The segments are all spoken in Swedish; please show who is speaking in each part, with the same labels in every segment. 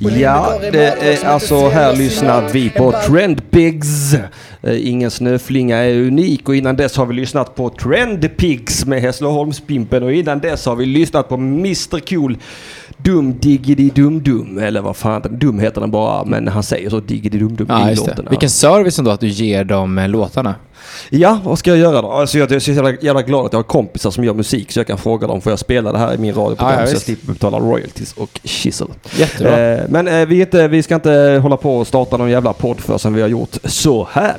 Speaker 1: Ja, det er är alltså här lyssnar vi på Trendpigs. Ingen snöflinga är unik och innan dess har vi lyssnat på Trendpigs med Hässleholmspimpen och innan dess har vi lyssnat på Mr Cool Dum Diggity Dum Dum eller vad fan, Dum heter den bara men han säger så Diggity Dum Dum
Speaker 2: Ja,
Speaker 1: i
Speaker 2: just det.
Speaker 1: låten.
Speaker 2: Vilken service ändå att du ger dem eh, låtarna.
Speaker 1: Ja, vad ska jag göra då? Alltså jag jag är så jävla, jävla glad att jag har kompisar som gör musik så jag kan fråga dem, får jag spela det här i min radioprogram
Speaker 2: Ja, ja,
Speaker 1: så jag
Speaker 2: visst.
Speaker 1: slipper betala royalties och kissel.
Speaker 2: Jättebra.
Speaker 1: Eh, men eh, vi, är inte, vi ska inte hålla på och starta någon jävla podd för som vi har gjort så här.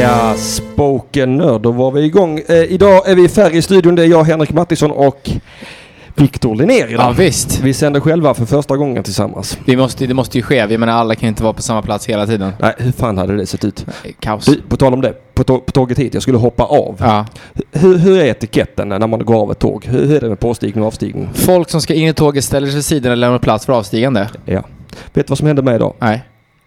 Speaker 1: Ja, spoken nerd, då var vi igång. Eh, idag är vi färre i studion, det är jag, Henrik Mattisson och Viktor Linnér idag.
Speaker 2: Ja, visst.
Speaker 1: Vi sänder själva för första gången tillsammans.
Speaker 2: Vi måste, det måste ju ske. Vi menar, alla kan inte vara på samma plats hela tiden.
Speaker 1: Nej, hur fan hade det sett ut?
Speaker 2: Eh, Kaos.
Speaker 1: Du, på tal om det, på, tå- på tåget hit, jag skulle hoppa av.
Speaker 2: Ja.
Speaker 1: Hur, hur är etiketten när man går av ett tåg? Hur, hur är det med påstigning och avstigning?
Speaker 2: Folk som ska in i tåget ställer sig vid sidan eller lämnar plats för avstigande.
Speaker 1: Ja. Vet du vad som hände mig idag?
Speaker 2: Nej.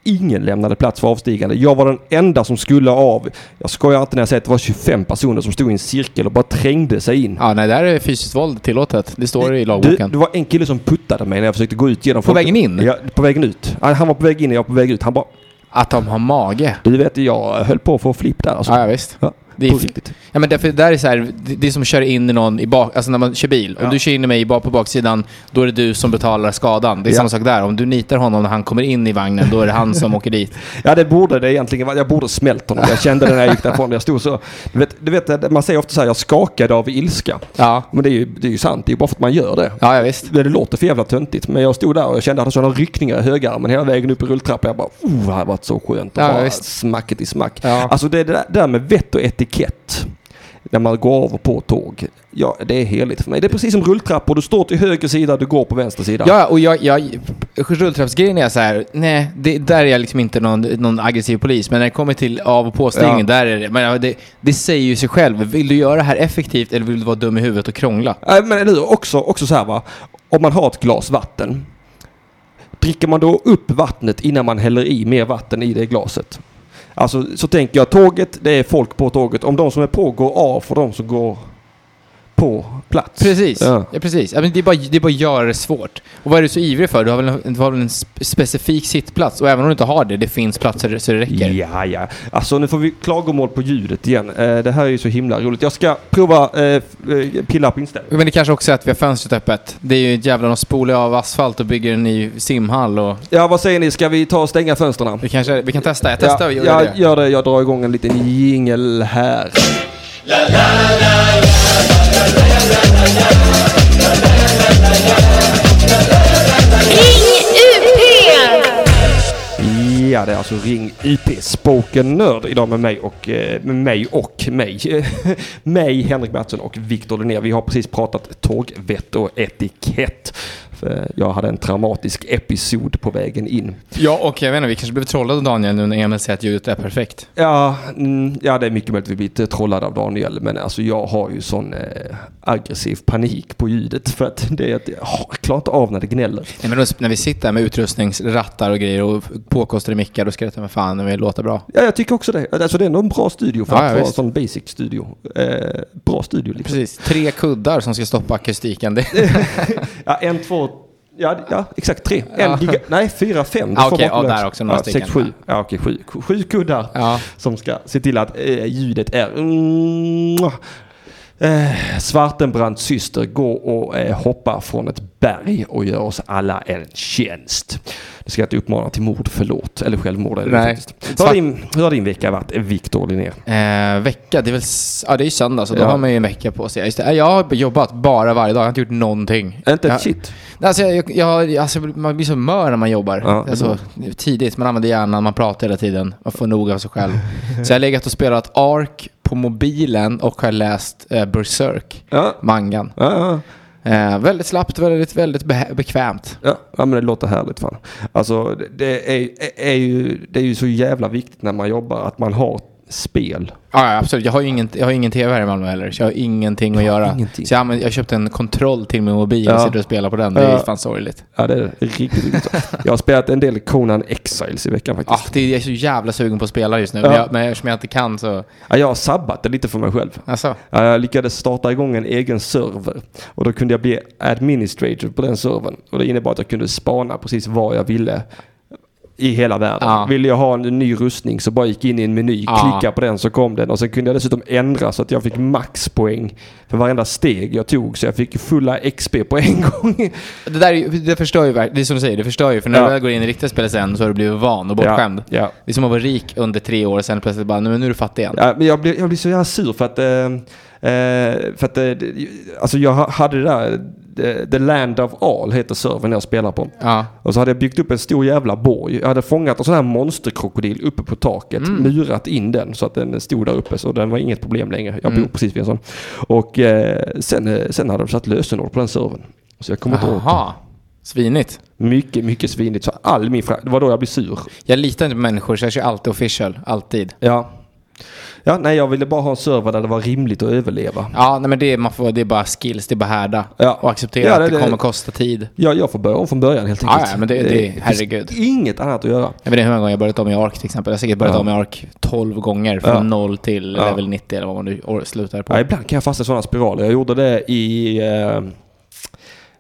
Speaker 1: Ingen lämnade plats för avstigande. Jag var den enda som skulle av. Jag skojar inte när jag säger att det var 25 personer som stod i en cirkel och bara trängde sig in.
Speaker 2: Ja, nej, där är fysiskt våld tillåtet. Det står i
Speaker 1: Du,
Speaker 2: lagboken.
Speaker 1: det var en kille som puttade mig när jag försökte gå ut genom...
Speaker 2: På vägen in?
Speaker 1: Ja, på vägen ut. Han han var på väg in och jag var på väg ut. Han bara...
Speaker 2: Att de har mage.
Speaker 1: Du vet, jag höll på att få flipp där alltså.
Speaker 2: Ja, ja visst.
Speaker 1: Ja,
Speaker 2: Det
Speaker 1: på
Speaker 2: är,
Speaker 1: riktigt.
Speaker 2: ja, men därför, där är så här, det, det är som att köra in i någon i bak, alltså när man kör bil. Om
Speaker 1: Ja.
Speaker 2: du kör in i mig i bak, på baksidan, då är det du som betalar skadan. Det är
Speaker 1: Ja.
Speaker 2: samma sak där. Om du nitar honom när han kommer in i vagnen, då är det han som åker dit.
Speaker 1: Ja, det borde det egentligen vara. Jag borde smält honom. Jag kände det när jag gick därifrån. Jag stod så... Du vet, du vet man säger ofta så här, jag skakade av ilska.
Speaker 2: Ja,
Speaker 1: Men det är ju, det är ju sant. Det är ju bara för att man gör det.
Speaker 2: ja, ja visst.
Speaker 1: Det låter för jävla töntigt, men jag stod där och jag kände att jag hade sådana ryckningar i högerarmen hela vägen upp i rulltrappan. Jag bara, oh, det här har varit så skönt. Och
Speaker 2: Ja,
Speaker 1: bara
Speaker 2: visst.
Speaker 1: smacket i smack.
Speaker 2: Ja.
Speaker 1: Alltså det, det där- det där med vett och etikett. När man går av och på tåg. Ja, det är heligt för mig. Det är precis som rulltrappor. Du står till höger sida, du går på vänster sida.
Speaker 2: Ja, och jag, jag, rulltrappsgrejen är så här, nej, det, där är jag liksom inte någon, någon aggressiv polis. Men när det kommer till av och påstigning,
Speaker 1: Ja.
Speaker 2: där är det, men ja, det, det säger ju sig själv. Vill du göra det här effektivt eller vill du vara dum i huvudet och krångla?
Speaker 1: Nej, men eller hur? Också, också så här va. Om man har ett glas vatten. Dricker man då upp vattnet innan man häller i mer vatten i det glaset? Alltså så tänker jag tåget, det är folk på tåget. Om de som är på går av för de som går på plats.
Speaker 2: Precis.
Speaker 1: Ja.
Speaker 2: Ja. precis. Ja, men det, är bara, det är bara att göra det svårt. Och vad är du så ivrig för? Du har väl en, du har väl en sp- specifik sittplats? Och även om du inte har det, det finns platser så det räcker.
Speaker 1: Ja, ja. Alltså nu får vi klagomål på ljudet igen. Eh, det här är ju så himla roligt. Jag ska prova eh, f- eh, pilla på inställningen.
Speaker 2: Men det kanske också är att vi har fönstret öppet. Det är ju ett jävla... De spolar av asfalt och bygger en ny simhall och...
Speaker 1: Ja, vad säger ni? Ska vi ta och stänga fönstren?
Speaker 2: Vi, kanske, vi kan testa. Jag testar och gör
Speaker 1: ja,
Speaker 2: det.
Speaker 1: ja, gör det. Jag drar igång en liten jingel här.
Speaker 3: Ring UP!
Speaker 1: Ja, det är alltså Ring IP Spoken Nörd idag med mig och eh, med mig och mig. mig, Henrik Mattsson och Viktor Linnér. Vi har precis pratat tågvett och etikett. För Jag hade en traumatisk episod på vägen in.
Speaker 2: Ja, och jag vet inte, vi kanske blev trollade av Daniel nu när Emil säger att ljudet är perfekt.
Speaker 1: Ja, mm, ja, det är mycket möjligt att vi blivit trollade av Daniel. Men alltså jag har ju sån eh, aggressiv panik på ljudet. För att det är att jag åh, jag klarar inte av när det gnäller.
Speaker 2: Nej, men då, när vi sitter här med utrustningsrattar och grejer och påkostade mickar, då ska det ta mig fan när vi låter bra.
Speaker 1: Ja, jag tycker också det. Alltså det är ändå en bra studio för
Speaker 2: Ja,
Speaker 1: att
Speaker 2: ja,
Speaker 1: vara en
Speaker 2: visst.
Speaker 1: sån basic studio. Eh, bra studio liksom.
Speaker 2: Precis. Tre kuddar som ska stoppa akustiken. Det,
Speaker 1: Ja, en, två, ja, ja exakt tre. En
Speaker 2: Ja.
Speaker 1: giga, nej, fyra, fem.
Speaker 2: Ja,
Speaker 1: Du får
Speaker 2: okej,
Speaker 1: bara-
Speaker 2: ja, där också några
Speaker 1: ja, sex,
Speaker 2: stycken.
Speaker 1: sju. Ja, okej, sju. Sju kuddar
Speaker 2: ja.
Speaker 1: som ska se till att eh, ljudet är... Mm, eh, Svartenbrandts syster går och eh, hoppar från ett berg och gör oss alla en tjänst. Det ska jag inte uppmana till mord, förlåt. Eller självmord är det
Speaker 2: Nej.
Speaker 1: faktiskt. Hur har, din, hur har din vecka varit, Viktor Linnér?
Speaker 2: Eh, vecka, det är väl... s- Ja, det är ju söndag, så då
Speaker 1: Ja.
Speaker 2: har man ju en vecka på sig. Ja, Just det. Eh, Jag har jobbat bara varje dag, jag har inte gjort någonting.
Speaker 1: Inte
Speaker 2: jag,
Speaker 1: ett shit.
Speaker 2: Alltså, jag, jag, jag, alltså, man blir så mör när man jobbar.
Speaker 1: Ja, det
Speaker 2: alltså, tidigt, man använder hjärnan, man pratar hela tiden. Man får nog av sig själv. så jag har legat och spelat ARK på mobilen och har läst eh, Berserk,
Speaker 1: Ja.
Speaker 2: mangan.
Speaker 1: Ja, ja.
Speaker 2: Eh, väldigt slappt, väldigt, väldigt be- bekvämt.
Speaker 1: Ja, ja, men det låter härligt fan. Alltså det- det är, är, är, ju, det är ju så jävla viktigt när man jobbar att man har spel.
Speaker 2: Ja, ja, absolut. Jag har ju ingen, jag har ingen tv här i Malmö heller, så jag har ingenting att
Speaker 1: Du har
Speaker 2: göra.
Speaker 1: ingenting.
Speaker 2: Så jag, använder- jag köpte en kontroll till min mobil
Speaker 1: Ja.
Speaker 2: och sitter och spelar på den. Det är
Speaker 1: Ja.
Speaker 2: ju fan sorgligt.
Speaker 1: Ja, det är riktigt, riktigt så. Jag har spelat en del Conan Exiles i veckan
Speaker 2: Ah,
Speaker 1: faktiskt.
Speaker 2: det, jag är så jävla sugen på att spela just nu,
Speaker 1: Ja.
Speaker 2: men, jag, men eftersom jag inte kan så...
Speaker 1: Ja, jag har sabbat det lite för mig själv.
Speaker 2: Alltså,
Speaker 1: Ja, Jag lyckades starta igång en egen server och då kunde jag bli administrator på den servern. Och det innebar att jag kunde spana precis var jag ville i hela världen.
Speaker 2: Ja.
Speaker 1: Ville jag ha en ny rustning så bara gick jag in i en meny,
Speaker 2: Ja.
Speaker 1: klicka på den så kom den. Och sen kunde jag dessutom ändra så att jag fick maxpoäng för varenda steg jag tog. Så jag fick fulla XP på en gång.
Speaker 2: det där är ju- det förstör ju verkligen, det är som du säger, det förstör ju. För när
Speaker 1: Ja.
Speaker 2: du väl går in i riktiga spel sen så har du blivit van och bortskämd.
Speaker 1: Ja, ja.
Speaker 2: Det är som att vara rik under tre år och sen plötsligt bara, "Nej, men nu är du fattig igen.
Speaker 1: Ja, men jag blir, jag blir så jävla sur för att... eh, eh, för att eh, det- alltså jag ha- hade det där... eh, The Land of All heter servern jag spelar på.
Speaker 2: Ja.
Speaker 1: Och så hade jag byggt upp en stor jävla borg. Jag hade fångat en sån här monsterkrokodil uppe på taket.
Speaker 2: Mm.
Speaker 1: Murat in den så att den stod där uppe. Så den var inget problem längre. Jag bor
Speaker 2: Mm.
Speaker 1: precis vid en sån. Och eh, sen, eh, sen hade de satt lösenord på den servern. Så jag kommer inte ihåg.
Speaker 2: Jaha. Svinigt.
Speaker 1: Mycket, mycket svinigt. Så all min fra- Det var då jag blev sur.
Speaker 2: Jag litar inte på människor så jag kör alltid official. Alltid.
Speaker 1: Ja. Ja, nej, jag ville bara ha en server där det var rimligt att överleva.
Speaker 2: Ja, nej, men det är, man får, det är bara skills, det är bara härda.
Speaker 1: Ja.
Speaker 2: Och acceptera
Speaker 1: Ja,
Speaker 2: att
Speaker 1: det-
Speaker 2: det,
Speaker 1: det-
Speaker 2: kommer kosta tid.
Speaker 1: Ja, jag får börja om från början helt enkelt.
Speaker 2: Ja, ja, men det- det-
Speaker 1: finns
Speaker 2: herregud.
Speaker 1: Inget annat att göra.
Speaker 2: Jag vet inte hur många gånger jag börjat om i ARK till exempel. Jag har säkert börjat
Speaker 1: Ja.
Speaker 2: om i ARK 12 gånger. Från
Speaker 1: Ja.
Speaker 2: 0 till
Speaker 1: Ja.
Speaker 2: level 90 eller vad man nu or- slutar på.
Speaker 1: Ja, ibland kan jag fastna i sådana spiraler. Jag gjorde det i eh,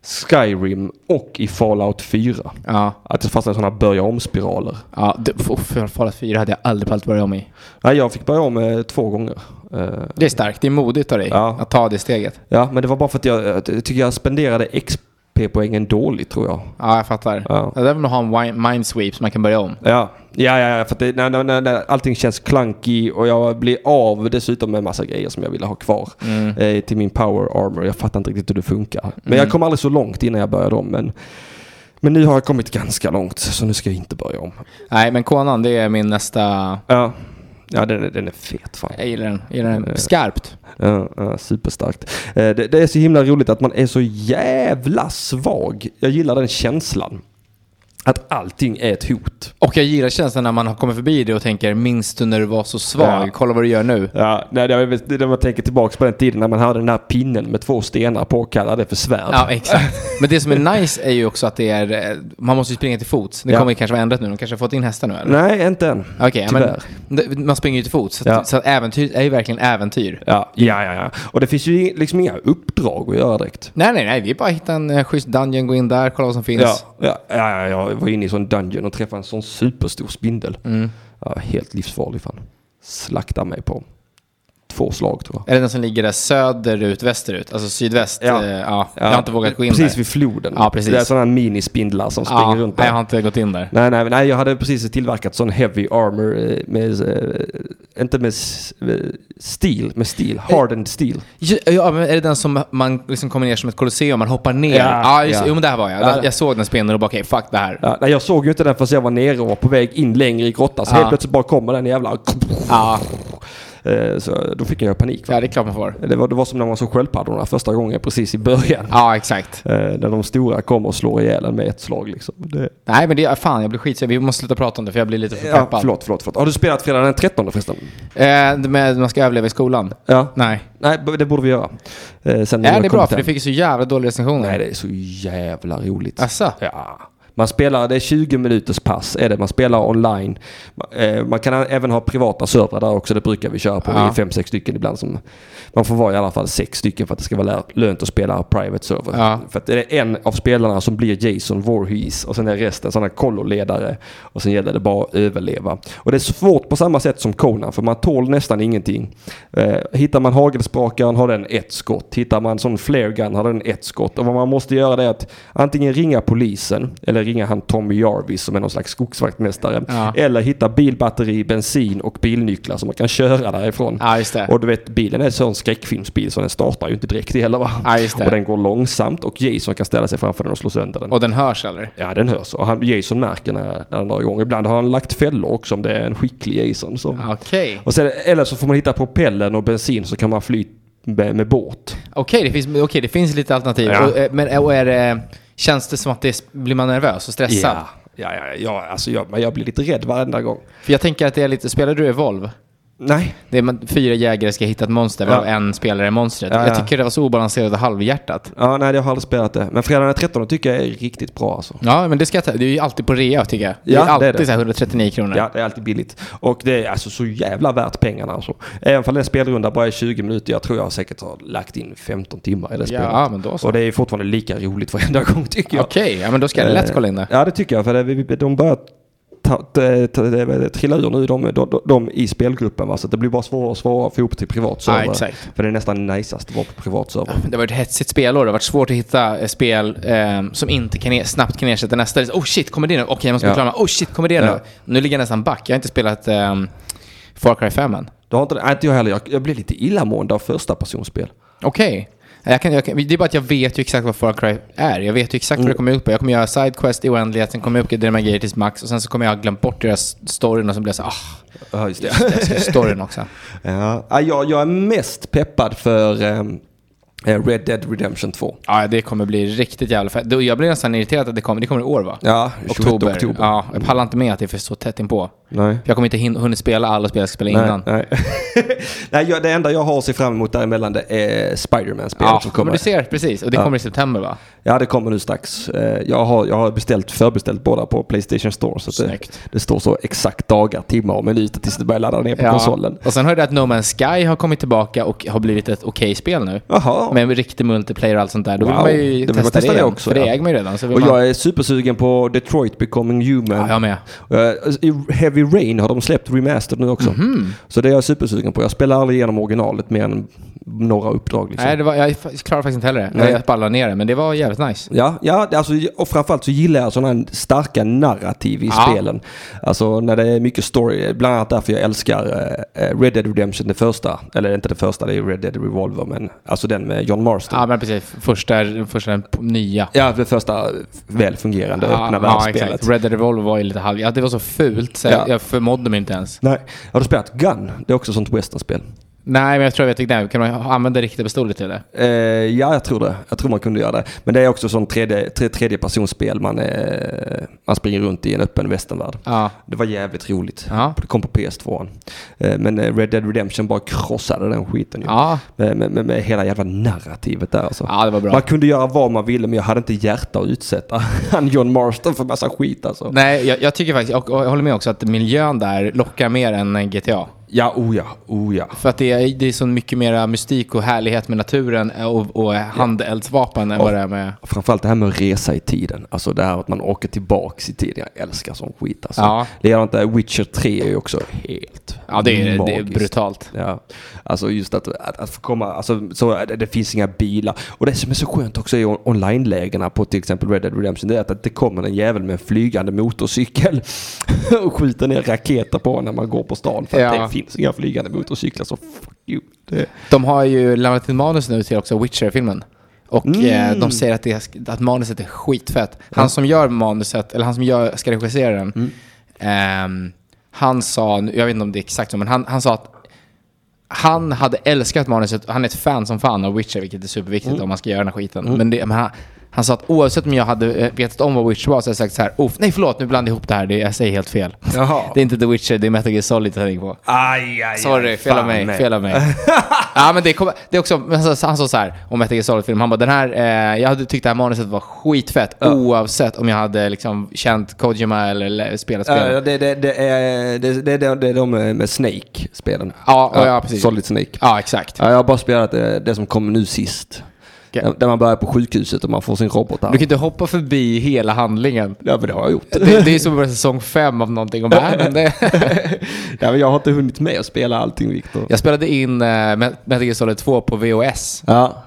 Speaker 1: Skyrim och i Fallout 4.
Speaker 2: Ja.
Speaker 1: Att jag fastnade i sådana börja om-spiraler.
Speaker 2: Ja, det, för, för Fallout 4 hade jag aldrig pallat börja om i.
Speaker 1: Nej, jag fick börja om eh, två gånger. Eh,
Speaker 2: Det är starkt, det är modigt av dig
Speaker 1: Ja.
Speaker 2: att ta det steget.
Speaker 1: ja, men det var bara för att jag, jag tycker jag spenderade XP-poängen dåligt tror jag.
Speaker 2: Ja, jag fattar.
Speaker 1: Ja.
Speaker 2: Det där vill man ha en wi- mindsweep så man kan börja om.
Speaker 1: Ja, ja, ja, ja, för att det, när, när, när, när allting känns clunky och jag blir av dessutom med en massa grejer som jag ville ha kvar
Speaker 2: Mm.
Speaker 1: eh, till min power armor. Jag fattar inte riktigt hur det funkar. Men jag kom aldrig så långt innan jag började om. Men, men nu har jag kommit ganska långt så nu ska jag inte börja om.
Speaker 2: Nej, men Konan, det är min nästa...
Speaker 1: Ja, ja den, är- den är fet fan.
Speaker 2: Jag gillar den. Jag gillar
Speaker 1: Eh.
Speaker 2: den. Skarpt.
Speaker 1: Ja, ja, superstarkt. Eh, det, det är så himla roligt att man är så jävla svag. Jag gillar den känslan. Att allting är ett hot.
Speaker 2: Och jag gillar känslan när man har kommit förbi det och tänker minns du när du var så
Speaker 1: Ja.
Speaker 2: svag? Kolla vad du gör nu.
Speaker 1: Ja, nej, det, var- det, när man tänker tillbaka på den tiden när man hade den här pinnen med två stenar på och kallade det för svärd.
Speaker 2: Ja, exakt. Men det som är nice är ju också att det är, eh, man måste ju springa till fots. Det
Speaker 1: Ja.
Speaker 2: kommer kanske vara ändrat nu, de kanske har fått in hästar nu eller?
Speaker 1: Nej, inte än.
Speaker 2: Okej, ja, men
Speaker 1: Tyvärr.
Speaker 2: det- man springer ju till fots. Så, att-
Speaker 1: Ja.
Speaker 2: så att äventyr är ju verkligen äventyr.
Speaker 1: Ja, ja, ja, ja. Och det finns ju liksom inga uppdrag att göra direkt.
Speaker 2: Nej, nej, nej. Vi bara hittar en eh, schysst dungeon, gå in där, kolla vad som finns.
Speaker 1: Ja, ja, ja, ja, jag var inne i en sån dungeon och träffade en sån superstor spindel.
Speaker 2: Mm.
Speaker 1: Ja, helt livsfarlig fan. Slakta mig på två slag tror jag.
Speaker 2: Är det den som ligger där söderut, västerut? Alltså sydväst?
Speaker 1: Ja.
Speaker 2: Ja. ja. Jag har inte vågat gå in
Speaker 1: Precis
Speaker 2: där.
Speaker 1: vid floden.
Speaker 2: Ja, precis.
Speaker 1: Det är sådana här minispindlar som springer
Speaker 2: ja,
Speaker 1: runt
Speaker 2: nej,
Speaker 1: där.
Speaker 2: jag har inte gått in där.
Speaker 1: Nej, nej, nej, jag hade precis tillverkat sån heavy armor eh, med, eh, inte med s- eh, steel, med steel, hardened steel.
Speaker 2: Ja, Ja, men är det den som man liksom kommer ner som ett kolosseum, man hoppar ner?
Speaker 1: Ja,
Speaker 2: Ja, just,
Speaker 1: ja.
Speaker 2: jo men där var jag.
Speaker 1: Ja.
Speaker 2: Jag- Jag såg den spindeln och bara okej, fuck det här.
Speaker 1: Ja, nej, jag såg ju inte den förrän jag var nere och var på väg in längre i grottan. Så
Speaker 2: Ja.
Speaker 1: helt plötsligt bara kommer den jävla...
Speaker 2: Ja,
Speaker 1: Eh, Så då fick jag panik. Va?
Speaker 2: ja det är klart man får.
Speaker 1: Det, var, det var som när man såg sköldpaddorna första gången precis i början.
Speaker 2: Ja, exakt.
Speaker 1: Eh, När de stora kommer och slår ihjäl en med ett slag liksom. Det,
Speaker 2: Nej men det, fan jag blir skitsur. Vi måste sluta prata om det för jag blir lite för
Speaker 1: ja,
Speaker 2: peppad.
Speaker 1: förlåt, förlåt, förlåt. Har du spelat fredag den 13 förresten?
Speaker 2: Eh, med, man ska överleva i skolan?
Speaker 1: Ja.
Speaker 2: Nej.
Speaker 1: Nej, b- det borde vi göra. Eh, Sen när
Speaker 2: är
Speaker 1: jag
Speaker 2: det
Speaker 1: kommit
Speaker 2: bra? För
Speaker 1: hem.
Speaker 2: det fick ju så jävla dåliga recensioner.
Speaker 1: Nej, det är så jävla roligt.
Speaker 2: Asså?
Speaker 1: Ja. Man spelar, det är 20 minuters pass är det. Man spelar online. Eh, Man kan även ha privata servrar där också. Det brukar vi köra på. Vi är
Speaker 2: Ja.
Speaker 1: fem, sex stycken ibland. Som, man får vara i alla fall sex stycken för att det ska vara lär- lönt att spela private server.
Speaker 2: Ja.
Speaker 1: För att det är en av spelarna som blir Jason Voorhees och sen är resten sådana kolloledare. Och sen gäller det bara att överleva. Och det är svårt på samma sätt som Conan för man tål nästan ingenting. Eh, hittar man hagelsprakaren har den ett skott. Hittar man sån flare gun har den ett skott. Och vad man måste göra det är att antingen ringa polisen eller ringa han Tommy Jarvis som är någon slags skogsvaktmästare.
Speaker 2: Ja.
Speaker 1: Eller hitta bilbatteri, bensin och bilnycklar som man kan köra därifrån.
Speaker 2: Ja, just det.
Speaker 1: Och du vet, bilen är en sån skräckfilmsbil så den startar ju inte direkt heller va?
Speaker 2: Ja, just det.
Speaker 1: Och den går långsamt och Jason kan ställa sig framför den och slå sönder den.
Speaker 2: Och den hörs eller?
Speaker 1: Ja, den hörs. Och han, Jason märker när, när den drar igång. Ibland har han lagt fällor också om det är en skicklig Jason. Så.
Speaker 2: Okej.
Speaker 1: Och sen, eller så får man hitta propellen och bensin så kan man fly med, med båt.
Speaker 2: Okej, det, finns, okej, det finns lite alternativ.
Speaker 1: Ja.
Speaker 2: Och, eh, men och är det, känns det som att det är- blir man nervös och stressad?
Speaker 1: Ja, ja, ja, ja alltså jag, men jag blir lite rädd varenda gång.
Speaker 2: För jag tänker att det är lite, spelar du Evolve?
Speaker 1: Nej.
Speaker 2: Det är man- fyra jägare ska hitta ett monster, varav
Speaker 1: Ja.
Speaker 2: en spelare är monstret.
Speaker 1: Ja,
Speaker 2: Jag
Speaker 1: ja.
Speaker 2: tycker det var så obalanserat och halvhjärtat.
Speaker 1: Ja, nej, jag har aldrig spelat det. Men fredagen den 13 tycker jag är riktigt bra alltså.
Speaker 2: Ja, men det ska jag ta. Det är ju alltid på rea tycker jag. Det
Speaker 1: Ja,
Speaker 2: är
Speaker 1: det är
Speaker 2: alltid
Speaker 1: det.
Speaker 2: så här 139 kronor.
Speaker 1: Ja, det är alltid billigt. Och det är alltså så jävla värt pengarna alltså. Även om det är en spelrunda bara är 20 minuter. Jag tror jag säkert har lagt in 15 timmar i det spelet.
Speaker 2: ja men då så.
Speaker 1: Och det är fortfarande lika roligt varenda gång tycker jag.
Speaker 2: Okej, ja, men då ska
Speaker 1: Eh.
Speaker 2: jag lätt kolla in det.
Speaker 1: Ja, det tycker jag. För det, vi- de börjar ta, ta, ta, ta, trilla ur nu, de, de, de, de i spelgruppen. Va? Så det blir bara svårare och svårare att få ihop till privat server.
Speaker 2: Ja, exakt.
Speaker 1: För det är nästan najsast att vara på privat server.
Speaker 2: Det har varit ett hetsigt spelår. Det har varit svårt att hitta eh, spel eh, som inte kan e- snabbt kan ersätta nästa. Det är så, Oh shit, kommer det nu? Okej, jag måste
Speaker 1: Ja.
Speaker 2: bli klar med. Oh shit, kommer det
Speaker 1: Ja.
Speaker 2: nu? Nu ligger jag nästan back. Jag har inte spelat eh, Far Cry 5 än.
Speaker 1: Du har inte, nej, inte jag heller. Jag, jag blev lite illamående av första personspel.
Speaker 2: Okej. Jag kan, jag kan, det är bara att jag vet ju exakt vad Far Cry är. Jag vet ju exakt
Speaker 1: Mm.
Speaker 2: vad det kommer ut på. Jag kommer göra sidequest i oändlighet, sen kommer jag uppgradera mina grejer tills max och sen så kommer jag ha glömt bort deras storyn och så blir jag så ah,
Speaker 1: Ja, just det.
Speaker 2: jag ska storyn också.
Speaker 1: ja. Ja, jag, jag är mest peppad för ehm, eh, Red Dead Redemption 2.
Speaker 2: Ja, det kommer bli riktigt jävla fett. Då- Jag blir nästan irriterad att det kommer. Det kommer i år va?
Speaker 1: Ja, 26
Speaker 2: oktober.
Speaker 1: oktober.
Speaker 2: Ja, jag pallar inte med att det är för så tätt inpå.
Speaker 1: Nej.
Speaker 2: Jag kommer inte hin- hunnit spela alla spel jag ska spela innan.
Speaker 1: Nej, nej. nej jag, det enda jag har att se fram emot däremellan det är Spiderman-spelet
Speaker 2: Ja,
Speaker 1: som kommer.
Speaker 2: men du ser, precis. Och det kommer i september va?
Speaker 1: Ja, det kommer nu strax. Eh, Jag har, jag har beställt, förbeställt båda på Playstation Store. Så att det,
Speaker 2: Snyggt.
Speaker 1: det står så exakt dagar, timmar och minuter tills det börjar ladda ner på konsolen.
Speaker 2: Och sen hörde jag att No Man's Sky har kommit tillbaka och har blivit ett okej spel nu.
Speaker 1: Jaha.
Speaker 2: Med riktig multiplayer och allt sånt där. Då vill
Speaker 1: Wow.
Speaker 2: man
Speaker 1: Det
Speaker 2: ju
Speaker 1: vill man
Speaker 2: testa,
Speaker 1: testa det
Speaker 2: det igen,
Speaker 1: också,
Speaker 2: För det
Speaker 1: ja.
Speaker 2: äger man ju redan. Så vill
Speaker 1: och
Speaker 2: man...
Speaker 1: jag är supersugen på Detroit Becoming Human.
Speaker 2: Ja, jag med.
Speaker 1: Eh, i Heavy Rain har de släppt remastered nu också.
Speaker 2: Mhm.
Speaker 1: Så det är jag supersugen på. Jag spelar aldrig igenom originalet mer än några uppdrag. Liksom.
Speaker 2: Nej, det var, jag fa- klarar faktiskt inte heller det.
Speaker 1: Nej.
Speaker 2: Jag ballade ner det, men det var jävligt nice.
Speaker 1: Ja, ja det- alltså, och framförallt så gillar jag sådana här starka narrativ i
Speaker 2: Ja.
Speaker 1: spelen. Alltså när det är mycket story. Bland annat därför jag älskar eh, Red Dead Redemption, det första. Eller inte det första, det är Red Dead Revolver, men alltså den med John Marston.
Speaker 2: Ja, men precis. Första, första den p- nya.
Speaker 1: Ja, det första välfungerande öppna världsspelet.
Speaker 2: Red Dead Revolver var ju lite halv... Ja, det var så fult så
Speaker 1: Ja.
Speaker 2: jag, jag förmådde mig inte ens.
Speaker 1: Nej, har du spelat Gun? Det är också ett sånt westernspel.
Speaker 2: Nej, men jag tror jag vet vilken det är. Kan man använda riktiga pistoler till det?
Speaker 1: Eh, ja, jag tror det. Jag tror man kunde göra det. Men det är också sånt tredje, tre, tredje personspel. Man, eh, man springer runt i en öppen västernvärld.
Speaker 2: Ja.
Speaker 1: Det var jävligt roligt.
Speaker 2: Ja.
Speaker 1: Det kom på PS2. Eh, Men eh, Red Dead Redemption bara krossade den skiten ju. Eh,
Speaker 2: Ja.
Speaker 1: Med, med, med, med hela jävla narrativet där alltså.
Speaker 2: ja, det var bra.
Speaker 1: Man kunde göra vad man ville men jag hade inte hjärta att utsätta han John Marston för massa skit alltså.
Speaker 2: Nej, jag, jag tycker faktiskt, och, och jag håller med också, att miljön där lockar mer än eh, GTA.
Speaker 1: Ja, oh ja, oh ja.
Speaker 2: För att det är, det är så mycket mer mystik och härlighet med naturen eh, och, och handeldsvapen än vad det är med...
Speaker 1: Framförallt det här med att resa i tiden. Alltså det här att man åker tillbaks i tiden. Jag älskar sån skit alltså.
Speaker 2: Ja.
Speaker 1: Likadant det här Witcher 3 är ju också helt
Speaker 2: Ja, det är, det är
Speaker 1: magiskt.
Speaker 2: brutalt.
Speaker 1: Ja, alltså just att, att, att få komma, alltså, så, det, det finns inga bilar. Och det som är så skönt också i on- online-lägena på till exempel Red Dead Redemption, det är att det kommer en jävel med en flygande motorcykel och skjuter ner raketer på en när man går på stan. För att
Speaker 2: Ja.
Speaker 1: det finns inga flygande motorcyklar, så fuck you. Det,
Speaker 2: De har ju lämnat in manus nu till också Witcher-filmen. Och eh, de säger att, det, är- att manuset är skitfett. Han som gör manuset, eller han som gör, ska regissera den, ehm, han sa, nu- jag vet inte om det är exakt så, men han, han sa att han hade älskat manuset, han är ett fan som fan av Witcher, vilket är superviktigt om man ska göra den här skiten. Men, det, men han, han sa att oavsett om jag hade eh, vetat om vad Witcher var så hade jag sagt så här, "Oh, nej förlåt, nu blandade jag ihop det här, det, jag säger helt fel.
Speaker 1: Jaha.
Speaker 2: Det är inte The Witcher, det är Metal Gear Solid jag tänker på.
Speaker 1: aj, aj,
Speaker 2: Sorry, fel av mig. Fel av mig. ja, men det, kommer- det är också, men han sa- han sa så här om Metal Gear Solid-film. Han bara, den här, eh, jag hade tyckt det här manuset var skitfett oavsett om jag hade liksom känt Kojima eller le- spelat spelet.
Speaker 1: Ja, det, det, det, är, det, det, det, det är de med Snake-spelen.
Speaker 2: Ja, ja, precis.
Speaker 1: Solid Snake.
Speaker 2: ja, exakt.
Speaker 1: Ja, jag har bara spelat det, det som kom nu sist.
Speaker 2: Okej.
Speaker 1: Där- Där man börjar på sjukhuset och man får sin robot där.
Speaker 2: Du kan inte hoppa förbi hela handlingen.
Speaker 1: Ja, men det har jag gjort.
Speaker 2: Det, det är som att börja säsong fem av någonting. Och bara, "Äh, men det...
Speaker 1: ja, men jag har inte hunnit med att spela allting, Viktor.
Speaker 2: Jag spelade in eh, Met- Metal Gear Solid 2 på VHS.
Speaker 1: Ja.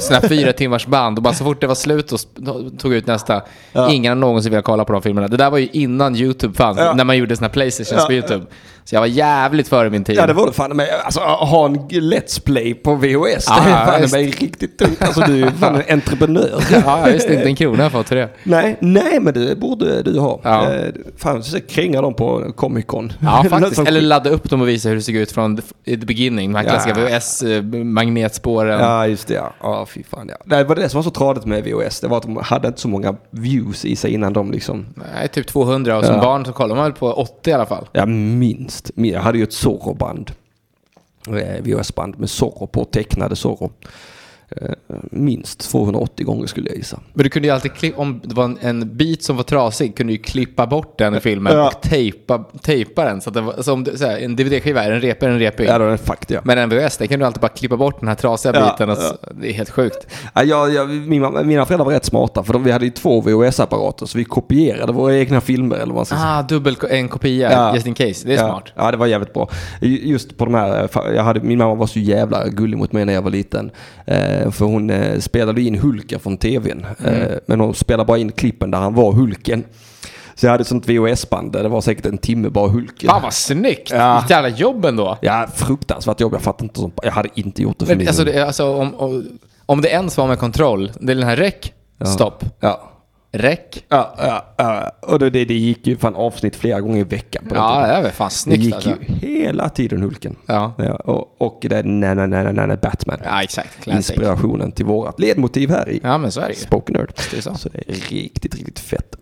Speaker 2: Sådana fyra timmars band och bara så fort det var slut då sp- då tog jag ut nästa. Ingen har någonsin velat kolla på de filmerna. Det där var ju innan YouTube fanns,
Speaker 1: Ja.
Speaker 2: när man gjorde sina Playstations på
Speaker 1: Ja.
Speaker 2: YouTube. Så jag var jävligt före min tid.
Speaker 1: Ja det var det fan men alltså att ha en Let's Play på VHS
Speaker 2: Ja,
Speaker 1: det
Speaker 2: ja,
Speaker 1: är fan
Speaker 2: visst.
Speaker 1: mig riktigt tungt. Alltså du är fan en entreprenör.
Speaker 2: ja, just det. Inte en krona har jag fått till det.
Speaker 1: Nej, nej men det borde du ha.
Speaker 2: Ja.
Speaker 1: Eh, Fan, så kränga dem på Comic Con.
Speaker 2: Ja,
Speaker 1: Något
Speaker 2: faktiskt.
Speaker 1: sånt
Speaker 2: Eller
Speaker 1: skit.
Speaker 2: ladda upp dem och visa hur det såg ut från the, f- the beginning. De här klassiska
Speaker 1: Ja.
Speaker 2: VHS-magnetspåren.
Speaker 1: Ja, just det. Ja. Ja, ja fy fan ja. Det var det som var så tradigt med VOS. Det var att de hade inte så många views i sig innan de liksom...
Speaker 2: Nej, typ 200 och som
Speaker 1: Ja.
Speaker 2: barn så kollar man väl på 80 i alla fall.
Speaker 1: Ja, minst. Min- Jag hade ju ett Zorro-band. Eh, VHS-band med Zorro på, tecknade Zorro. Eh, Minst 280 gånger skulle jag gissa.
Speaker 2: Men du kunde ju alltid, kli- om det var en, en bit som var trasig, kunde du ju klippa bort den i filmen
Speaker 1: Ja.
Speaker 2: och tejpa, tejpa den. Så att den var, så om du, så här, en DVD-skiva är en repig, en repig.
Speaker 1: Ja, det var en fakt ja.
Speaker 2: Men en VHS, där kan du alltid bara klippa bort den här trasiga
Speaker 1: Ja,
Speaker 2: biten. Och så, Det är helt sjukt.
Speaker 1: Ja, jag, jag, mina, mina föräldrar var rätt smarta för de, vi hade ju två VHS-apparater så vi kopierade våra egna filmer eller vad man ska säga.
Speaker 2: Ah, dubbel en kopia,
Speaker 1: Ja.
Speaker 2: Äh, just in case. Det är smart.
Speaker 1: Ja, ja, det var jävligt bra. Ju- Just på de här, eh, fa- jag hade, min mamma var så jävla gullig mot mig när jag var liten. Eh, för hon eh, spelade in Hulken från tvn. Eh,
Speaker 2: Mm.
Speaker 1: men hon spelade bara in klippen där han var Hulken. Så jag hade ett sånt VHS-band där det var säkert en timme bara Hulken.
Speaker 2: Fan vad snyggt!
Speaker 1: Ja.
Speaker 2: Vilket jävla jobb ändå.
Speaker 1: Ja, fruktansvärt jobb. Jag fattar inte. Sånt. Jag hade inte gjort det för
Speaker 2: Men,
Speaker 1: min
Speaker 2: alltså, det, är- alltså, om, om, om det ens var med kontroll, det är den här räck, stopp,
Speaker 1: Ja.
Speaker 2: räck.
Speaker 1: Ja, ja, ja. Och det, det, det gick ju fan avsnitt flera gånger i veckan. På den tiden.
Speaker 2: Ja, det var fan
Speaker 1: det
Speaker 2: snyggt
Speaker 1: gick
Speaker 2: alltså.
Speaker 1: ju hela tiden Hulken.
Speaker 2: Ja.
Speaker 1: Ja, och, och det är nej, nej, nej, nej, nej, Batman.
Speaker 2: ja, exakt. Classic.
Speaker 1: Inspirationen till vårat ledmotiv här i
Speaker 2: Ja, men så är det ju.
Speaker 1: Spoken Nerd.
Speaker 2: Det är så.
Speaker 1: Så det är riktigt, riktigt fett.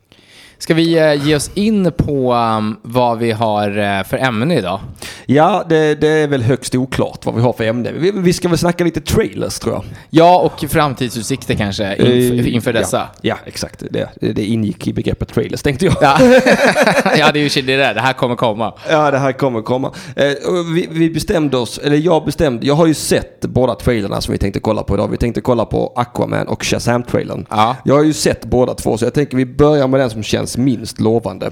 Speaker 2: Ska vi eh, ge oss in på um, vad vi har eh, för ämne idag?
Speaker 1: Ja, det, det är väl högst oklart vad vi har för ämne. Vi, vi ska väl snacka lite trailers tror jag.
Speaker 2: Ja, och framtidsutsikter kanske inf-
Speaker 1: Eh,
Speaker 2: inför dessa.
Speaker 1: Ja, ja exakt. Det, det ingick i begreppet trailers tänkte jag.
Speaker 2: Ja, ja det är ju shit, det där. Det här kommer komma.
Speaker 1: Ja, det här kommer komma. Eh, och vi, vi bestämde oss, eller jag bestämde, jag har ju sett båda trailerna som vi tänkte kolla på idag. Vi tänkte kolla på Aquaman och Shazam-trailern.
Speaker 2: Ja.
Speaker 1: Jag har ju sett båda två, så jag tänker vi börjar med den som känns minst lovande.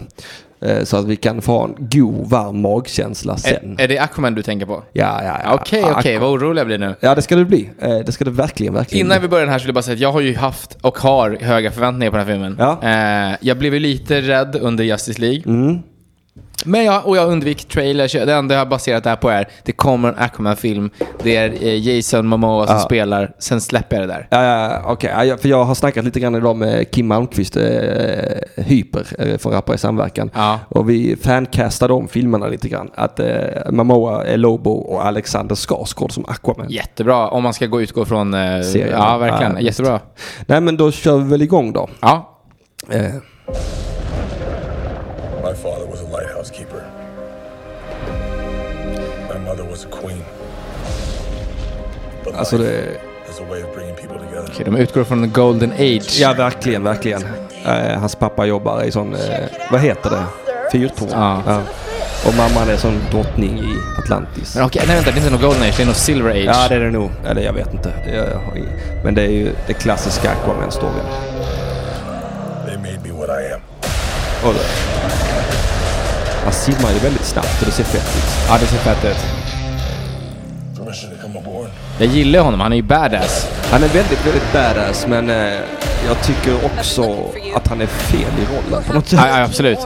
Speaker 1: Eh, så att vi kan få en god, varm magkänsla sen.
Speaker 2: Är, är det Aquaman du tänker på?
Speaker 1: ja, ja, ja.
Speaker 2: Eh, Okej, okej.
Speaker 1: Aqu-
Speaker 2: Vad orolig jag blir nu.
Speaker 1: Ja, det ska det bli. Eh, det ska det verkligen, verkligen
Speaker 2: Innan
Speaker 1: bli.
Speaker 2: vi börjar den här skulle jag bara säga att jag har ju haft och har höga förväntningar på den här filmen.
Speaker 1: Ja. Mm.
Speaker 2: Eh, jag blev ju lite rädd under Justice League. Men jag, och jag undvik trailers. Det enda jag har baserat det här på är det kommer en Aquaman-film. Det är eh, Jason Momoa som
Speaker 1: Ja.
Speaker 2: spelar. Sen släpper jag det där.
Speaker 1: Ja, ja, okej. Ja, jag- för jag har snackat lite grann idag med Kim Malmqvist, eh, Hyper, eh, från Rappare i samverkan.
Speaker 2: Ja.
Speaker 1: Och vi fancastade om filmerna lite grann. Att eh, Momoa är Lobo och Alexander Skarsgård som Aquaman.
Speaker 2: Jättebra om man ska gå utgå från... Eh,
Speaker 1: Serien.
Speaker 2: ja, verkligen.
Speaker 1: Ja, visst.
Speaker 2: Jättebra.
Speaker 1: Nej, men då kör vi väl igång då.
Speaker 2: Ja.
Speaker 1: Eh,
Speaker 3: My father was a lighthouse keeper. My mother was a queen. But
Speaker 1: alltså
Speaker 3: life
Speaker 1: det...
Speaker 3: is a way of bringing people together.
Speaker 2: Okej, de utgår från the golden age.
Speaker 1: Ja, verkligen, verkligen. Eh, hans pappa jobbar i sån... Eh, vad heter det? Fyrtorn.
Speaker 2: Ja.
Speaker 1: Och mamman är sån drottning i Atlantis.
Speaker 2: Men okej, nej vänta. Det är inte någon golden age. Det är nog silver age.
Speaker 1: Ja, det är det nog. Eller jag vet inte. Jag, jag har ingen- men det är ju det klassiska Aquaman-storyn.
Speaker 3: They made me what I am.
Speaker 1: Och det. Han simmar ju väldigt snabbt och det ser fett ut.
Speaker 2: ja, det ser fett ut.
Speaker 3: Permission to come aboard.
Speaker 2: Jag gillar honom. Han är ju badass.
Speaker 1: Han är väldigt, väldigt badass men eh, jag tycker också att han är fel i rollen på något sätt.
Speaker 2: Ja, ja, absolut.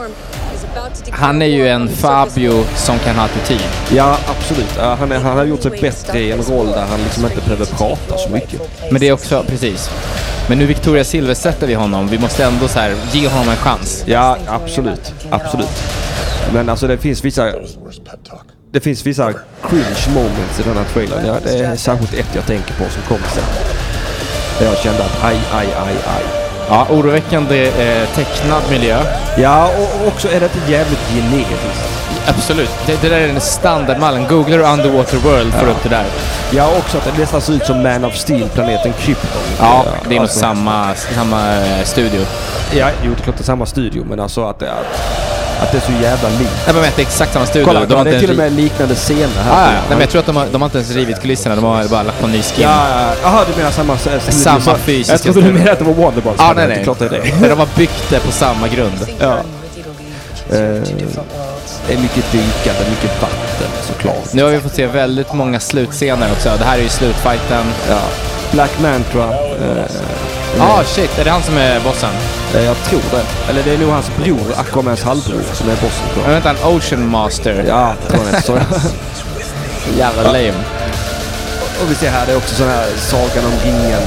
Speaker 2: Han är ju en Fabio som kan ha attityd.
Speaker 1: Ja, absolut. Ja, han, är, han har gjort sig bättre i en roll där han liksom inte behöver prata så mycket.
Speaker 2: Men det är också, precis. Men nu Victoria Silversätter vi honom. Vi måste ändå så här, ge honom en chans.
Speaker 1: Ja, absolut. Absolut. Men alltså det finns vissa,
Speaker 3: That was the worst pep talk.
Speaker 1: det finns vissa cringe moments i den här trailern. Ja, det är särskilt ett jag tänker på som kommer sen. Där jag kände att aj, aj, aj, aj.
Speaker 2: Ja, oroväckande eh, tecknad miljö.
Speaker 1: Ja, och och också är det inte jävligt generiskt.
Speaker 2: Absolut. Det, det där är den standardmallen. Googlar du Underwater World får du upp det där.
Speaker 1: Ja, också att det nästan ser ut som Man of Steel, planeten Krypton. Alltså,
Speaker 2: Ja, det är nog samma, samma eh, studio.
Speaker 1: Ja, jo, det är klart det är samma studio, men alltså att det, att, att det är så jävla likt.
Speaker 2: Nej men vänta, det är exakt samma studio.
Speaker 1: Kolla, det är
Speaker 2: inte
Speaker 1: till och med
Speaker 2: ens
Speaker 1: en
Speaker 2: ri-
Speaker 1: liknande scener
Speaker 2: Ah,
Speaker 1: här.
Speaker 2: ja. Nej, men jag tror att de har, de har inte ens rivit kulisserna. De har bara lagt på en ny skin.
Speaker 1: Ja, ja, ja. Jaha, du menar samma studio?
Speaker 2: Samma fysiska
Speaker 1: Jag trodde du
Speaker 2: studio.
Speaker 1: menade att det var Wonderboy.
Speaker 2: ah, nej, nej.
Speaker 1: Det är klart det är det.
Speaker 2: Men de har byggt det på samma grund.
Speaker 1: Ja.
Speaker 4: Eh.
Speaker 1: Det är mycket dykande, mycket vatten såklart.
Speaker 2: Nu har vi fått se väldigt många slutscener också. Det här är ju slutfighten. Ah,
Speaker 1: Ja. Black Mantra. Eh,
Speaker 2: Ja, ah, shit. Är det han som är bossen?
Speaker 1: eh, jag tror det. Eller det är nog hans bror, Aquamans halvbror, som är bossen tror jag.
Speaker 2: Men vänta, en Ocean Master.
Speaker 1: Ja, tror jag det. Så-
Speaker 2: Jävla lame.
Speaker 1: Och vi ser här, det är också sån här Sagan om ringen.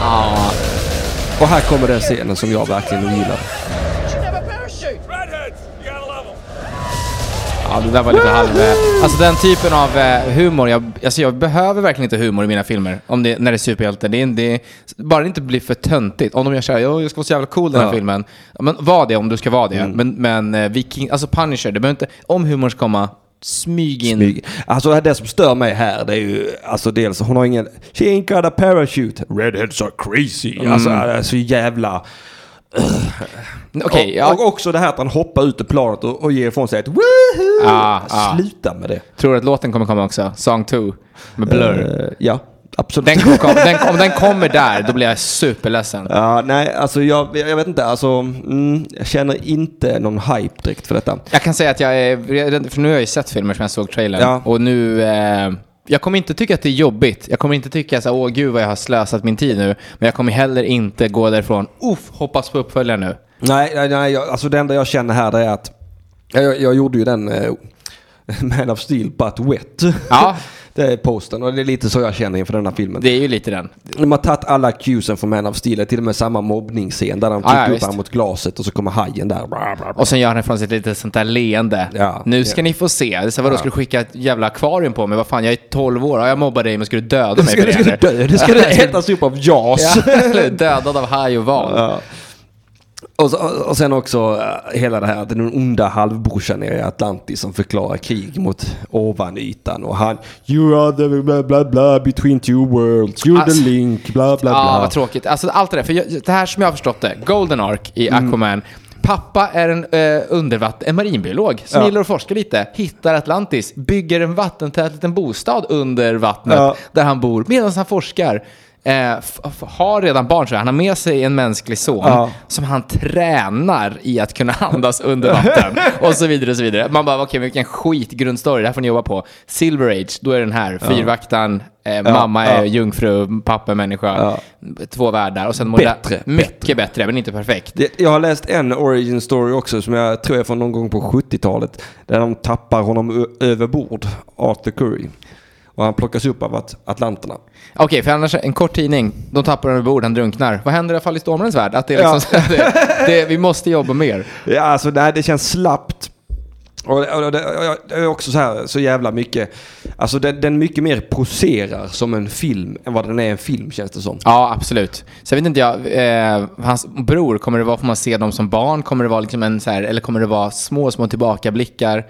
Speaker 2: Ja.
Speaker 1: Och här kommer den scenen som jag verkligen gillar.
Speaker 5: should have a parachute.
Speaker 3: Redheads! You gotta level.
Speaker 2: Ja, det där var lite halv... eh, Alltså den typen av eh, humor, jag, alltså jag behöver verkligen inte humor i mina filmer om det, när det är superhjältar. Det är, det är, bara det inte blir för töntigt. Om de gör såhär, jag ska vara så jävla cool den här
Speaker 1: Ja. Mm.
Speaker 2: filmen. Ja, Men var det om du ska vara det. Men, men eh, Viking, alltså Punisher, det behöver inte... Om humorn ska komma, smyg in.
Speaker 1: Snygg. Alltså det som stör mig här det är ju, alltså dels hon har ingen, she ain't got a parachute, redheads are crazy.
Speaker 2: Mm.
Speaker 1: Alltså det är så jävla...
Speaker 2: Okej, ja.
Speaker 1: och, och också det här att han hoppar ut ur planet och, och ger ifrån sig ett woohoo!
Speaker 2: Ah, ah.
Speaker 1: Sluta med det.
Speaker 2: Tror du att låten kommer komma också? Song 2 med Blur.
Speaker 1: Eh, ja, absolut.
Speaker 2: Den kommer kom, den, om den kommer där, då blir jag superledsen.
Speaker 1: Ja, nej, alltså jag, jag vet inte. Alltså, mm, jag känner inte någon hype direkt för detta.
Speaker 2: Jag kan säga att jag är, för nu har jag ju sett filmer som jag såg trailern
Speaker 1: Ja.
Speaker 2: och nu, eh, jag kommer inte tycka att det är jobbigt. Jag kommer inte tycka så här, åh gud vad jag har slösat min tid nu. Men jag kommer heller inte gå därifrån, uff, hoppas på uppföljaren nu.
Speaker 1: Nej, nej, nej jag, alltså det enda jag känner här det är att jag- jag, jag gjorde ju den eh, Man of Steel but wet.
Speaker 2: Ja.
Speaker 1: det är posten och det är lite så jag känner inför den här filmen.
Speaker 2: Det är ju lite den.
Speaker 1: De har tagit alla cuesen från Man of Steel, till och med samma mobbningsscen där de
Speaker 2: Ja, ja,
Speaker 1: trycker upp
Speaker 2: visst.
Speaker 1: honom mot glaset och så kommer hajen där. Bra, bra, bra.
Speaker 2: Och sen gör han ifrån sig ett litet sånt där leende.
Speaker 1: Ja.
Speaker 2: nu ska
Speaker 1: Ja.
Speaker 2: ni få se. Det är så, här, vadå, ska du skicka ett jävla akvarium på mig? Vad fan, jag är 12 år. Ja, jag mobbar dig, men ska du döda
Speaker 1: Det
Speaker 2: mig
Speaker 1: ska,
Speaker 2: för
Speaker 1: det
Speaker 2: det?
Speaker 1: ska du
Speaker 2: eller?
Speaker 1: dö, det ska du ätas upp av JAS.
Speaker 2: Ja, eller dödad av haj och val.
Speaker 1: Ja. Och, så, och sen också eh, hela det här att den onda halvbrorsan nere i Atlantis som förklarar krig mot ovanytan och han You are the bla bla bla between two worlds, you're
Speaker 2: Alltså-
Speaker 1: the link, bla bla
Speaker 2: Ja, ah,
Speaker 1: bla.
Speaker 2: vad tråkigt. Alltså allt det där. För jag, det här som jag har förstått det, Golden Ark i
Speaker 1: Mm.
Speaker 2: Aquaman. Pappa är en eh, undervatt- en marinbiolog som
Speaker 1: Ja.
Speaker 2: gillar att forska lite, hittar Atlantis, bygger en vattentät liten bostad under vattnet
Speaker 1: Ja.
Speaker 2: där han bor medan han forskar. Eh, f- f- har redan barn, så han har med sig en mänsklig son
Speaker 1: Ja.
Speaker 2: som han tränar i att kunna andas under vatten och så vidare och så vidare. Man bara, okej, men vilken skitgrundstory, det här får ni jobba på. Silver Age, då är den här, fyrvaktaren, eh, mamma är
Speaker 1: ja.
Speaker 2: jungfru, pappa är människa.
Speaker 1: Ja.
Speaker 2: Två världar. Och sen
Speaker 1: Bättre,
Speaker 2: Mycket bättre. men inte perfekt.
Speaker 1: Det- Jag har läst en origin story också som jag tror är från någon gång på 70-talet. Där de tappar honom ö- över bord, Arthur Curry. Och han plockas upp av at- atlanterna.
Speaker 2: Okej, för annars, en kort tidning. De tappar honom över bord, han drunknar. Vad händer i Fall i stormens värld? Att det är liksom, det, det, vi måste jobba mer.
Speaker 1: Ja, alltså nej, det känns slappt. Och, och, och, det- och det är också så här, så jävla mycket. Alltså den, den mycket mer poserar som en film än vad den är en film känns det som.
Speaker 2: Ja, absolut. Sen vet inte jag, eh, hans bror, kommer det vara, får man se dem som barn? Kommer det vara liksom en så här, eller kommer det vara små, små tillbakablickar?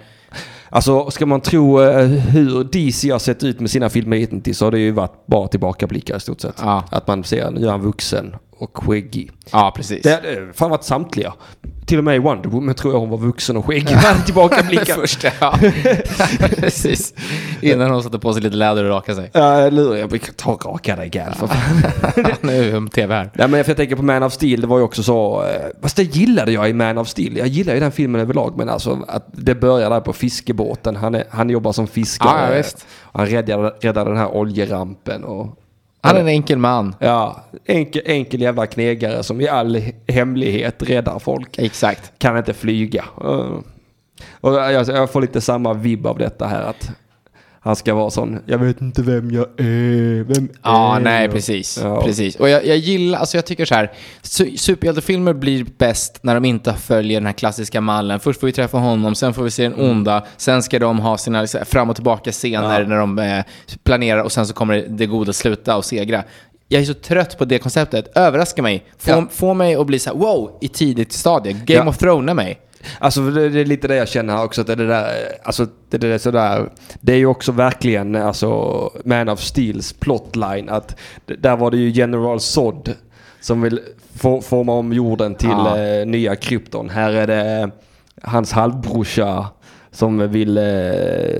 Speaker 1: Alltså ska man tro eh, hur DC har sett ut med sina filmer hittills så har det ju varit bara tillbakablickar i stort sett.
Speaker 2: Ja.
Speaker 1: Att man ser, nu är han vuxen och skäggig.
Speaker 2: Ja, precis.
Speaker 1: Det hade eh, fan varit samtliga. Till och med i Wonder Woman tror jag hon var vuxen och skäggig. Ja. Tillbakablickar.
Speaker 2: Först, ja. precis. Innan hon satte på sig lite läder och rakade sig.
Speaker 1: Ja, eller hur? Jag brukar ta och raka dig gal för fan.
Speaker 2: nu är tv här.
Speaker 1: Nej men för jag tänker på Man of Steel, det var ju också så... Eh, fast det gillade jag i Man of Steel. Jag gillar ju den filmen överlag men alltså att det börjar där på fiskebåten. Han, är, han jobbar som fiskare.
Speaker 2: Ja, ja, visst.
Speaker 1: Han räddar, räddar den här oljerampen och...
Speaker 2: Han är en enkel man.
Speaker 1: Ja, enkel, enkel jävla knegare som i all hemlighet räddar folk.
Speaker 2: Exakt.
Speaker 1: Kan inte flyga. Eh, Och jag, jag får lite samma vibb av detta här att han ska vara sån. Jag vet inte vem jag är. Vem
Speaker 2: Ja,
Speaker 1: är
Speaker 2: nej,
Speaker 1: jag?"
Speaker 2: precis.
Speaker 1: Eh, Ja.
Speaker 2: precis. Och jag, jag gillar, alltså jag tycker så här, su- superhjältefilmer blir bäst när de inte följer den här klassiska mallen. Först får vi träffa honom, sen får vi se den
Speaker 1: Mm.
Speaker 2: onda, sen ska de ha sina liksom, fram och tillbaka-scener när de eh, planerar och sen så kommer det- det goda sluta och segra. Jag är så trött på det konceptet. Överraska mig. Få,
Speaker 1: Ja.
Speaker 2: få mig att bli så här, wow, i tidigt stadie. Game
Speaker 1: Ja.
Speaker 2: of Thrones mig.
Speaker 1: Alltså för det, det är lite det jag känner här också. Att det, är det, där, eh, alltså, det, det, är sådär, det är ju också verkligen alltså, Man of Steels plotline. Att, d- där var det ju General Zod som vill for, forma om jorden till
Speaker 2: Ja.
Speaker 1: eh, nya krypton. Här är det hans halvbrorsa som vill eh,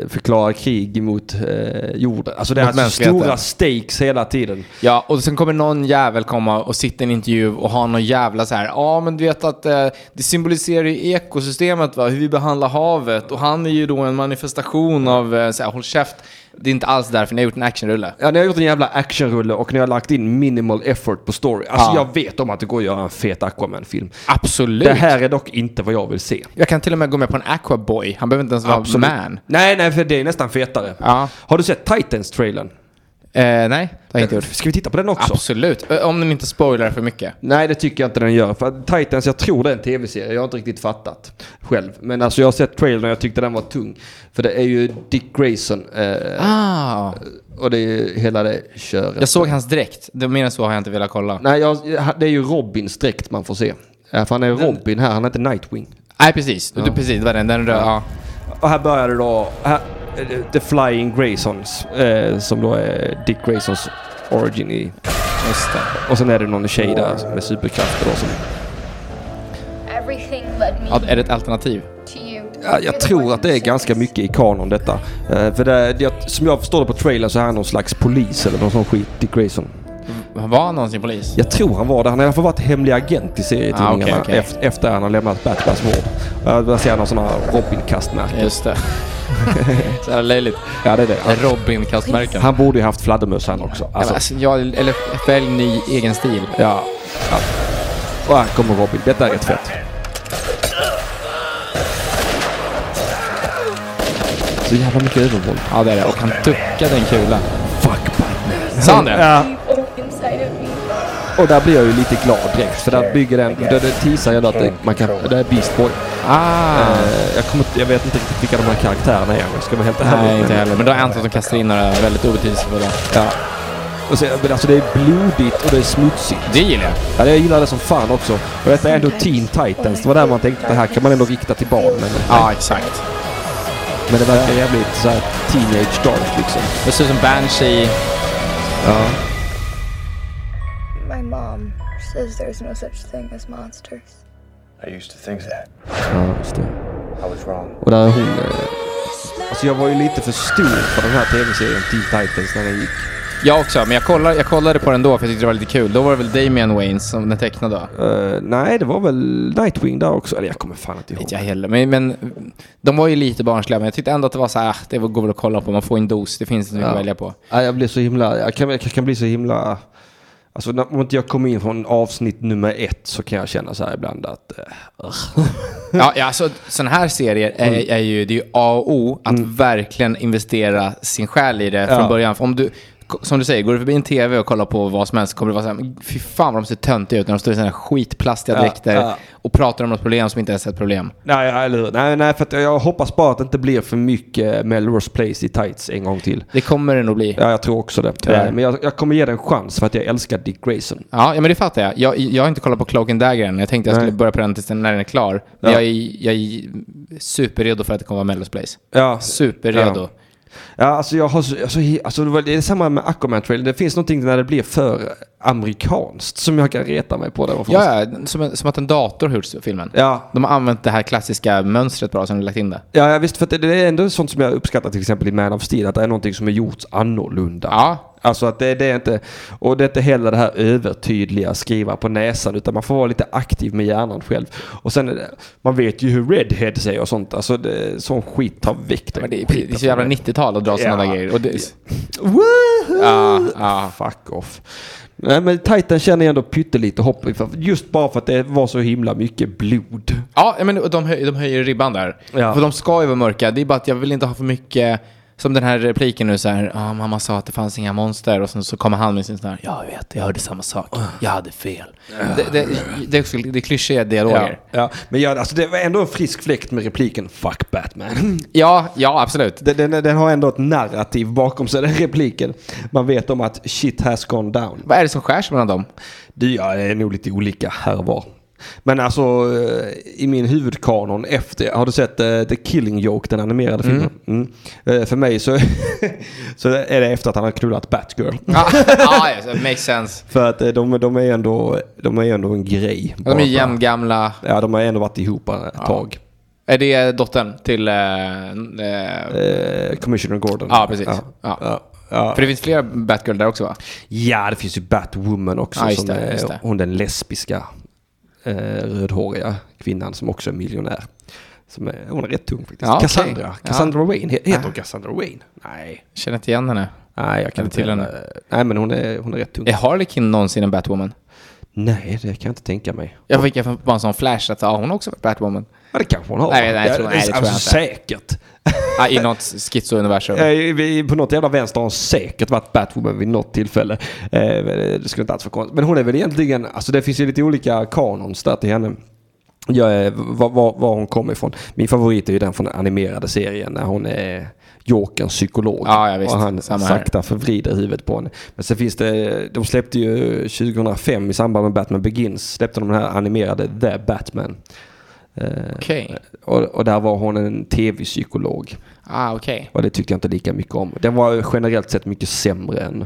Speaker 1: förklara krig mot eh, jorden. Alltså det är
Speaker 2: Mot
Speaker 1: alltså
Speaker 2: mänskligheten.
Speaker 1: stora stakes hela tiden.
Speaker 2: Ja, och sen kommer någon jävel komma och sitta i en intervju och ha någon jävla så här, ja men du vet att eh, det symboliserar ju ekosystemet va, hur vi behandlar havet och han är ju då en manifestation av, eh, så här, håll käft, det är inte alls därför ni har gjort en actionrulle.
Speaker 1: Ja, ni har gjort en jävla actionrulle och ni har lagt in minimal effort på story. Alltså
Speaker 2: Ja.
Speaker 1: jag vet om att det går att göra en fet Aquaman-film.
Speaker 2: Absolut.
Speaker 1: Det här är dock inte vad jag vill se.
Speaker 2: Jag kan till och med gå med på en aquaboy, han behöver inte ens vara man.
Speaker 1: Nej, nej, för det är nästan fetare.
Speaker 2: Ja.
Speaker 1: Har du sett Titans-trailern?
Speaker 2: Eh, nej, det har jag inte gjort.
Speaker 1: Ska vi titta på den också?
Speaker 2: Absolut. Ö, Om de inte spoilar för mycket.
Speaker 1: Nej, det tycker jag inte den gör. För att Titans, jag tror det är en tv-serie. Jag har inte riktigt fattat själv. Men alltså jag har sett trailern och jag tyckte den var tung. För det är ju Dick Grayson eh,
Speaker 2: Ah,
Speaker 1: och det är ju hela det köret.
Speaker 2: jag såg hans dräkt. Det- Mer än så har jag inte velat kolla.
Speaker 1: Nej, jag, det är ju Robins dräkt man får se. Ja, för han är Robin här, han är inte Nightwing.
Speaker 2: Nej, precis. Du, precis. Det var den. Den röda. Ja.
Speaker 1: Och här börjar det då... Här, eh, The Flying Graysons, eh, som då är Dick Graysons origin i...
Speaker 2: Just det.
Speaker 1: Och sen är det någon tjej där med superkrafter då som...
Speaker 5: Everything led me
Speaker 2: Ja, är det ett alternativ?
Speaker 5: to you.
Speaker 1: Ja, jag tror att det är ganska mycket i kanon detta. Eh, för det, är- det, som jag förstår det på trailern så är han någon slags polis eller någon sån skit, Dick Grayson.
Speaker 2: Var han någonsin polis?
Speaker 1: Jag tror han var det. Han har i alla fall varit hemlig agent i serietidningarna
Speaker 2: Ah, okej, okej.
Speaker 1: Efter, efter han har lämnat Batmans mord. Uh, där ser han någon sån här Robin-kastmärke.
Speaker 2: Just det. så jävla löjligt.
Speaker 1: Ja, det är det.
Speaker 2: Robin-kastmärken.
Speaker 1: Han borde ju haft fladdermöss han också.
Speaker 2: Ja, men
Speaker 1: Alltså,
Speaker 2: Alltså, jag, eller välj ny egen stil.
Speaker 1: ja. ja. Och här kommer Robin. Detta är rätt fett. Så jävla mycket övervåld.
Speaker 2: Ja, det är det. Och han duckade en kula.
Speaker 1: Fuck Batman.
Speaker 2: Sa han det?
Speaker 1: Ja.
Speaker 5: People inside of me.
Speaker 1: Och där blir jag ju lite glad direkt. För där bygger den... Där det teasar jag att det, man kan... Det är Beast Boy.
Speaker 2: Ah.
Speaker 1: Eh, jag, kommer, inte- jag vet inte riktigt vilka de här karaktärerna är om jag ska vara helt ärlig.
Speaker 2: Nej, inte heller. Men då har jag antar att de kastar in några väldigt obetydelsefulla.
Speaker 1: Ja. Och så, men alltså det är blodigt och det är smutsigt.
Speaker 2: Det gillar jag.
Speaker 1: Ja, jag gillar det som fan också. Och detta är ändå Teen Titans. Det var där man tänkte det här kan man ändå rikta till barn. Men,
Speaker 2: Ja, exakt.
Speaker 1: men det verkar jävligt så här teenage dark liksom.
Speaker 2: Det ser ut som Banshee.
Speaker 5: My mom says there's no such thing as monsters.
Speaker 3: I used to think that.
Speaker 1: Ja, just det.
Speaker 3: I was wrong.
Speaker 1: Och där är hon... Eh, alltså jag var ju lite för stor för den här tv-serien Teen Titans när den gick.
Speaker 2: Jag också, men jag kollade, jag kollade på den då för jag tyckte det var lite kul. Då var det väl Damian Waynes som den tecknade då?
Speaker 1: Eh, nej, det var väl Nightwing där också. Eller jag kommer fan inte ihåg.
Speaker 2: Inte jag heller. Men, men de var ju lite barnsliga, men jag tyckte ändå att det var så här, ah, det går väl att kolla på. Man får en dos, det finns inte mycket
Speaker 1: Ja.
Speaker 2: att välja på.
Speaker 1: Ja, jag blir så himla... Jag kan, jag kan bli så himla... Alltså när, om inte jag kommer in från avsnitt nummer ett så kan jag känna så här ibland att... eh,
Speaker 2: Ja, ja alltså sådana här serier är,
Speaker 1: Mm.
Speaker 2: är ju, det är ju A och O att verkligen investera sin själ i det från
Speaker 1: Ja.
Speaker 2: början. För om du, som du säger, går du förbi en tv och kollar på vad som helst kommer det vara såhär, fy fan vad de ser töntiga ut när de står i sina skitplastiga
Speaker 1: Ja,
Speaker 2: dräkter
Speaker 1: ja.
Speaker 2: och pratar om något problem som inte ens är ett problem.
Speaker 1: Nej, ja, eller hur? nej, nej, för att jag hoppas bara att det inte blir för mycket Melrose Place i tights en gång till.
Speaker 2: Det kommer det nog bli. Ja,
Speaker 1: Ja, jag tror också det.
Speaker 2: Tyvärr.
Speaker 1: Eh, Men jag, jag kommer ge den en chans för att jag älskar Dick Grayson.
Speaker 2: ja, men det fattar jag. jag. Jag har inte kollat på Cloak and Dagger än. Jag tänkte jag
Speaker 1: Nej.
Speaker 2: skulle börja på den tills den, när den är klar. Men
Speaker 1: Ja.
Speaker 2: jag, är, jag är superredo för att det kommer vara Mellows Place.
Speaker 1: Ja,
Speaker 2: Superredo.
Speaker 1: Ja. ja alltså jag har så, jag har så hi- alltså det var- det är samma med aquaman trailern Det finns någonting när det blir för amerikanskt som jag kan reta mig på. Där, varför man-
Speaker 2: Ja, ja som, som att en dator har gjort filmen.
Speaker 1: ja.
Speaker 2: De har använt det här klassiska mönstret bra som de lagt in det.
Speaker 1: Ja, ja, visst. För att det, det är ändå sånt som jag uppskattar till exempel i Man of Steel. Att det är någonting som är gjort annorlunda.
Speaker 2: Ja.
Speaker 1: Alltså att det, det är inte... Och det är inte heller det här övertydliga skriva på näsan. Utan man får vara lite aktiv med hjärnan själv. Och sen är det, Man vet ju hur Redhead säger och sånt. Alltså det, sån skit har väckt
Speaker 2: Men det, är- det är så jävla 90-tal att dra sådana
Speaker 1: Ja.
Speaker 2: där grejer. Och det,
Speaker 1: Woohoo!
Speaker 2: Ja, ja.
Speaker 1: Fuck off. Nej men Titan känner jag ändå pyttelite hopp inför. Just bara för att det var så himla mycket blod.
Speaker 2: ja, men och de, höj, de höjer ribban där.
Speaker 1: Ja.
Speaker 2: För de ska ju vara mörka. Det är bara att jag vill inte ha för mycket... Som den här repliken nu så här, ah, mamma sa att det fanns inga monster och sen så kommer han med sin sån här, jag vet, jag hörde samma sak, jag hade fel. Det, det, det, är också- det är klyschiga
Speaker 1: Ja,
Speaker 2: dialoger. Ja.
Speaker 1: ja. Men jag, alltså, det var ändå en frisk fläkt med repliken Fuck Batman.
Speaker 2: ja, absolut.
Speaker 1: Den, den, den har ändå ett narrativ bakom sig, den repliken. Man vet om att shit has gone down.
Speaker 2: Vad är det som skärs mellan dem?
Speaker 1: Det ja, det är nog lite olika här och var. Men alltså eh, i min huvudkanon efter, har du sett eh, The Killing Joke, den animerade filmen? Mm. Eh, För mig så, så är det efter att han har knullat Batgirl.
Speaker 2: Ja, ah, yes, it makes sense.
Speaker 1: För att eh, de, de är ju ändå, de är ju ändå en grej.
Speaker 2: De är ju jämngamla.
Speaker 1: Ja, de har ändå varit ihop ett tag.
Speaker 2: Är det dottern till... eh, eh,
Speaker 1: Eh, Commissioner Gordon.
Speaker 2: Ja, precis.
Speaker 1: Ja.
Speaker 2: Ja.
Speaker 1: Ja. Ja.
Speaker 2: För det finns flera Batgirl där också va?
Speaker 1: Ja, det finns ju Batwoman också.
Speaker 2: Ja, just
Speaker 1: som
Speaker 2: det,
Speaker 1: är
Speaker 2: just det.
Speaker 1: hon den lesbiska eh, rödhåriga kvinnan som också är miljonär. Som är, hon är rätt tung faktiskt.
Speaker 2: Ja, okej.
Speaker 1: Cassandra.
Speaker 2: Ja.
Speaker 1: Cassandra Wayne. He- Heter hon Cassandra Wayne? Nej.
Speaker 2: Känner inte igen henne. Eh,
Speaker 1: Nej, jag kan
Speaker 2: Eller
Speaker 1: inte
Speaker 2: till
Speaker 1: henne. Nej, men hon är, hon är rätt tung.
Speaker 2: Är Harley Quinn någonsin en Batwoman?
Speaker 1: Nej, det kan jag inte tänka mig.
Speaker 2: Jag fick bara en sån flash att ja, hon har också varit Batwoman.
Speaker 1: Ja, det kanske hon har.
Speaker 2: Nej, nej, jag tror-
Speaker 1: Ja,
Speaker 2: nej, det tror jag
Speaker 1: alltså, Säkert.
Speaker 2: Ah, I något schizo-universum.
Speaker 1: Eh, vi- På något jävla vänster har hon säkert varit Batwoman vid något tillfälle. Eh, Det skulle inte alls vara konstigt. Men hon är väl egentligen, alltså det finns ju lite olika kanons där till henne. Jag är, var, var, var hon kommer ifrån. Min favorit är ju den från den animerade serien när hon är Jokerns psykolog.
Speaker 2: Ja, ja, visst.
Speaker 1: Och han
Speaker 2: Samma här.
Speaker 1: sakta förvrider huvudet på henne. Men sen finns det, de släppte ju 2005 i samband med Batman Begins, släppte de den här animerade The Batman. Eh,
Speaker 2: Okej.
Speaker 1: och, och där var hon en tv-psykolog.
Speaker 2: Ah, okej.
Speaker 1: Och det tyckte jag inte lika mycket om. Den var generellt sett mycket sämre än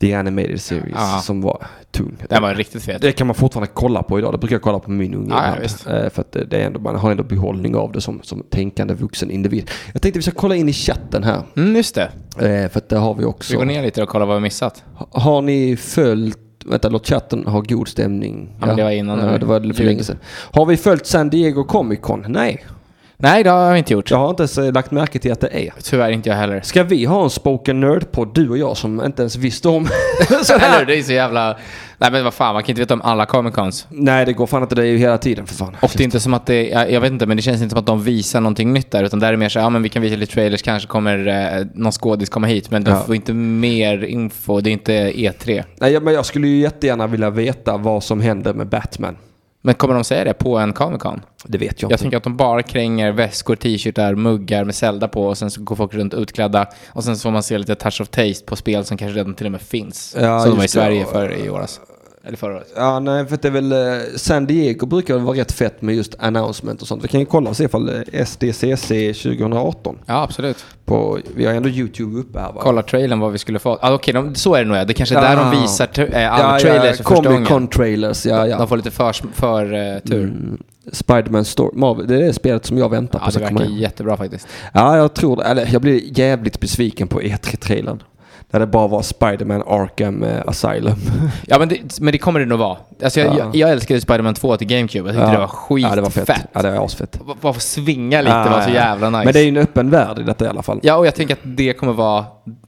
Speaker 1: The Animated Series
Speaker 2: Ja.
Speaker 1: som var tung.
Speaker 2: Den var riktigt fet.
Speaker 1: Det kan man fortfarande kolla på idag. Det brukar jag kolla på min unge
Speaker 2: Ja, ja,
Speaker 1: ibland.
Speaker 2: visst.
Speaker 1: Eh, För att det det är ändå, man har ändå behållning av det som, som tänkande vuxen individ. Jag tänkte vi ska kolla in i chatten här.
Speaker 2: Mm, just det.
Speaker 1: Eh, För att det har vi också.
Speaker 2: Vi går ner lite och kollar vad vi missat.
Speaker 1: Ha- Har ni följt... Vänta, låt chatten ha god stämning.
Speaker 2: Ja, men det var innan
Speaker 1: Ja,
Speaker 2: nu.
Speaker 1: det var för
Speaker 2: Ljud.
Speaker 1: länge sedan. Har vi följt San Diego Comic Con? Nej.
Speaker 2: Nej, det har vi inte gjort.
Speaker 1: Jag har inte ens eh, lagt märke till att det är.
Speaker 2: Tyvärr inte jag heller.
Speaker 1: Ska vi ha en spoken nerd-podd, du och jag, som inte ens visste om sån
Speaker 2: Eller hur?
Speaker 1: här?
Speaker 2: Det är så jävla... Nej men vad fan, man kan inte veta om alla Comic Cons.
Speaker 1: Nej, det går fan inte. Det är ju hela tiden för fan.
Speaker 2: Och det är inte som att det, jag, jag vet inte, men det känns inte som att de visar någonting nytt där. Utan där är det mer så här, ja men vi kan visa lite trailers, kanske kommer eh, någon skådis komma hit. Men de
Speaker 1: Ja.
Speaker 2: får inte mer info, det är inte E E3.
Speaker 1: Nej, men jag skulle ju jättegärna vilja veta vad som händer med Batman.
Speaker 2: Men kommer de säga det på en Comic Con?
Speaker 1: Det vet jag,
Speaker 2: Jag
Speaker 1: inte.
Speaker 2: tänker att de bara kränger väskor, t-shirtar, muggar med Zelda på och sen så går folk runt utklädda. Och sen så får man se lite touch of taste på spel som kanske redan till och med finns.
Speaker 1: Ja,
Speaker 2: som de var i
Speaker 1: just det.
Speaker 2: Sverige för i åras. Eller förra året.
Speaker 1: Ja, nej, för att det är väl... eh, San Diego brukar väl vara rätt fett med just announcement och sånt. Vi kan ju kolla och se ifall eh, SDCC 2018
Speaker 2: Ja, absolut.
Speaker 1: på... Vi har ändå YouTube uppe här va?
Speaker 2: Kolla trailern vad vi skulle få. Ah, Okej, de- så är det nog ja. Det kanske är
Speaker 1: Ja.
Speaker 2: där de visar tra- eh, alla
Speaker 1: Ah. ja,
Speaker 2: trailers
Speaker 1: ja,
Speaker 2: för första
Speaker 1: Comic
Speaker 2: gången.
Speaker 1: Con-trailers, ja, Mm, ja.
Speaker 2: De får lite för, för eh, tur.
Speaker 1: Spiderman Storm. Marvel, Det är det spelet som jag väntar på.
Speaker 2: Ja, det
Speaker 1: ska komma
Speaker 2: verkar
Speaker 1: in.
Speaker 2: jättebra faktiskt.
Speaker 1: Ja, jag tror det. Eller jag blir jävligt besviken på E3-trailern. Där det bara var Spider-Man Arkham eh, Asylum.
Speaker 2: Ja, men det, men det kommer det nog vara. Alltså, jag,
Speaker 1: Ja.
Speaker 2: jag, jag älskade Spider-Man 2 till GameCube. Jag tyckte det var skitfett.
Speaker 1: Ja, det var fett. Ja, det var asfett. Ah,
Speaker 2: B- Bara få svinga lite var så jävla nice.
Speaker 1: Men det är ju en öppen värld i detta i alla fall.
Speaker 2: Ja, och jag tänker att det kommer vara...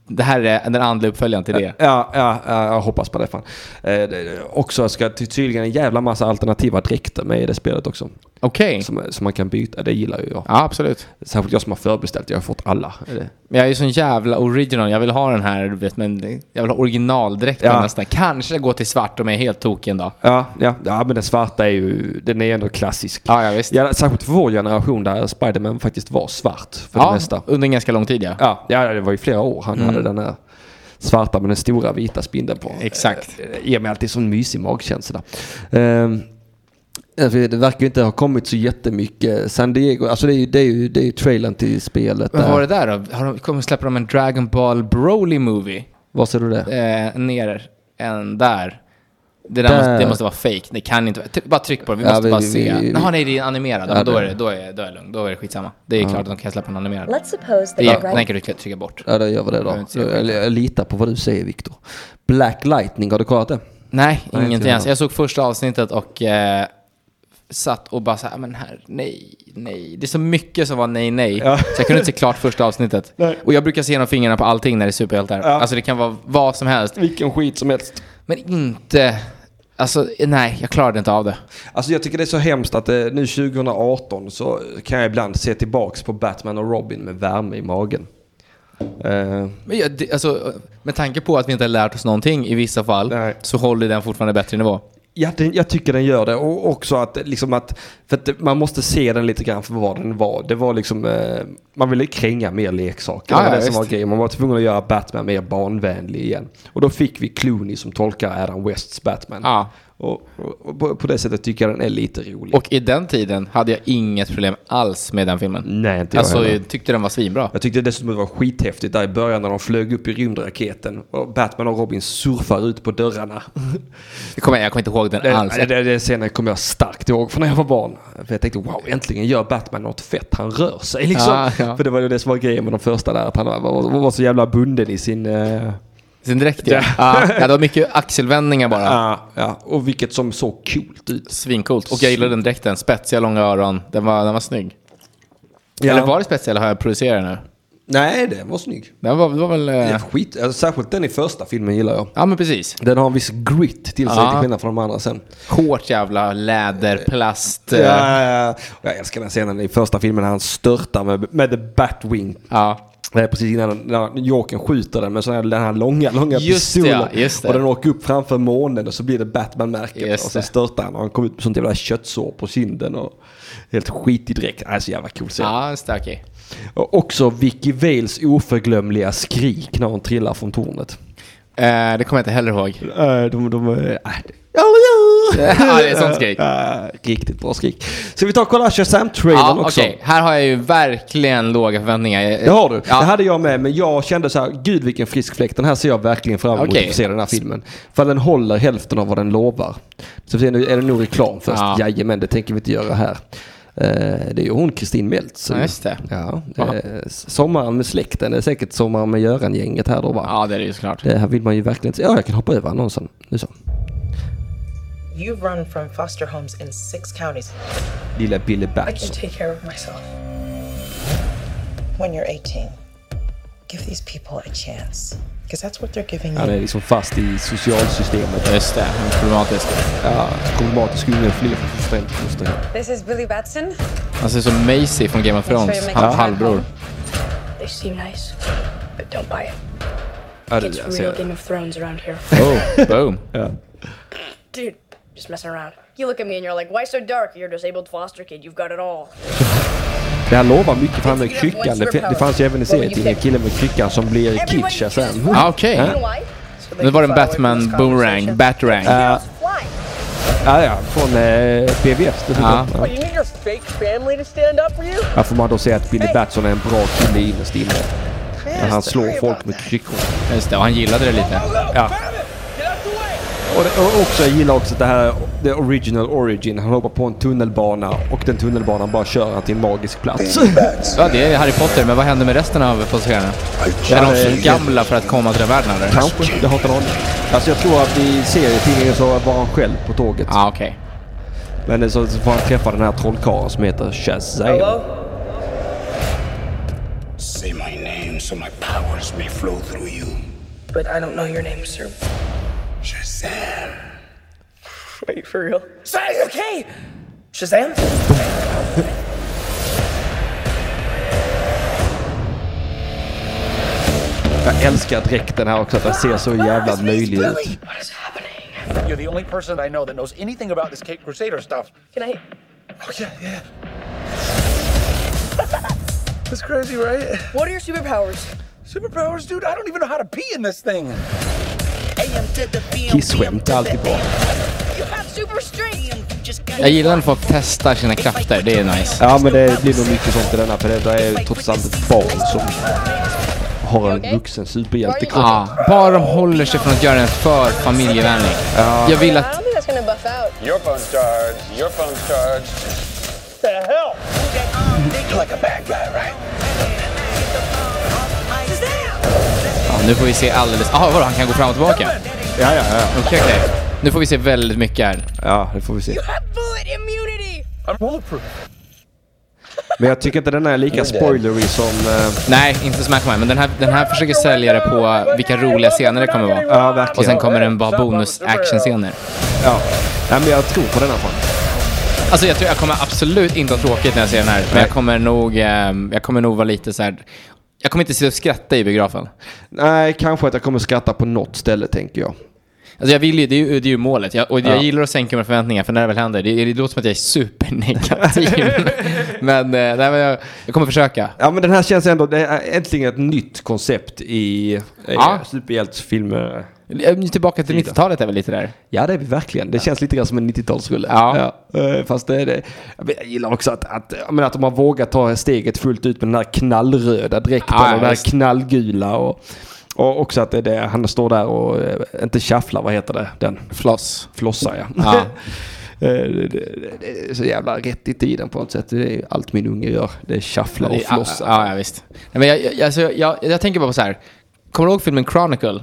Speaker 2: Det här är den andliga uppföljaren till det.
Speaker 1: Ja, ja, ja, jag hoppas på det fan. Eh, det- det, också ska ty- tydligen en jävla massa alternativa dräkter med i det spelet också.
Speaker 2: Okej.
Speaker 1: Som, som man kan byta, det gillar ju jag.
Speaker 2: Mm. Ja, absolut.
Speaker 1: Särskilt jag som har förbeställt, jag har fått alla. Eh,
Speaker 2: Men jag är ju sån jävla original. Jag vill ha den här, du vet, men jag vill ha originaldräkten
Speaker 1: Ja.
Speaker 2: nästan. Kanske gå till svart om jag är helt tokig en dag.
Speaker 1: Ja, ja, ja, men den svarta är ju, den är ändå klassisk.
Speaker 2: Ja, ja visst.
Speaker 1: Ja, särskilt för vår generation där Spiderman faktiskt var svart för det
Speaker 2: Ja,
Speaker 1: mesta.
Speaker 2: under en ganska lång tid ja.
Speaker 1: Ja, ja, det var ju flera år han hade den här svarta med den stora vita spindeln på.
Speaker 2: Exakt.
Speaker 1: Eh, Ger mig alltid sån mysig magkänsla. Ehm, alltså, det verkar ju inte ha kommit så jättemycket. San Diego, alltså det är ju, det är ju, det är ju trailern till spelet.
Speaker 2: Men
Speaker 1: Där.
Speaker 2: vad var det där då? Har de, kommer släppa de en Dragon Ball Broly Movie?
Speaker 1: Var ser du det?
Speaker 2: Eh, ner, en där. Det, där
Speaker 1: Där.
Speaker 2: Måste, det måste vara fake. Det kan inte vara... Try- Bara tryck på det, vi
Speaker 1: Ja,
Speaker 2: måste
Speaker 1: vi-
Speaker 2: bara
Speaker 1: vi-
Speaker 2: se.
Speaker 1: vi-
Speaker 2: Jaha, nej det är animerad. Ja,
Speaker 1: Ja,
Speaker 2: men då
Speaker 1: det-
Speaker 2: är det, då är, då är jag lugn. Då är det skitsamma. Det är klart att de kan släppa en animerad.
Speaker 6: Let's suppose that
Speaker 2: Det
Speaker 6: the
Speaker 2: är, den
Speaker 6: writer
Speaker 2: kan du trycka bort.
Speaker 1: Ja, då gör vi det då.
Speaker 2: Jag vet inte, jag vet
Speaker 1: Jag,
Speaker 2: inte.
Speaker 1: jag litar på vad du säger Viktor. Black Lightning, har du kollat det?
Speaker 2: Nej,
Speaker 1: Nej, inte
Speaker 2: ingenting
Speaker 1: jag.
Speaker 2: alls. Jag såg första avsnittet och eh, satt och bara så här, men här, nej, nej. Det är så mycket som var nej, nej. Så jag kunde inte se klart första avsnittet. Och jag brukar se genom fingrarna på allting när det är superhjältar. Alltså det kan vara vad som helst.
Speaker 1: Vilken skit som helst.
Speaker 2: Men inte... Alltså, nej, jag klarade inte av det.
Speaker 1: Alltså jag tycker det är så hemskt att eh, nu 2018 så kan jag ibland se tillbaks på Batman och Robin med värme i magen. Eh,
Speaker 2: Men jag, det, alltså, med tanke på att vi inte har lärt oss någonting i vissa fall
Speaker 1: Nej.
Speaker 2: så håller den fortfarande bättre nivå.
Speaker 1: Ja, den, jag tycker den gör det. Och också att, liksom att, för att det- man måste se den lite grann för vad den var. Det var liksom, eh, man ville kränga mer leksaker.
Speaker 2: Ja,
Speaker 1: det var
Speaker 2: ja,
Speaker 1: det som
Speaker 2: visst.
Speaker 1: var grejen. Man var tvungen att göra Batman mer barnvänlig igen. Och då fick vi Clooney som tolkar Adam Wests Batman.
Speaker 2: Ja.
Speaker 1: Och, och, och på, på det sättet tycker jag den är lite rolig.
Speaker 2: Och i den tiden hade jag inget problem alls med den filmen.
Speaker 1: Nej, inte jag
Speaker 2: Alltså,
Speaker 1: heller.
Speaker 2: jag tyckte den var svinbra.
Speaker 1: Jag tyckte dessutom det var skithäftigt där i början när de flög upp i rymdraketen. Och Batman och Robin surfar ut på dörrarna.
Speaker 2: Jag kommer, jag kommer inte ihåg den
Speaker 1: Det,
Speaker 2: alls.
Speaker 1: det, det, det scenen kommer jag starkt ihåg från när jag var barn. För jag tänkte wow, äntligen gör Batman något fett. Han rör sig liksom.
Speaker 2: Ja, ja.
Speaker 1: För det var ju det som var grejen med de första där. Att han var, var, var så jävla bunden i sin... eh,
Speaker 2: Sin dräkt ja. ja. Det var mycket axelvändningar bara.
Speaker 1: ja, ja, och vilket som såg coolt ut.
Speaker 2: Svincoolt. Och jag gillade den dräkten. Spetsiga långa öron. Den var, den var snygg.
Speaker 1: Ja.
Speaker 2: Eller var det spetsiga eller har jag producerat nu?
Speaker 1: Nej, den var snygg.
Speaker 2: Den var, det var väl... eh,
Speaker 1: Det är Skit, alltså, särskilt den i första filmen gillar jag.
Speaker 2: Ja men precis.
Speaker 1: Den har en viss grit till sig
Speaker 2: Ja.
Speaker 1: till skillnad från de andra sen.
Speaker 2: Hårt jävla läder, plast. eh,
Speaker 1: Ja, ja, ja. Jag älskar den scenen i första filmen när han störtar med, med The Batwing.
Speaker 2: ja.
Speaker 1: Det är precis innan när Jokern skjuter den med sån här, den här långa, långa
Speaker 2: Just det,
Speaker 1: pistolen.
Speaker 2: ja, just det.
Speaker 1: Och den åker upp framför månen och så blir det Batman-märket.
Speaker 2: Just
Speaker 1: Och sen
Speaker 2: det.
Speaker 1: störtar han och han kommer ut med sånt jävla köttsår på kinden. Och helt skitig dräkt. Det är så jävla cool scen.
Speaker 2: Ja, en starkig.
Speaker 1: Och också Vicky Vales oförglömliga skrik när hon trillar från tornet.
Speaker 2: Eh, det kommer jag inte heller ihåg.
Speaker 1: Äh, de, de, äh, äh.
Speaker 2: Ja, det är sånt skrik.
Speaker 1: Äh, riktigt bra skrik. Så vi tar och kollar Shazam-trailern
Speaker 2: Ja,
Speaker 1: också.
Speaker 2: okej. Här har jag ju verkligen låga förväntningar. Jag-
Speaker 1: Det har du.
Speaker 2: Ja.
Speaker 1: Det hade jag med, men jag kände så här, gud vilken frisk fläkt. Den här ser jag verkligen fram emot
Speaker 2: Okej.
Speaker 1: att se den här filmen. För den håller hälften av vad den lovar. Så sen är det nog reklam först.
Speaker 2: Ja.
Speaker 1: Jajamän, det tänker vi inte göra här. Eh, Det är ju hon, Kristin Meltz.
Speaker 2: Ja, just det.
Speaker 1: Ja,
Speaker 2: Ja.
Speaker 1: eh, Sommaren med släkten, det är säkert Sommaren med Göran-gänget här då va?
Speaker 2: Ja, det är det ju såklart.
Speaker 1: Det här vill man ju verkligen inte... Ja, jag kan hoppa över annonsen. Nu så.
Speaker 6: You've run from foster homes in six counties
Speaker 1: Lilla Billy
Speaker 5: I can
Speaker 1: Batson.
Speaker 5: take care of myself.
Speaker 6: when you're 18. Give these people a chance because that's what they're giving you.
Speaker 1: Han är liksom fast i socialsystemet.
Speaker 2: Just det, det är problematiskt.
Speaker 1: Ja, problematisk unge flyr från fosterhem till fosterhem.
Speaker 7: This is Billy Batson.
Speaker 2: Han ser ut som Macy från Game of Thrones,
Speaker 7: Make sure you make
Speaker 2: han
Speaker 7: it
Speaker 2: halvbror.
Speaker 8: They seem nice, but don't buy it.
Speaker 1: Ja, det,
Speaker 8: It's
Speaker 1: jag
Speaker 8: real
Speaker 1: ser det.
Speaker 8: Game of Thrones around here.
Speaker 2: Oh, boom.
Speaker 8: Dude, just messing around. You look at me and you're like, why so dark? You're a disabled foster kid. You've got it all.
Speaker 1: det här lovar mycket för han med kryckan. Det, det fanns ju även i serietidningen killen med kryckan som blir kid Shazam.
Speaker 2: Ah, Okej.
Speaker 8: You know why? So they
Speaker 2: Nu var det
Speaker 8: can
Speaker 2: en
Speaker 8: fly away from
Speaker 2: Batman
Speaker 8: this
Speaker 2: boomerang,
Speaker 8: conversation.
Speaker 2: batrang.
Speaker 8: Girls, fly.
Speaker 1: Ja, ja, från eh, BVF dessutom.
Speaker 2: Ja.
Speaker 1: Ja.
Speaker 9: You need your fake family to stand up for you?
Speaker 1: Här får man då säga att Billy Batson är en bra kille innerst inne. När han slår folk med kryckor.
Speaker 2: Just det, och han gillade det lite.
Speaker 1: Ja. Och, det, och också, jag gillar också det här, the original origin. Han hoppar på en tunnelbana och den tunnelbanan bara kör han till en magisk plats.
Speaker 2: Ja, det är Harry Potter, men vad händer med resten av passagerarna? Är de för gamla för att komma till den världen eller? Ja,
Speaker 1: Kanske, det har inte någon aning. Alltså jag tror att i serietidningen så var han själv på tåget.
Speaker 2: ah, okej.
Speaker 1: Men så så får han träffa den här trollkarlen som heter Shazam.
Speaker 10: Say my name so my powers may flow through you.
Speaker 9: But I don't know your name, sir.
Speaker 10: Shazam.
Speaker 9: Wait, for real? Say, okay! Shazam?
Speaker 1: Jag älskar dräkten här också, att den ser så jävla löjlig ut.
Speaker 9: What is happening?
Speaker 11: You're the only person I know that knows anything about this Cape Crusader stuff.
Speaker 9: Can I?
Speaker 11: Oh, yeah, yeah. That's crazy, right?
Speaker 7: What are your superpowers?
Speaker 11: Superpowers, dude, I don't even know how to pee in this thing.
Speaker 1: Kisskämt är alltid bra.
Speaker 2: Jag gillar när folk testar sina krafter, det är nice.
Speaker 1: Ja men det blir nog mycket sånt i denna för det är ju trots allt ett barn som har en vuxen superhjältekropp.
Speaker 2: Ja, bara de håller sig från att göra den för familjevänlig. Jag vill
Speaker 7: I
Speaker 2: att...
Speaker 7: don't think that's gonna buff out.
Speaker 3: Your phone's charged. Your phone's charged.
Speaker 11: You're like a bad guy, right?
Speaker 2: Ja, nu får vi se alldeles... Ah, vadå, han kan gå fram och tillbaka?
Speaker 1: Ja, ja, ja.
Speaker 2: Okej, okej. Nu får vi se väldigt mycket här.
Speaker 1: Ja, det får vi se.
Speaker 7: Bullet immunity!
Speaker 11: I'm bulletproof.
Speaker 1: Men jag tycker inte den är lika spoilery som... eh,
Speaker 2: Nej, inte Smash Man, men den här, den här försöker sälja det på vilka roliga scener det kommer vara.
Speaker 1: Ja, verkligen.
Speaker 2: Och sen kommer den bara bonus actionscener.
Speaker 1: Ja. Nej men jag tror på denna fan.
Speaker 2: Alltså jag tror jag kommer absolut inte ha tråkigt när jag ser den här. Men jag kommer nog, ehm, jag kommer nog vara lite så här. Jag kommer inte sitta och skratta i biografen.
Speaker 1: Nej, kanske att jag kommer skratta på något ställe tänker jag.
Speaker 2: Alltså jag vill ju, det är ju, det är ju målet. Jag, och
Speaker 1: Ja.
Speaker 2: jag gillar att sänka mina förväntningar för när det väl händer, det, det låter som att jag är supernegativ. men eh, nej, men jag, jag kommer försöka.
Speaker 1: Ja men den här känns ändå, det är äntligen ett nytt koncept i ja.
Speaker 2: Ja.
Speaker 1: superhjältesfilmer.
Speaker 2: Eh, Tillbaka till 90-talet är väl lite där.
Speaker 1: Ja det är vi verkligen. Det känns lite grann som en 90-talsrulle.
Speaker 2: Ja.
Speaker 1: Eh, Fast det är det. Jag gillar också att, att, jag menar att de har vågat ta steget fullt ut med den här knallröda dräkten
Speaker 2: Ja, ja,
Speaker 1: och den här
Speaker 2: visst.
Speaker 1: knallgula. Och, och också att det är det, han står där och eh, inte tjafflar, vad heter det? Den
Speaker 2: Floss.
Speaker 1: flossar ja.
Speaker 2: Ja.
Speaker 1: Eh, det, det, det är så jävla rätt i tiden på något sätt. Det är ju allt min unge gör. Det är tjafflar och
Speaker 2: Det- ja,
Speaker 1: flossar.
Speaker 2: Ja, ja, visst. Nej, men jag, jag, alltså, jag, jag tänker bara på så här. Kommer du ihåg filmen Chronicle?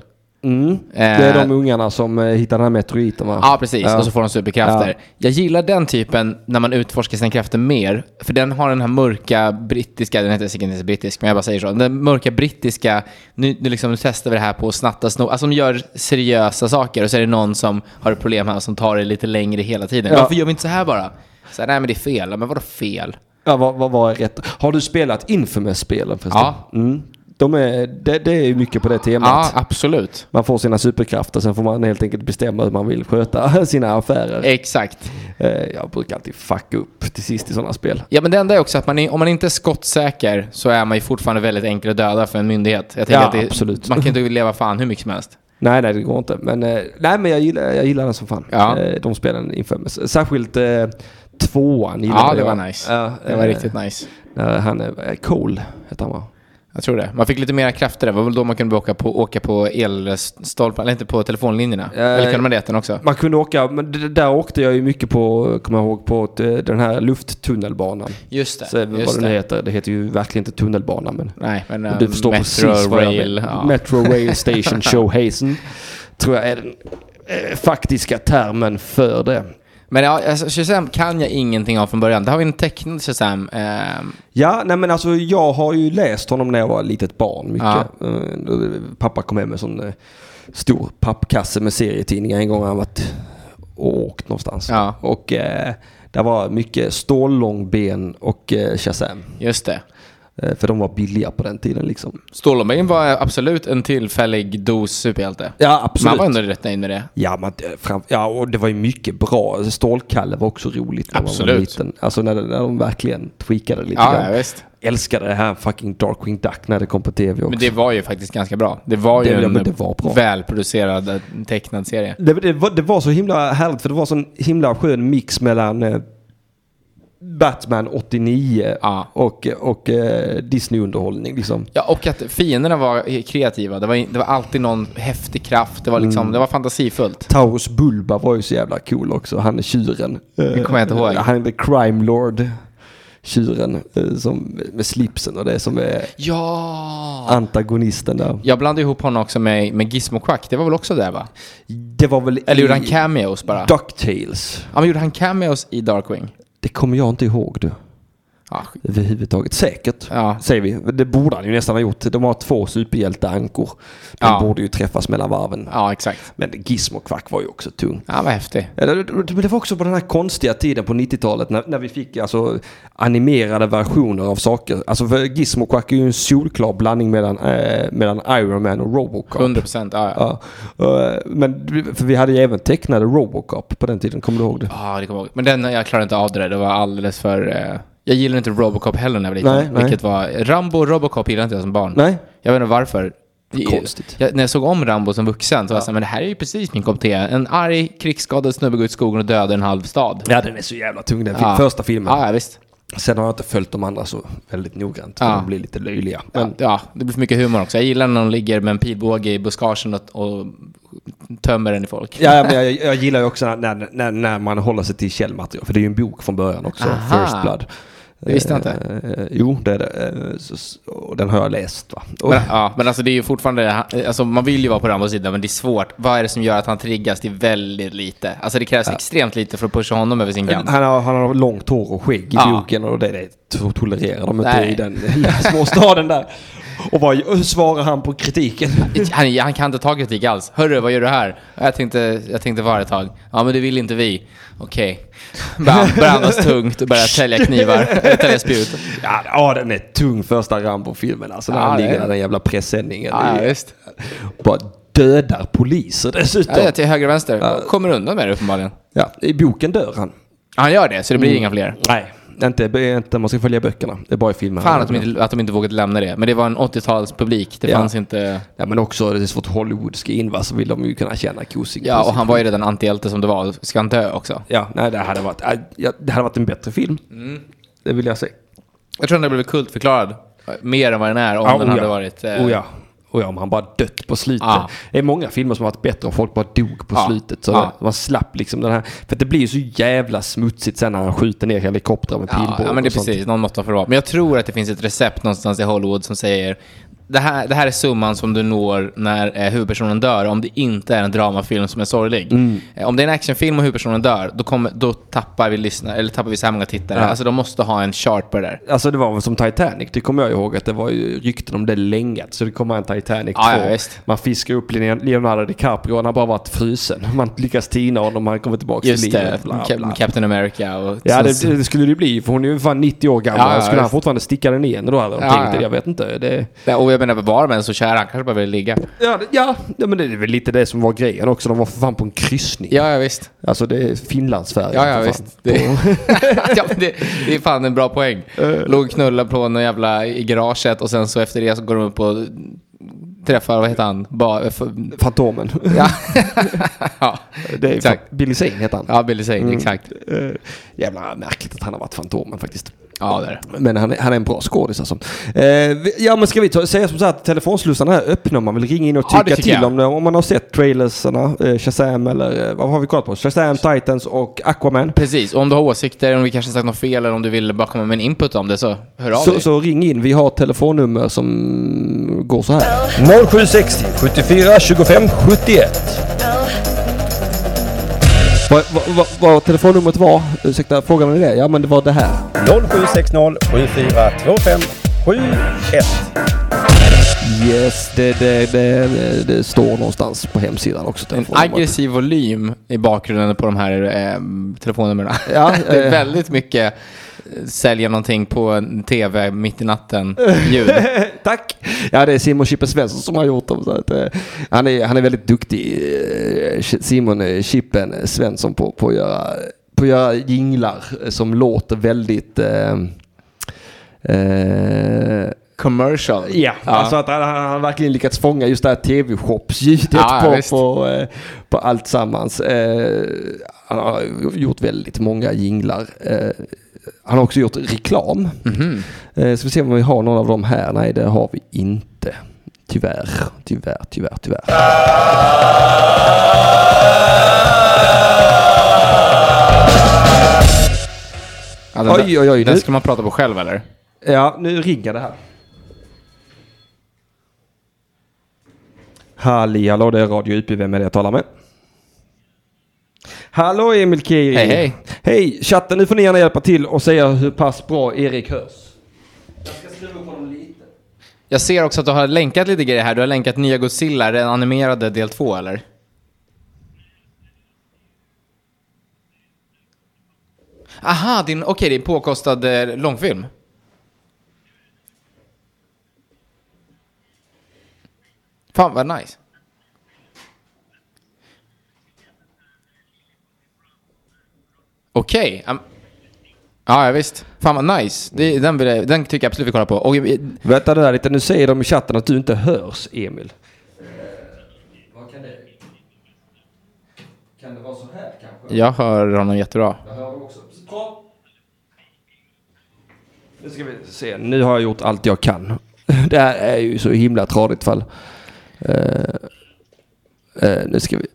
Speaker 1: Det är de ungarna som eh, hittar den här meteoriten va?
Speaker 2: Ja, precis. Och så får de superkrafter.
Speaker 1: Ja.
Speaker 2: Jag gillar den typen när man utforskar sina krafter mer. För den har den här mörka brittiska, den heter säkert inte brittisk, men jag bara säger så. Den mörka brittiska, nu, nu, liksom, nu testar vi det här på att snatta sno. Alltså de gör seriösa saker och så är det någon som har ett problem här som tar det lite längre hela tiden.
Speaker 1: Ja.
Speaker 2: Varför gör vi inte så här bara? Så här, nej men det är fel. Men vadå fel?
Speaker 1: Ja, vad, vad var rätt? Har du spelat Infamous-spelen förresten?
Speaker 2: Ja.
Speaker 1: Mm. De är, det, det är ju mycket på det temat.
Speaker 2: Ja, absolut.
Speaker 1: Man får sina superkrafter, sen får man helt enkelt bestämma hur man vill sköta sina affärer.
Speaker 2: Exakt.
Speaker 1: Eh, Jag brukar alltid fucka upp till sist i sådana spel.
Speaker 2: Ja men det enda är också att man är, om man inte är skottsäker så är man ju fortfarande väldigt enkel att döda för en myndighet. Jag tänker
Speaker 1: Ja,
Speaker 2: att det,
Speaker 1: absolut.
Speaker 2: man kan inte leva fan hur mycket som helst.
Speaker 1: Nej, nej det går inte. Men, eh, nej, men jag gillar, jag gillar den som fan.
Speaker 2: Ja.
Speaker 1: Eh, De spelen Infamous. Särskilt eh, tvåan gillade
Speaker 2: Ja, det
Speaker 1: jag.
Speaker 2: var nice.
Speaker 1: Ja,
Speaker 2: det var
Speaker 1: eh,
Speaker 2: riktigt nice.
Speaker 1: när han, eh, Cole hette han va?
Speaker 2: Jag tror det. Man fick lite mera krafter där. Det var väl då man kunde börja åka på, åka på elstolpar, eller inte på telefonlinjerna. eller kunde man det den också?
Speaker 1: Man kunde åka, men d- där åkte jag ju mycket på, kommer jag ihåg, på ett, eh, den här lufttunnelbanan.
Speaker 2: Just det.
Speaker 1: Så, eh, vad
Speaker 2: just
Speaker 1: det nu
Speaker 2: det.
Speaker 1: heter. Det heter ju verkligen inte tunnelbana men...
Speaker 2: Nej, men
Speaker 1: Om
Speaker 2: eh,
Speaker 1: du förstår
Speaker 2: Metro
Speaker 1: precis vad jag
Speaker 2: Rail.
Speaker 1: menar.
Speaker 2: ja.
Speaker 1: Metro Rail Station Showhazen. Tror jag är den eh, faktiska termen för det.
Speaker 2: Men ja, alltså, Shazam kan jag ingenting av från början. Där har vi en tecknad Shazam. ehm,
Speaker 1: Ja, nej men alltså jag har ju läst honom när jag var litet barn. Mycket. Eh, då Pappa kom hem med en sån eh, stor pappkasse med serietidningar en gång när han varit och åkt någonstans.
Speaker 2: Ja.
Speaker 1: Och eh, där var mycket Stållångben och eh, Shazam.
Speaker 2: just det.
Speaker 1: Eh, för de var billiga på den tiden liksom.
Speaker 2: Stålombergen var absolut en tillfällig dos superhjälte.
Speaker 1: Ja, absolut.
Speaker 2: Man var ändå rätt nöjd med det.
Speaker 1: Ja, man, eh, fram, ja, och det var ju mycket bra. Alltså, Stålkalle var också roligt när man var
Speaker 2: Absolut.
Speaker 1: liten. Alltså när, när de verkligen tweakade lite
Speaker 2: Ja,
Speaker 1: grann.
Speaker 2: ja, visst.
Speaker 1: Älskade det här fucking Darkwing Duck när det kom på tv också.
Speaker 2: Men det var ju faktiskt ganska bra. Det var ju
Speaker 1: Det- ja,
Speaker 2: en
Speaker 1: men det var bra.
Speaker 2: välproducerad eh, tecknad serie.
Speaker 1: Det, det, var, det var så himla härligt för det var sån himla skön mix mellan eh, Batman 89
Speaker 2: Ja.
Speaker 1: och, och eh, Disney-underhållning. Liksom.
Speaker 2: Ja, och att fienderna var kreativa. Det var, det var alltid någon häftig kraft. Det var, liksom, det var fantasifullt.
Speaker 1: Taurus Bulba var ju så jävla cool också. Han är tjuren. Det
Speaker 2: kommer jag inte ihåg.
Speaker 1: Han är the crime lord. Tjuren eh, som, med slipsen och det som är
Speaker 2: Ja!
Speaker 1: antagonisten där.
Speaker 2: Jag blandade ihop honom också med, med Gizmo Quack. Det var väl också där va?
Speaker 1: Det var väl
Speaker 2: Eller
Speaker 1: i
Speaker 2: gjorde han cameos bara?
Speaker 1: Ducktails.
Speaker 2: ja, men gjorde han cameos i Darkwing?
Speaker 1: Det kommer jag inte ihåg du.
Speaker 2: Ja, skit.
Speaker 1: Överhuvudtaget. Säkert,
Speaker 2: Ja.
Speaker 1: säger vi. Det borde han ju nästan ha gjort. De har två superhjälteankor. De
Speaker 2: Ja.
Speaker 1: borde ju träffas mellan varven.
Speaker 2: ja exakt.
Speaker 1: Men Gizmo Quack var ju också tung.
Speaker 2: Ja, vad häftig.
Speaker 1: Ja, det- det- Men det var också på den här konstiga tiden på 90-talet när, när vi fick alltså, animerade versioner av saker. Alltså för Gizmo Quack är ju en solklar blandning mellan, eh, mellan Iron Man och Robocop.
Speaker 2: 100% ja, ja.
Speaker 1: Ja, eh, men för vi hade ju även tecknade Robocop på den tiden, kommer du ihåg det?
Speaker 2: Ja, det kommer jag ihåg. Men den, jag klarade inte av det där. Det var alldeles för... Eh, jag gillade inte Robocop heller när jag var liten.
Speaker 1: Nej, nej.
Speaker 2: Vilket var... Rambo och Robocop gillade inte jag som barn.
Speaker 1: Nej?
Speaker 2: Jag vet inte varför. Det-
Speaker 1: Konstigt.
Speaker 2: Jag, när jag såg om Rambo som vuxen så var jag såhär, men det här är ju precis min kopp te. En arg, krigsskadad snubbe går ut i skogen och dödar en halv stad.
Speaker 1: Ja, den är så jävla tung den
Speaker 2: Ja.
Speaker 1: första filmen.
Speaker 2: Ja, ja visst.
Speaker 1: Sen har jag inte följt de andra så väldigt noggrant. för
Speaker 2: Ja.
Speaker 1: De blir lite löjliga.
Speaker 2: Men,
Speaker 1: Men,
Speaker 2: ja, det blir för mycket humor också. Jag gillar när de ligger med en pilbåge i buskagen och, och tömmer den i folk.
Speaker 1: ja, ja, men jag, jag gillar ju också när, när, när man håller sig till källmaterial. För det är ju en bok från början också,
Speaker 2: Aha.
Speaker 1: First Blood.
Speaker 2: Det visste jag inte.
Speaker 1: Eh, jo, det är det. Eh, så- så, och den har jag läst va. Och,
Speaker 2: Men, ja, men alltså det är ju fortfarande, alltså man vill ju vara på Rambos sida men det är svårt. Vad är det som gör att han triggas till väldigt lite? Alltså det krävs extremt lite för att pusha honom över sin kant.
Speaker 1: han, har, han har långt hår och skägg i
Speaker 2: Ja.
Speaker 1: boken och det, det to- tolererar de inte
Speaker 2: Nej.
Speaker 1: i den lilla småstaden där. Och vad och hur svarar han på kritiken?
Speaker 2: Han, han kan inte ta kritik alls. Hörru, vad gör du här? Jag tänkte, jag tänkte vara ett tag. Ja, men det vill inte vi. Okej. Börjar börjar andas tungt och börjar tälja knivar. Eller tälja spjut.
Speaker 1: Ja, ja, den är tung första Rambo-filmen alltså. När
Speaker 2: Ja,
Speaker 1: han
Speaker 2: det
Speaker 1: ligger
Speaker 2: är-
Speaker 1: där i den jävla presenningen.
Speaker 2: Ja,
Speaker 1: Det är-
Speaker 2: visst.
Speaker 1: bara dödar poliser dessutom.
Speaker 2: Ja, det är till höger och vänster. Kommer undan med det uppenbarligen.
Speaker 1: Ja, I boken dör han.
Speaker 2: Han gör det, så det blir inga fler.
Speaker 1: Nej. Inte, inte man ska följa böckerna. Det är bara i filmen.
Speaker 2: Fan att de, inte, att de inte vågat lämna det. Men det var en 80-talspublik. Det
Speaker 1: Ja.
Speaker 2: fanns inte...
Speaker 1: Ja, men också, det är så fort Hollywood ska in va, så vill de ju kunna tjäna kosing.
Speaker 2: Ja, och han var ju redan antihjälte som det var. Ska han dö också?
Speaker 1: Ja, nej, det hade varit, äh, ja, det hade varit en bättre film.
Speaker 2: Mm.
Speaker 1: Det vill jag säga.
Speaker 2: Jag tror den hade blivit kultförklarad. eh, Mer än vad den är om den hade varit... eh, Ah.
Speaker 1: oh, ja. Oh, ja, om han bara dött på slutet.
Speaker 2: Ja.
Speaker 1: Det är många filmer som har varit bättre om folk bara dog på
Speaker 2: Ja.
Speaker 1: slutet. Så
Speaker 2: Ja.
Speaker 1: man slapp liksom den här. För det blir ju så jävla smutsigt sen när han skjuter ner helikoptrar med pilbåge
Speaker 2: Ja, ja men det är
Speaker 1: och sånt.
Speaker 2: precis. Någon måtta får det vara. Men jag tror att det finns ett recept någonstans i Hollywood som säger det här, det här är summan som du når när eh, huvudpersonen dör om det inte är en dramafilm som är sorglig.
Speaker 1: Mm.
Speaker 2: Eh, om det är en actionfilm och huvudpersonen dör, då, kommer, då tappar, vi lyssna, eller tappar vi så här många tittare.
Speaker 1: Ja.
Speaker 2: Alltså de måste ha en chart på det där.
Speaker 1: Alltså det var väl som Titanic, det kommer jag ihåg att det var ju rykten om det länge. Så det kommer en Titanic 2.
Speaker 2: Ja, ja, visst.
Speaker 1: man fiskar upp Leon- Leonardo DiCaprio, han har bara varit frusen. Man lyckas tina honom, han kommer tillbaka till
Speaker 2: Just det,
Speaker 1: livet. bla,
Speaker 2: Cap-
Speaker 1: bla.
Speaker 2: Captain America och...
Speaker 1: Ja
Speaker 2: sen-
Speaker 1: det, det skulle det ju bli, för hon är ju fan 90 år gammal.
Speaker 2: Ja, ja,
Speaker 1: skulle han
Speaker 2: visst.
Speaker 1: fortfarande sticka den igen då hade de
Speaker 2: Ja,
Speaker 1: tänkt
Speaker 2: ja.
Speaker 1: det? Jag vet inte. Det,
Speaker 2: Ja, och jag menar, var men så kär, han kanske bara vill ligga.
Speaker 1: ja, det- ja, ja, men det är väl lite det som var grejen också. De var för fan på en kryssning.
Speaker 2: Ja, ja visst.
Speaker 1: Alltså det är Finlandsfärjan.
Speaker 2: Ja, ja
Speaker 1: för fan.
Speaker 2: visst. Det, ja, men det, det är fan en bra poäng.
Speaker 1: Eh.
Speaker 2: Låg knulla på någon jävla i garaget och sen så efter det så går de upp och träffar, vad heter han? Ba, eh, f-
Speaker 1: Fantomen.
Speaker 2: ja. ja,
Speaker 1: det är
Speaker 2: exakt.
Speaker 1: Billy Zane heter han.
Speaker 2: Ja, Billy Zane, exakt.
Speaker 1: Eh, jävla märkligt att han har varit Fantomen faktiskt.
Speaker 2: Ja, det är det.
Speaker 1: Men han är, han är en bra skådis alltså. Eh, vi- ja men ska vi ta, säga som så här att telefonslussarna är öppna om man vill ringa in och
Speaker 2: Ja, det
Speaker 1: tycka
Speaker 2: tycker
Speaker 1: till
Speaker 2: jag.
Speaker 1: om, det, om man har sett trailersarna, eh, Shazam eller eh, vad har vi kollat på? Shazam, Titans och Aquaman.
Speaker 2: Precis, och om du har åsikter, om vi kanske sagt något fel eller om du vill bara komma med en input om det så hör av
Speaker 1: Så,
Speaker 2: dig.
Speaker 1: så ring in, vi har ett telefonnummer som går så här.
Speaker 12: 0760 74 25 71.
Speaker 1: Vad vad- vad- vad telefonnumret var? Ursäkta, frågan är det? Ja men det var det här.
Speaker 12: 0760 74 25 71.
Speaker 1: Yes, det, det, det, det, det står någonstans på hemsidan också.
Speaker 2: En
Speaker 1: telefonnumret.
Speaker 2: aggressiv volym i bakgrunden på de här eh, telefonnumren.
Speaker 1: Ja,
Speaker 2: det är
Speaker 1: eh.
Speaker 2: väldigt mycket eh, sälja någonting på en tv mitt i natten ljud.
Speaker 1: Tack! Ja, det är Simon Chippen Svensson som har gjort dem. Så att, eh, han, är, han är väldigt duktig, eh, Ch- Simon eh, Chippen Svensson, på, på, att göra, på att göra jinglar eh, som låter väldigt... Eh, eh,
Speaker 2: Commercial.
Speaker 1: Ja, alltså att han, han har verkligen lyckats fånga just det här tv-shopsljudet
Speaker 2: Ja, ja,
Speaker 1: på,
Speaker 2: visst.
Speaker 1: på, eh, på allt sammans. Eh, han har gjort väldigt många jinglar. Eh, han har också gjort reklam.
Speaker 2: Mhm.
Speaker 1: Eh, ska vi se om vi har någon av dem här? Nej, det har vi inte. Tyvärr, tyvärr, tyvärr, tyvärr.
Speaker 2: Ja, den där-
Speaker 1: Oj, oj, oj,
Speaker 2: Den
Speaker 1: nu-
Speaker 2: ska man prata på själv eller?
Speaker 1: Ja, nu ringer det här. Halli hallå, det är Radio UP. Vem är det jag talar med? Hallå Emil Kiri.
Speaker 2: Hej, hej.
Speaker 1: Hej, chatten. Nu får ni gärna hjälpa till och säga hur pass bra Erik hörs. Jag ska skruva upp honom lite.
Speaker 2: Jag ser också att du har länkat lite grejer här. Du har länkat nya Godzilla, den animerade del 2 eller? Aha, din, okej, det är en påkostad eh, långfilm. Fan vad nice. Okej. am- Ja, ja, visst. Fan vad nice. Det, den, vill jag, den tycker jag absolut vi kollar på. Och, jag-
Speaker 1: Vänta där lite. Nu säger de i chatten att du inte hörs, Emil. Vad kan det... Kan det vara så här kanske?
Speaker 2: jag hör honom jättebra.
Speaker 1: Jag hör dem också. Bra. Nu ska vi se. Nu har jag gjort allt jag kan. Det här är ju så himla tradigt fall. Eh, eh, nu ska vi...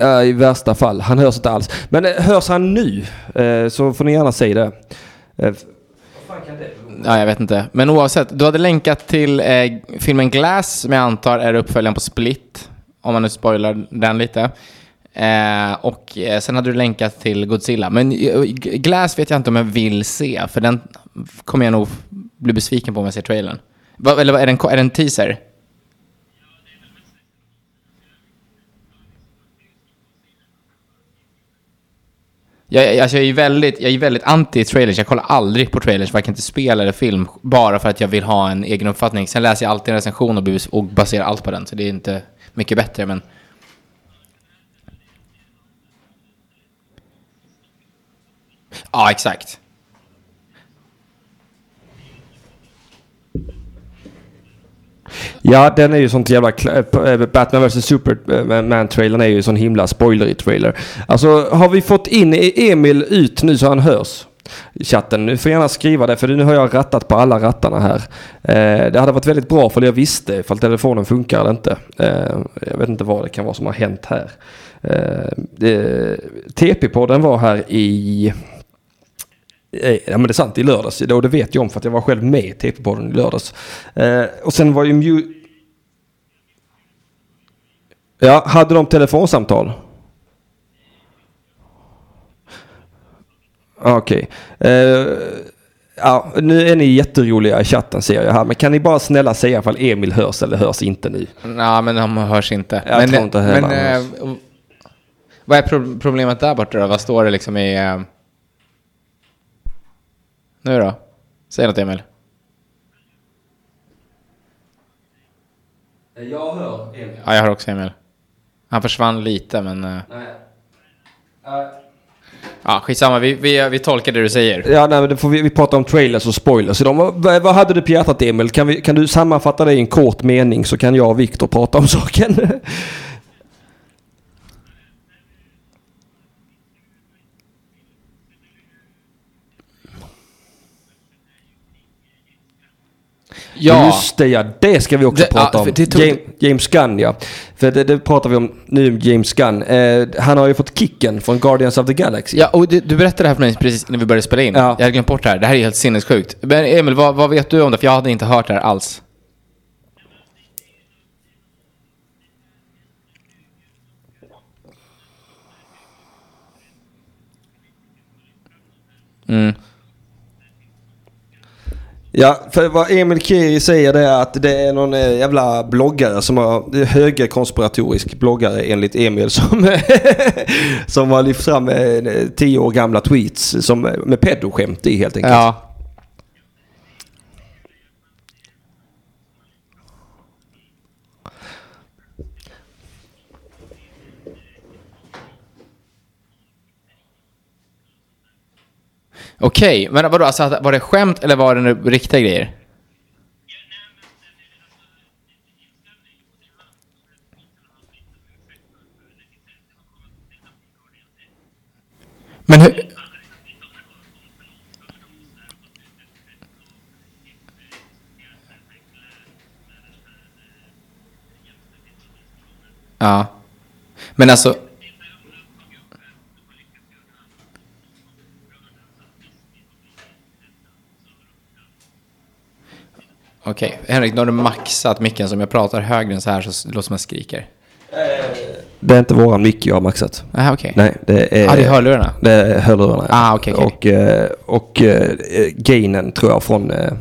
Speaker 1: Ja, I värsta fall. Han hörs inte alls. Men eh, hörs han nu eh, så får ni gärna säga det. Eh,
Speaker 2: Ja, jag vet inte. Men oavsett, du hade länkat till eh, filmen Glass, som jag antar är uppföljaren på Split, om man nu spoilar den lite. Eh, och eh, sen hade du länkat till Godzilla. Men eh, Glass vet jag inte om jag vill se, för den kommer jag nog bli besviken på om jag ser trailern. Va, eller vad, är det en, ko- är det en teaser? Jag, jag, alltså jag är ju väldigt, jag är ju väldigt anti trailers. Jag kollar aldrig på trailers, varken till spel eller film, bara för att jag vill ha en egen uppfattning. Sen läser jag alltid en recension och, blir- och baserar allt på den, så det är inte mycket bättre. Men Ja, exakt.
Speaker 1: Ja, den är ju sånt jävla... kla- eh, p- eh, Batman vs Superman-trailern är ju sån himla spoilerig trailer. Alltså, har vi fått in E- Emil ut nu så han hörs? i Chatten, nu får gärna skriva det för nu har jag rattat på alla rattarna här. Eh, det hade varit väldigt bra för jag visste ifall telefonen funkar eller inte. Eh, jag vet inte vad det kan vara som har hänt här. Eh, det- TP-podden var här i Eh, Ja men det är sant, i lördags. Och det vet jag om för att jag var själv med i TP-podden i lördags. Eh, och sen var ju Mew... Ja, hade de telefonsamtal? Ja, Ah, Okej. Eh, ja, nu är ni jätteroliga i chatten ser jag här. Men kan ni bara snälla säga ifall Emil hörs eller hörs inte nu?
Speaker 2: Nej, men de hörs inte.
Speaker 1: Jag
Speaker 2: men,
Speaker 1: tror inte heller
Speaker 2: men,
Speaker 1: han
Speaker 2: eh, Vad är pro- problemet där borta då? Vad står det liksom i... eh, Nu då? Säg något Emil.
Speaker 1: Jag hör Emil.
Speaker 2: Ja, jag har också Emil. Han försvann lite, men... eh, Ja, skitsamma. Vi, vi, vi tolkar det du säger.
Speaker 1: Ja, nej, men det får vi, vi pratar om trailers och spoilers. Så de, vad, vad hade du på hjärtat Emil? Kan, vi, kan du sammanfatta det i en kort mening så kan jag och Viktor prata om saken?
Speaker 2: Ja.
Speaker 1: Just det ja, det ska vi också
Speaker 2: Det- ja,
Speaker 1: prata om.
Speaker 2: för det tog-
Speaker 1: James, James Gunn ja. För det, det pratar vi om nu, James Gunn. Eh, han har ju fått kicken från Guardians of the Galaxy.
Speaker 2: Ja, och du, du berättade det här för mig precis när vi började spela in.
Speaker 1: Ja.
Speaker 2: Jag hade glömt bort det här. Det här är helt sinnessjukt. Men Emil, vad, vad vet du om det? För jag hade inte hört det här alls. Mm.
Speaker 1: Ja, för vad Emil Kiri säger det är att det är någon eh, jävla bloggare som har, det är högerkonspiratorisk bloggare enligt Emil som, som har lyft fram eh, tio år gamla tweets som, med pedoskämt i helt enkelt.
Speaker 2: Ja. Okej, men vadå, alltså, att- var det skämt eller var det nu riktiga grejer? Men hur... Ja. Men alltså... Okej, Henrik, nu har du maxat micken. Så om jag pratar högre än så här så s- låter det som jag skriker.
Speaker 1: Det är inte våran mick jag har maxat.
Speaker 2: Aha, okej.
Speaker 1: Nej, det är...
Speaker 2: Ah, det är hörlurarna?
Speaker 1: Det är hörlurarna. ja.
Speaker 2: Ah, okej, okej.
Speaker 1: Och, eh, och eh, gainen tror jag från eh,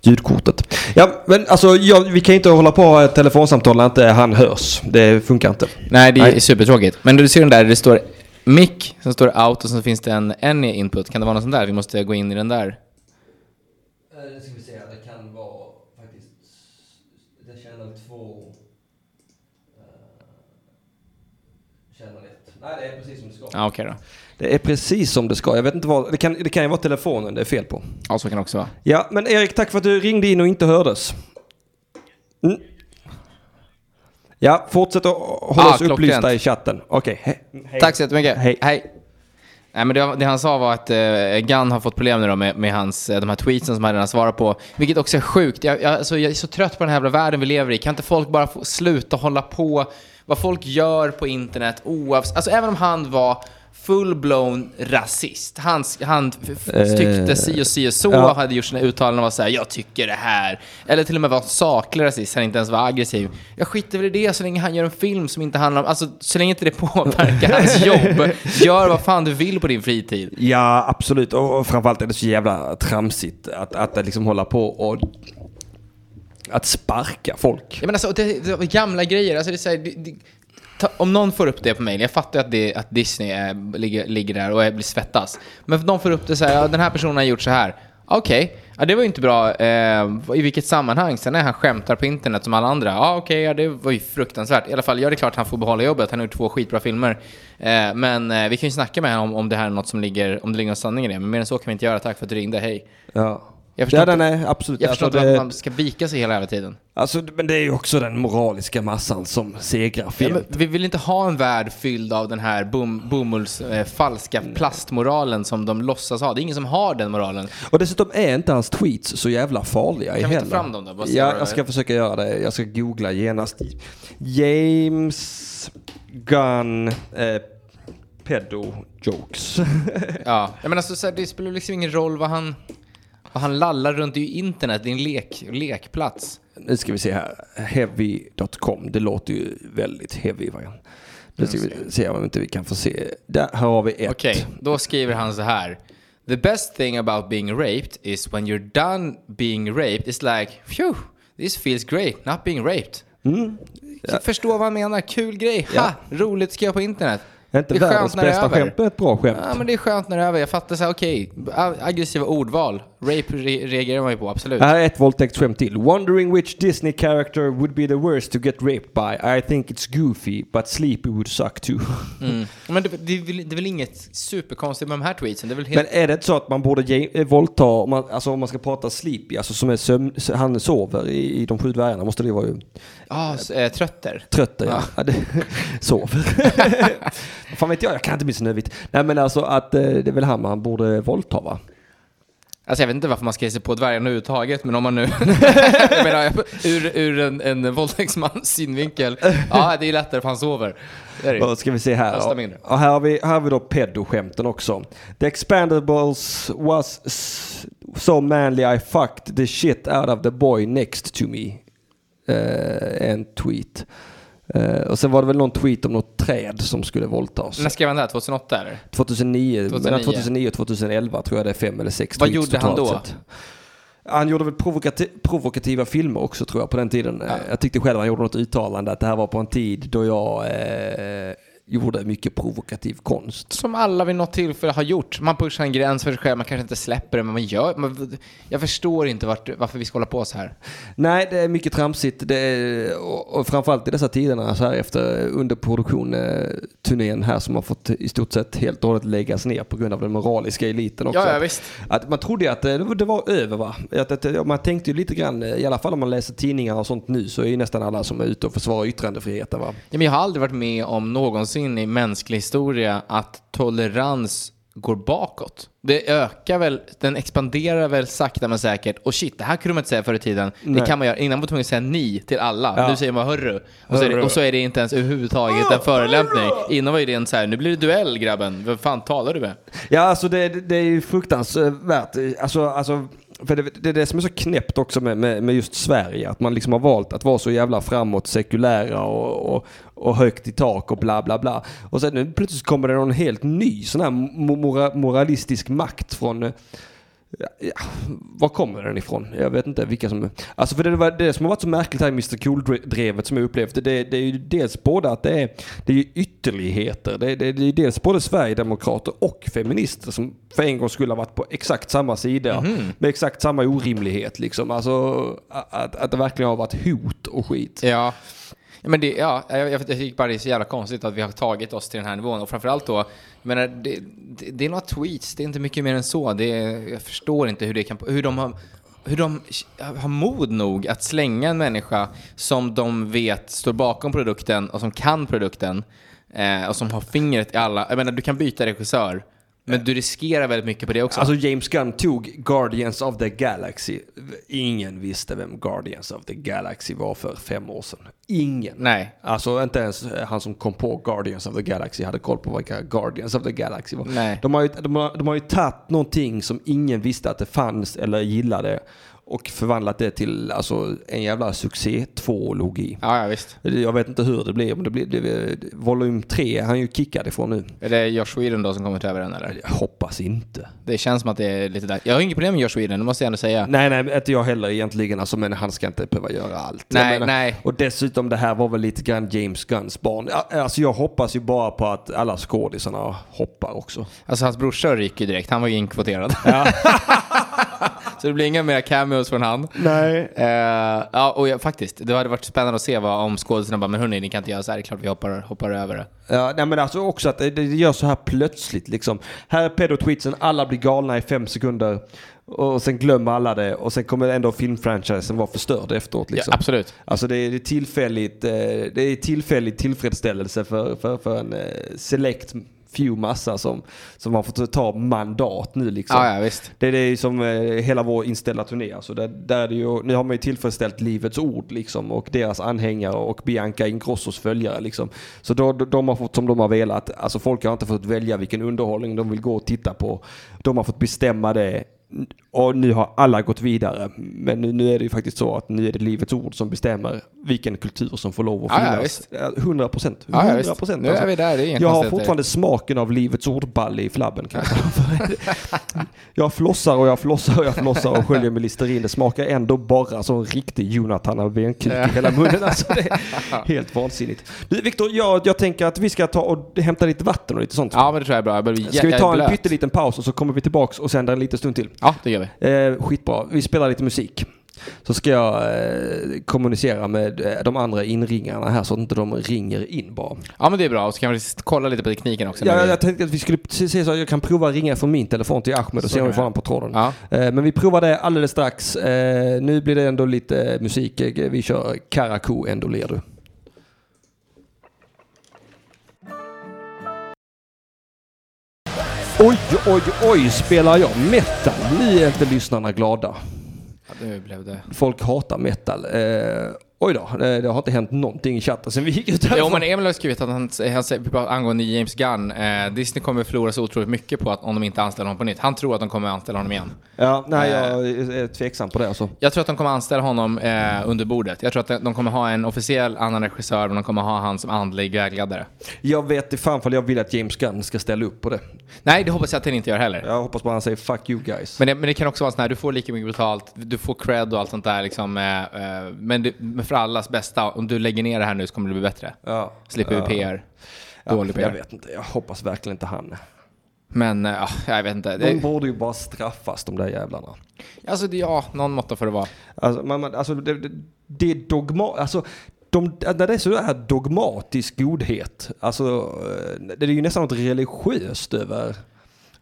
Speaker 1: ljudkortet. Ja, men alltså ja, vi kan inte hålla på och ha ett telefonsamtal när inte han hörs. Det funkar inte.
Speaker 2: Nej, det är
Speaker 1: Nej.
Speaker 2: supertråkigt. Men du ser den där, det står mic, sen står det out och sen finns det en any input. Kan det vara något sånt där? Vi måste gå in i den där.
Speaker 1: Nu ska vi se, det kan vara faktiskt... Det är channel 2... Channel 1. Nej, det är precis som det ska.
Speaker 2: Ja, okej då.
Speaker 1: Det är precis som det ska. Jag vet inte vad... Det kan, det kan ju vara telefonen det är fel på.
Speaker 2: Ja, så kan det också vara.
Speaker 1: Ja, men Erik, tack för att du ringde in och inte hördes. Mm. Ja, fortsätt att hålla
Speaker 2: Ah,
Speaker 1: oss upplysta
Speaker 2: klockrent.
Speaker 1: i chatten. Okej, he- hej.
Speaker 2: Tack så jättemycket.
Speaker 1: Hej.
Speaker 2: Nej, men det, det han sa var att eh, Gunn har fått problem nu då med, med hans, eh, de här tweetsen som han redan svarat på. Vilket också är sjukt. Jag, jag, alltså, jag är så trött på den här jävla världen vi lever i. Kan inte folk bara få sluta hålla på vad folk gör på internet oavsett? Alltså även om han var full-blown rasist. Han, han f- f-
Speaker 1: Eh,
Speaker 2: tyckte si och si och så,
Speaker 1: ja.
Speaker 2: hade gjort sina uttalanden och var såhär “jag tycker det här”. Eller till och med var saklig rasist, han inte ens var aggressiv. Jag skiter väl i det så länge han gör en film som inte handlar om, alltså så länge inte det påverkar hans jobb. Gör vad fan du vill på din fritid.
Speaker 1: Ja, absolut. Och och framförallt är det så jävla tramsigt att, att liksom hålla på och... Att sparka folk.
Speaker 2: Jag menar så, det, det var gamla grejer, alltså det är så här, det, det, ta, om någon får upp det på mejl, jag fattar ju att, det, att Disney är, ligger, ligger där och är, blir svettas. Men om någon får upp det så här, ja, den här personen har gjort så här. Okej, ja, det var ju inte bra eh, i vilket sammanhang. Sen är han skämtar på internet som alla andra. Ja, okej, ja, det var ju fruktansvärt. I alla fall, ja, det är klart han får behålla jobbet. Han har gjort två skitbra filmer. Eh, men eh, vi kan ju snacka med honom om det här är något som ligger, om det ligger någon sanning i det. Men mer än så kan vi inte göra. Tack för att du ringde, hej.
Speaker 1: Ja.
Speaker 2: Jag förstår
Speaker 1: ja,
Speaker 2: inte-
Speaker 1: den är absolut.
Speaker 2: Jag förstår
Speaker 1: Alltså,
Speaker 2: inte
Speaker 1: det-
Speaker 2: att man ska vika sig hela jävla tiden.
Speaker 1: Alltså, men det är ju också den moraliska massan som segrar
Speaker 2: Ja,
Speaker 1: fel.
Speaker 2: men vi vill inte ha en värld fylld av den här bom, bomulls, eh, falska plastmoralen som de låtsas ha. Det är ingen som har den moralen.
Speaker 1: Och dessutom är inte hans tweets så jävla farliga
Speaker 2: Kan vi
Speaker 1: heller.
Speaker 2: ta fram dem då? Bara se
Speaker 1: Ja,
Speaker 2: vad-
Speaker 1: jag ska försöka göra det. Jag ska googla genast. James Gunn eh, pedo-jokes.
Speaker 2: Ja, men alltså, så här, det spelar liksom ingen roll vad han, vad han lallar runt. Det är ju internet, det är en lek, lekplats.
Speaker 1: Nu ska vi se här. Heavy.com. Det låter ju väldigt heavy. Va? Nu ska vi se om inte vi kan få se. Där, här har vi ett.
Speaker 2: Okej, då skriver han så här. The best thing about being raped is when you're done being raped it's like phew, this feels great not being raped. Mm. Jag Förstår vad han menar, kul grej, ha, roligt ska jag på internet.
Speaker 1: Är inte
Speaker 2: Det är
Speaker 1: världens
Speaker 2: skönt när det är
Speaker 1: bästa
Speaker 2: över.
Speaker 1: skämt men ett bra skämt?
Speaker 2: Ja men det är skönt när det är över, jag fattar så här, okej, a- aggressiva ordval, rape re- reagerar man ju på, absolut.
Speaker 1: Här är ett våldtäktsskämt till. Wondering which Disney character would be the worst to get raped by. I think it's goofy but sleepy would suck too.
Speaker 2: Mm. Men det, det, är väl, det är väl inget superkonstigt med de här tweetsen, det är väl helt
Speaker 1: Men är det inte så att man borde ge, eh, våldta, om man, alltså om man ska prata sleepy, alltså som är sömn, s- han sover i, i de sju dvärgarna, måste det vara ju
Speaker 2: Ah, s- eh, trötter.
Speaker 1: trötta ja. ja. det, sover. Vad Fan vet jag, jag kan inte bli så nödigt. Nej men alltså att eh, det är väl han man borde våldta va?
Speaker 2: Alltså jag vet inte varför man ska ge sig på dvärgarna överhuvudtaget, men om man nu... jag menar, ur, ur en, en våldtäktsmans synvinkel. Ja, det är lättare för han sover. Det är det. ju.
Speaker 1: Vad ska vi se här?
Speaker 2: Rösta mindre.
Speaker 1: Ja, här, har vi, här har vi då pedoskämten också. The expandables was s- so manly I fucked the shit out of the boy next to me. Eh, en tweet. Eh, och sen var det väl någon tweet om något träd som skulle våldtas.
Speaker 2: När skrev han det här? 2008 eller?
Speaker 1: 2009,
Speaker 2: 2009.
Speaker 1: mellan 2009 och 2011 tror jag det är fem eller sex
Speaker 2: Vad
Speaker 1: tweets
Speaker 2: gjorde han
Speaker 1: totalt
Speaker 2: då?
Speaker 1: sett. Han gjorde väl provokati- provokativa filmer också tror jag på den tiden. Eh, Jag tyckte själv han gjorde något uttalande att det här var på en tid då jag eh, gjorde mycket provokativ konst.
Speaker 2: Som alla vid något tillfälle har gjort. Man pushar en gräns för sig själv, man kanske inte släpper det, men man gör... Man, jag förstår inte vart, varför vi ska hålla på så här.
Speaker 1: Nej, det är mycket tramsigt. Det är, och, och framförallt i dessa tiderna så här efter underproduktion-turnén här som har fått i stort sett helt och hållet läggas ner på grund av den moraliska eliten också.
Speaker 2: Ja, ja, visst.
Speaker 1: Att man trodde ju att eh, det var- det var över va? Att, att, ja, man tänkte ju lite grann, eh, i alla fall om man läser tidningar och sånt nu så är ju nästan alla som är ute och försvarar yttrandefriheten va?
Speaker 2: Ja, men jag har aldrig varit med om någonsin i mänsklig historia att tolerans går bakåt. Det ökar väl, den expanderar väl sakta men säkert. Och shit, det här kunde man inte säga förr i tiden. Det kan man göra. Innan var man tvungen att säga ni till alla. Nu säger man hörru. Och så, är det, och så är det inte ens överhuvudtaget en förolämpning. Innan var ju det en så här, nu blir det duell grabben. Vem fan talar du med?
Speaker 1: Ja, alltså det, det är ju fruktansvärt. Alltså, alltså, för det, det är det som är så knäppt också med, med, med just Sverige. Att man liksom har valt att vara så jävla framåt, sekulära och, och, och högt i tak och bla bla bla. Och sen nu plötsligt kommer det någon helt ny sån här mo- mora, moralistisk makt från eh, Ja, var kommer den ifrån? Jag vet inte vilka som... Alltså för det, var det som har varit så märkligt här i Mr Cool-drevet som jag upplevt. Det, det är ju dels både att det är, det är ju ytterligheter. Det, det, det är dels både Sverigedemokrater och feminister som för en gång skulle ha varit på exakt samma sida. Med exakt samma orimlighet liksom. Alltså att, att det verkligen har varit hot och skit.
Speaker 2: Ja. Ja, Men det, ja, jag, jag, jag tycker bara det är så jävla konstigt att vi har tagit oss till den här nivån. Och framförallt då, jag menar, det, det, det är några tweets, det är inte mycket mer än så. Det, är- jag förstår inte hur, det kan, hur de, har, hur de har mod nog att slänga en människa som de vet står bakom produkten och som kan produkten eh, och som har fingret i alla... Jag menar, du kan byta regissör, men du riskerar väldigt mycket på det också.
Speaker 1: Alltså James Gunn tog Guardians of the Galaxy. Ingen visste vem Guardians of the Galaxy var för fem år sedan. Ingen.
Speaker 2: Nej.
Speaker 1: Alltså inte ens han som kom på Guardians of the Galaxy hade koll på vilka Guardians of the Galaxy var.
Speaker 2: Nej.
Speaker 1: De har ju, de har, de har ju tagit någonting som ingen visste att det fanns eller gillade och förvandlat det till alltså, en jävla succé tvålogi.
Speaker 2: Ja, ja, visst.
Speaker 1: Jag vet inte hur det blir, men det blir, det, volym 3 är han ju kickad ifrån nu.
Speaker 2: Är det Josh Sweden då som kommer ta över den eller?
Speaker 1: Jag hoppas inte.
Speaker 2: Det känns som att det är lite där. Jag har inget problem med Josh Sweden, det måste jag ändå säga.
Speaker 1: Nej, nej, inte jag heller egentligen. Alltså, men han ska inte behöva göra allt. Jag
Speaker 2: Nej, nej.
Speaker 1: Och dessutom, det här var väl lite grann James Gunns barn. Ja, Alltså, jag hoppas ju bara på att alla skådisarna hoppar också.
Speaker 2: Alltså hans brorsa ryker ju direkt, han var ju inkvoterad. så det blir inga mer cameos från han.
Speaker 1: Nej.
Speaker 2: Eh, ja, och jag, faktiskt, det hade varit spännande att se vad, om skådisarna bara, men hörni, ni kan inte göra så här, det är klart vi hoppar, hoppar över det.
Speaker 1: Ja, nej men alltså också att det det görs så här plötsligt liksom. Här är pedotweetsen, alla blir galna i fem sekunder. Och sen glömmer alla det och sen kommer ändå filmfranchisen vara förstörd efteråt. Liksom.
Speaker 2: Ja, absolut.
Speaker 1: Alltså det är, det är tillfälligt, eh, det är tillfällig tillfredsställelse för, för, för en eh, select few massa som, som har fått ta mandat nu liksom.
Speaker 2: Ja, ja, visst.
Speaker 1: Det är det som eh, hela vår inställda turné. Alltså där, där är det ju, nu har man ju tillfredsställt Livets Ord liksom, och deras anhängare och Bianca Ingrossos följare. Liksom. Så då, då- de har fått som de har velat. Alltså folk har inte fått välja vilken underhållning de vill gå och titta på. De har fått bestämma det. Och nu har alla gått vidare. Men nu, nu är det ju faktiskt så att nu är det Livets Ord som bestämmer vilken kultur som får lov att
Speaker 2: Ja, ja,
Speaker 1: finnas.
Speaker 2: visst.
Speaker 1: Ja, 100 procent. alltså.
Speaker 2: Ja, ja, visst. Nu är vi där, det är inga
Speaker 1: jag har
Speaker 2: konstigheter.
Speaker 1: fortfarande smaken av Livets Ord-balle i flabben. Kan jag säga. Jag flossar och jag flossar och jag flossar och sköljer med Listerin. Det smakar ändå bara som en riktig Jonathan av benkuk i hela munnen. Alltså, det är helt vansinnigt. Du Viktor, jag, jag tänker att vi ska ta och hämta lite vatten och lite sånt.
Speaker 2: Ja, men det tror jag är bra. Jag börjar bli
Speaker 1: Ska vi
Speaker 2: jag är
Speaker 1: ta
Speaker 2: blöt.
Speaker 1: en pytteliten paus och så kommer vi tillbaks och sänder en liten stund till?
Speaker 2: Ja, det gör vi.
Speaker 1: Eh, skitbra. Vi spelar lite musik. Så ska jag eh, kommunicera med eh, de andra inringarna här så att inte de ringer in bara.
Speaker 2: Ja, men det är bra. Och så kan vi kolla lite på tekniken också.
Speaker 1: Ja,
Speaker 2: när
Speaker 1: jag,
Speaker 2: vi-
Speaker 1: jag tänkte att vi skulle se se så att jag kan prova att ringa från min telefon till Ahmed och se om vi får han på tråden.
Speaker 2: Ja.
Speaker 1: Eh, Men vi provar det alldeles strax. Eh, Nu blir det ändå lite eh, musik. Eh, Vi kör Karakou ändå ler du. Oj, oj, oj, spelar jag metal? Nu är inte lyssnarna glada.
Speaker 2: Ja, nu blev det...
Speaker 1: Folk hatar metal. Eh, oj då, eh, det har inte hänt någonting i chatten sen vi gick ut
Speaker 2: Jo,
Speaker 1: härifrån.
Speaker 2: men Emil har skrivit att han, han säger, angående James Gunn, eh, Disney kommer förlora så otroligt mycket på att om de inte anställer honom på nytt. Han tror att de kommer anställa honom igen.
Speaker 1: Ja, nej, jag
Speaker 2: Eh.
Speaker 1: är tveksam på det alltså.
Speaker 2: Jag tror att de kommer anställa honom eh, under bordet. Jag tror att de- de kommer ha en officiell annan regissör, men de kommer ha han som andlig vägledare.
Speaker 1: Jag vet i fan fall jag vill att James Gunn ska ställa upp på det.
Speaker 2: Nej, det hoppas jag att han inte gör heller.
Speaker 1: Jag hoppas bara han säger fuck you guys.
Speaker 2: Men det, men det kan också vara sån här, du får lika mycket betalt, du får cred och allt sånt där. Liksom, eh, eh, men, det, men för allas bästa, om du lägger ner det här nu så kommer det bli bättre.
Speaker 1: ja,
Speaker 2: Slipper vi
Speaker 1: ja.
Speaker 2: PR. Dålig PR.
Speaker 1: Jag vet inte, jag hoppas verkligen inte han.
Speaker 2: Men eh, ja, jag vet inte.
Speaker 1: De
Speaker 2: Det,
Speaker 1: borde ju bara straffas de där jävlarna.
Speaker 2: alltså, det, ja, någon måtta får det vara.
Speaker 1: Alltså, man, man, alltså det, det- det är dogma... Alltså, de, när det är sådär dogmatisk godhet, alltså, eh, det är ju nästan något religiöst över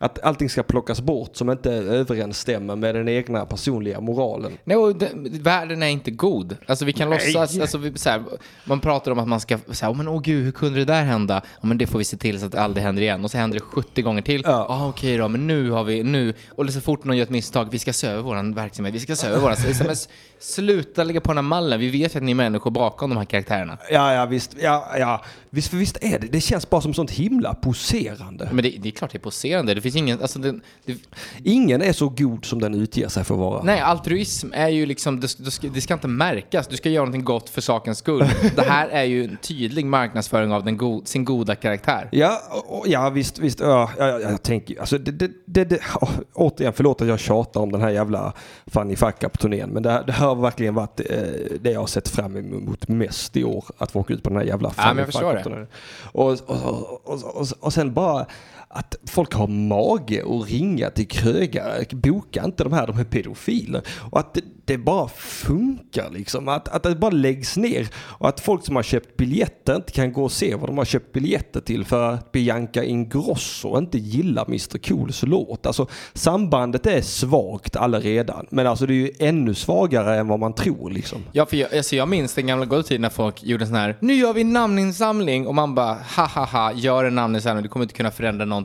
Speaker 1: att allting ska plockas bort som inte överensstämmer med den egna personliga moralen.
Speaker 2: Nej, och det, världen är inte god. Alltså vi kan låtsas, alltså, vi, så här, man pratar om att man ska säga, men åh gud, hur kunde det där hända? Ja, men det får vi se till så att det aldrig händer igen. Och så händer det 70 gånger till. Ja, ah, okej då, men nu har vi, nu, och så fort någon gör ett misstag, vi ska se över vår verksamhet, vi ska se över våran, så liksom, men s- sluta lägga på den här mallen, vi vet ju att ni är människor bakom de här karaktärerna.
Speaker 1: Ja, ja, visst. Ja, ja. Visst, för visst är det. Det känns bara som sånt himla poserande.
Speaker 2: Men det, det är klart det är poserande, det finns ingen, alltså det, det,
Speaker 1: Ingen är så god som den utger sig för att vara.
Speaker 2: Nej, altruism är ju liksom, det, det, ska, det ska inte märkas. Du ska göra någonting gott för sakens skull. Det här är ju en tydlig marknadsföring av den go, sin goda karaktär.
Speaker 1: Ja, och- och- ja visst, visst. Ja, ja, ja, jag tänker ju- alltså, det, det, det, det, åh, återigen, förlåt att jag tjatar om den här jävla Fanny Fuck Up-turnén. Men det, här- det här har verkligen varit eh, det jag har sett fram emot mest i år. Att få åka ut på den här jävla
Speaker 2: men jag
Speaker 1: Fanny Fuck
Speaker 2: förstår det.
Speaker 1: Up-turnén. Och, och, och, och, och, och sen bara att folk har mage att ringa till krögare. Boka inte de här, de är pedofiler. Och att det, det bara funkar liksom. Att, att det bara läggs ner. Och att folk som har köpt biljetter inte kan gå och se vad de har köpt biljetter till för att Bianca Ingrosso inte gillar Mr Cools låt. Alltså sambandet är svagt allaredan. Men alltså det är ju ännu svagare än vad man tror liksom.
Speaker 2: Ja, för jag, alltså jag minns den gamla goda tiden när folk gjorde sån här, nu gör vi en namninsamling och man bara, ha ha ha, gör en namninsamling, du kommer inte kunna förändra någonting.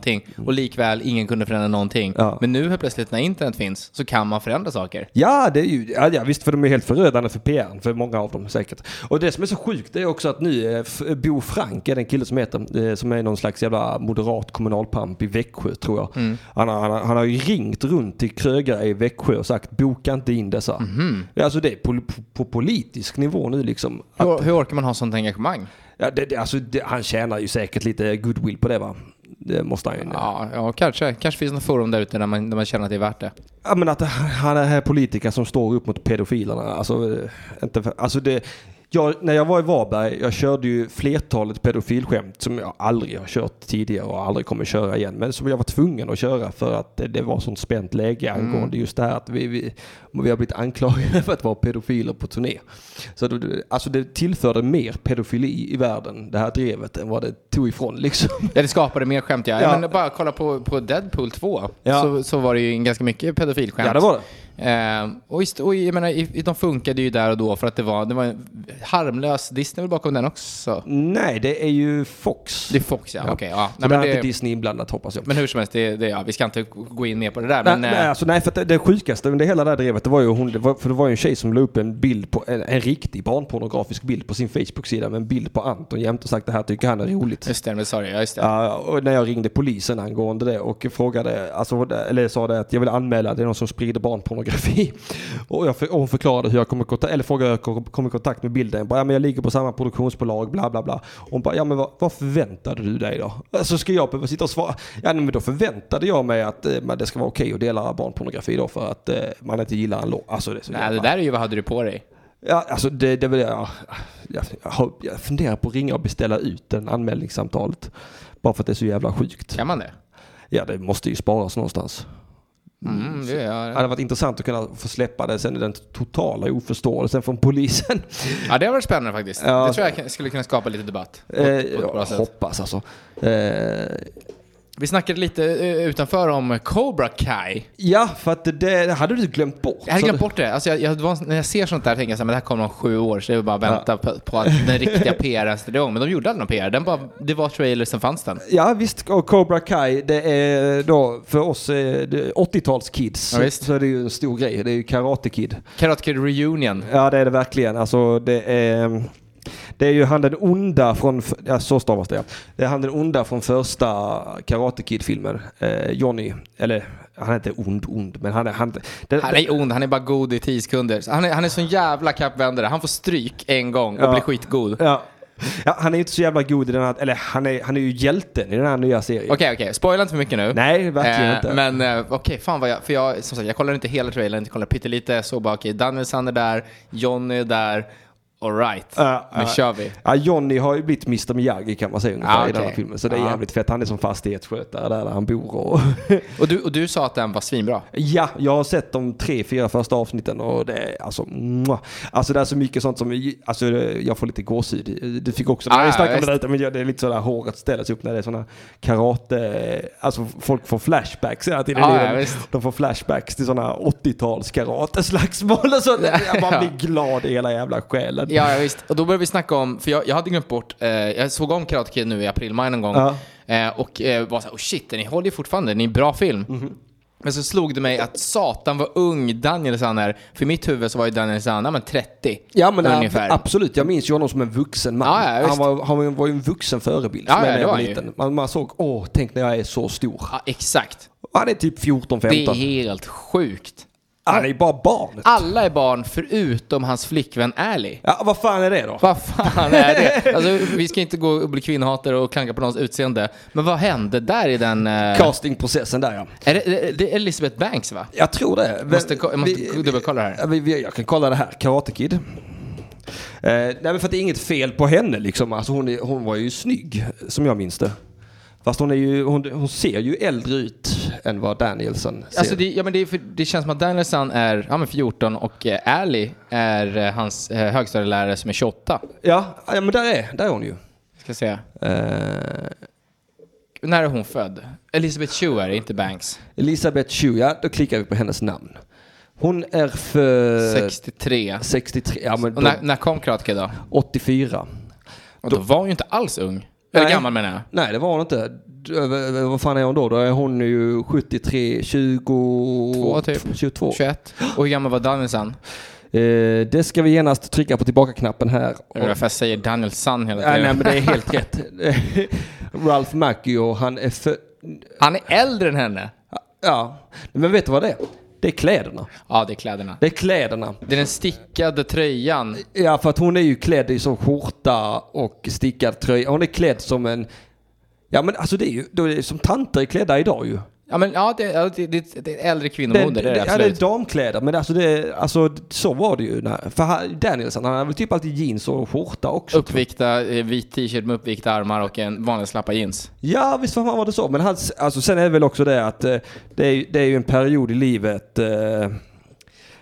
Speaker 2: Och likväl, ingen kunde förändra någonting.
Speaker 1: Mm. Ja.
Speaker 2: Men nu helt plötsligt när internet finns så kan man förändra saker.
Speaker 1: Ja, det är ju, ja, ja, visst för de är helt förödande för PR för många av dem säkert. Och det som är så sjukt det är också att nu eh, F- Bo Frank är den kille som heter, eh, som är någon slags jävla moderat kommunalpamp i Växjö tror jag. Han, har, han, har, han har ju ringt runt till krögare i Växjö och sagt boka inte in dessa. Mm. Alltså det är på, på, på politisk nivå nu liksom. Att,
Speaker 2: Hur, hur orkar man ha sånt engagemang?
Speaker 1: ja, det, det, alltså, det, han tjänar ju säkert lite goodwill på det va? Det måste han ju.
Speaker 2: Ja, ja kanske. Kanske finns något forum där ute där man, där man känner att det är värt det.
Speaker 1: Ja men att han är här politiker som står upp mot pedofilerna. Alltså, eh, inte för, alltså det, jag, när jag var i Varberg, jag körde ju flertalet pedofilskämt som jag aldrig har kört tidigare och aldrig kommer köra igen. Men som jag var tvungen att köra för att det, det var sånt spänt läge
Speaker 2: Mm.
Speaker 1: angående just det här att vi, vi, vi har blivit anklagade för att vara pedofiler på turné. Så det, alltså det tillförde mer pedofili i världen, det här drevet, än vad det tog ifrån liksom.
Speaker 2: Ja, det skapade mer skämt ja.
Speaker 1: Ja.
Speaker 2: Men bara kolla på, på Deadpool 2.
Speaker 1: Ja.
Speaker 2: Så, så var det ju ganska mycket pedofilskämt.
Speaker 1: Ja, det var det.
Speaker 2: Ehm, och i, st- och i- jag menar, i, i- de funkade ju där och då för att det var, det var en harmlös Disney väl bakom den också?
Speaker 1: Nej, det är ju Fox.
Speaker 2: Det är Fox, ja. Okej, ja.
Speaker 1: Så
Speaker 2: Nej,
Speaker 1: där
Speaker 2: men
Speaker 1: är
Speaker 2: det-
Speaker 1: inte Disney inblandat hoppas jag.
Speaker 2: Men hur som helst, det, det, ja, vi ska inte gå in mer på det där.
Speaker 1: Nej,
Speaker 2: men,
Speaker 1: nej,
Speaker 2: eh,
Speaker 1: alltså, nej, för att det, det sjukaste under hela det här drevet, det var ju hon, det var, för det var ju en tjej som la upp en bild på, en, en riktig barnpornografisk bild på sin Facebook-sida med en bild på Anton jämt och sagt det här tycker han är roligt.
Speaker 2: Just det, men sorry, ja, just det.
Speaker 1: Ja, och när jag ringde polisen angående det och frågade, alltså, eller sa det att jag vill anmäla, det är någon som sprider barnpornografi. Och, jag, och hon förklarade hur jag kommer i kontakt, eller frågade hur jag kom- kom i kontakt med bilden. Jag, bara, ja, men jag ligger på samma produktionsbolag, bla bla bla. Och hon bara, ja men vad, vad förväntade du dig då? Alltså ska jag behöva sitta och svara? Ja nej, men då förväntade jag mig att eh, men det ska vara okej att dela barnpornografi då för att eh, man inte gillar en låt. Alltså det är så
Speaker 2: Nej,
Speaker 1: jävla-
Speaker 2: det där är ju vad hade du på dig?
Speaker 1: Ja, alltså det, det är väl jag, jag, jag, har- jag funderar på att ringa och beställa ut den anmälningssamtalet. Bara för att det är så jävla sjukt.
Speaker 2: Kan man det?
Speaker 1: Ja, det måste ju sparas någonstans.
Speaker 2: Mm, det ja,
Speaker 1: Det
Speaker 2: ja.
Speaker 1: hade varit intressant att kunna få släppa det sen i den totala oförståelsen från polisen.
Speaker 2: ja, det har varit spännande faktiskt.
Speaker 1: Ja.
Speaker 2: Det tror jag kan- skulle kunna skapa lite debatt. På,
Speaker 1: Eh,
Speaker 2: på ett bra
Speaker 1: jag
Speaker 2: sätt.
Speaker 1: hoppas alltså. Eh,
Speaker 2: Vi snackade lite eh, utanför om Cobra Kai.
Speaker 1: ja, för att det, det hade du glömt bort.
Speaker 2: Jag hade
Speaker 1: Så
Speaker 2: glömt
Speaker 1: det-
Speaker 2: bort det. Alltså jag, jag, det var, när jag ser sånt där tänker jag så här, men det här kommer om sju år, så det är väl bara att vänta på, på att den riktiga PRn sätter igång. Men de gjorde aldrig någon PR. Den bara, det var trailers, sen fanns den.
Speaker 1: Ja visst, och Cobra Kai, det är då för oss eh, det- 80-talskids
Speaker 2: Ja,
Speaker 1: så,
Speaker 2: visst.
Speaker 1: så är det ju en stor grej. Det är ju Karate Kid.
Speaker 2: Karate Kid Reunion.
Speaker 1: Ja, det är det verkligen. Alltså, det är... Det är ju han den onda från, ja, så stavas det ja. Det är han den onda från första Karate Kid-filmen. Eh, Johnny, eller han är inte ond ond, men han är... Han, det,
Speaker 2: Han är ond, han är bara god i tio sekunder. Så Han är, han är sån jävla kappvändare. Han får stryk en gång och
Speaker 1: Ja.
Speaker 2: blir skitgod. Okej,
Speaker 1: ja. ja, han är ju inte så jävla god i den här, eller han är, han är ju hjälten i den här nya serien.
Speaker 2: okej. Spoila inte för mycket nu.
Speaker 1: Nej, verkligen
Speaker 2: Eh,
Speaker 1: inte.
Speaker 2: Men eh, okej, fan vad jag... För jag, som sagt, jag kollade inte hela trailern, inte kollade pyttelite. Så bara okej, Danielsson är där, Johnny är där. Alright,
Speaker 1: Ja,
Speaker 2: nu
Speaker 1: ja.
Speaker 2: kör vi.
Speaker 1: Ja, Johnny har ju blivit Mr Miyagi kan man säga ungefär
Speaker 2: Ja,
Speaker 1: i den här
Speaker 2: okej. Ah.
Speaker 1: filmen. Så det är
Speaker 2: Ja.
Speaker 1: jävligt fett. Han är som fastighetsskötare där, där han bor. Och
Speaker 2: Och du, och du sa att den var svinbra.
Speaker 1: Ja, jag har sett de tre, fyra första avsnitten och det är alltså... mwah. Alltså det är så mycket sånt som... Alltså det- jag får lite gåshud. Du fick också...
Speaker 2: Ah,
Speaker 1: vi snackade om det
Speaker 2: visst.
Speaker 1: där ute, men jag- det är lite sådär håret ställer sig upp när det är sådana karate... Alltså folk får flashbacks hela tiden. i
Speaker 2: Ah, ja,
Speaker 1: livet.
Speaker 2: visst.
Speaker 1: de får flashbacks till sådana 80-tals karateslagsmål och sånt. Jag bara
Speaker 2: Ja.
Speaker 1: blir glad i hela jävla själen.
Speaker 2: Ja, ja visst. Och då började vi snacka om, för jag, jag hade glömt bort, eh, jag såg om Karate Kid nu i april, maj någon gång.
Speaker 1: Ja.
Speaker 2: Eh, och eh, var såhär, oh shit, ni håller ju fortfarande, ni är en bra film.
Speaker 1: Mhm.
Speaker 2: Men så slog det mig att satan vad ung Danielsson är. För i mitt huvud så var ju Danielsson, ja men 30
Speaker 1: Ja men äh,
Speaker 2: ungefär. Ah,
Speaker 1: ab- absolut, jag minns ju honom som en vuxen man.
Speaker 2: Ja, ja, visst. Ah,
Speaker 1: han, var, han var ju- var ju en vuxen förebild
Speaker 2: Ja,
Speaker 1: som
Speaker 2: ja,
Speaker 1: jag när
Speaker 2: det
Speaker 1: jag var
Speaker 2: var han ju.
Speaker 1: liten. Man, man såg, åh, tänk när jag är så stor.
Speaker 2: ja, exakt.
Speaker 1: Han är typ 14-15.
Speaker 2: Det är helt Ah. sjukt.
Speaker 1: Han är ju bara barnet.
Speaker 2: Alla är barn förutom hans flickvän Ally.
Speaker 1: Ja, vad fan är det då?
Speaker 2: Vad fan är det? Alltså, vi ska inte gå och bli kvinnhatare och klanka på någons utseende. Men vad hände där i den... eh,
Speaker 1: Castingprocessen där ja.
Speaker 2: Är det, är det Elizabeth Banks va?
Speaker 1: Jag tror det. Vem-
Speaker 2: Måste ko- jag måste
Speaker 1: vi-
Speaker 2: dubbelkolla det här.
Speaker 1: Ja, vi- vi- Jag kan kolla det här. Karate Kid. Eh, nej men för att det är inget fel på henne liksom. Alltså, hon, är, hon var ju snygg, som jag minns det. Fast hon, är ju, hon, hon ser ju äldre ut än vad Danielsen ser.
Speaker 2: Alltså det, ja, men det, är för, det känns som att Danielsson är ja, men 14 och eh, Ally är eh, hans eh, högstadielärare som är 28.
Speaker 1: ja, ja, men där är, där är hon ju.
Speaker 2: Ska se.
Speaker 1: Eh,
Speaker 2: När är hon född? Elizabeth Chew är det, inte Banks.
Speaker 1: Elisabeth Chu, ja då klickar vi på hennes namn. Hon är för...
Speaker 2: 63.
Speaker 1: 63, ja men Eh, då,
Speaker 2: Och när, när kom Karate Kid då?
Speaker 1: 84.
Speaker 2: Och då var hon ju inte alls ung. Eller
Speaker 1: Nej.
Speaker 2: gammal menar jag.
Speaker 1: Nej, det var hon inte. D- eh, eh, Vad fan är hon då? Då är hon ju 73, 20...
Speaker 2: Två, typ.
Speaker 1: 22.
Speaker 2: 21. Och hur gammal var Danielsson?
Speaker 1: Eh, det ska vi genast trycka på tillbaka-knappen här.
Speaker 2: Jag
Speaker 1: Och-
Speaker 2: vet varför jag säger Danielsson hela
Speaker 1: Nej, nej,
Speaker 2: tiden.
Speaker 1: men det är helt rätt. Ralph Macchio, han är för...
Speaker 2: Han är äldre än henne.
Speaker 1: Ja, men vet du vad det är? Det är kläderna.
Speaker 2: Ja, det är kläderna.
Speaker 1: Det är kläderna.
Speaker 2: Det är den stickade tröjan.
Speaker 1: Ja, för att hon är ju klädd i som skjorta och stickad tröja. Hon är klädd som en... Ja, men alltså det är ju då är det som tanter är klädda idag ju.
Speaker 2: Ja, men ja, det, ja, det, det, det är äldre
Speaker 1: Det,
Speaker 2: kvinnomode,
Speaker 1: det,
Speaker 2: det, är det
Speaker 1: ja, det är
Speaker 2: absolut.
Speaker 1: damkläder, men alltså, det, alltså så var det ju. När, för han- Danielsson, han hade väl typ alltid jeans och skjorta också. tror jag.
Speaker 2: Uppvikta, eh, vit t-shirt med uppvikta armar och en vanlig slappa jeans.
Speaker 1: Ja, visst fan var det så. Men hans, alltså, sen är det väl också det att eh, det är, det är ju en period i livet eh,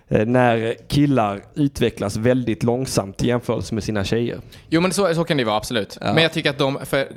Speaker 1: eh, när killar utvecklas väldigt långsamt i jämförelse med sina tjejer.
Speaker 2: Jo men så, så kan det vara, absolut. Men jag tycker att de, för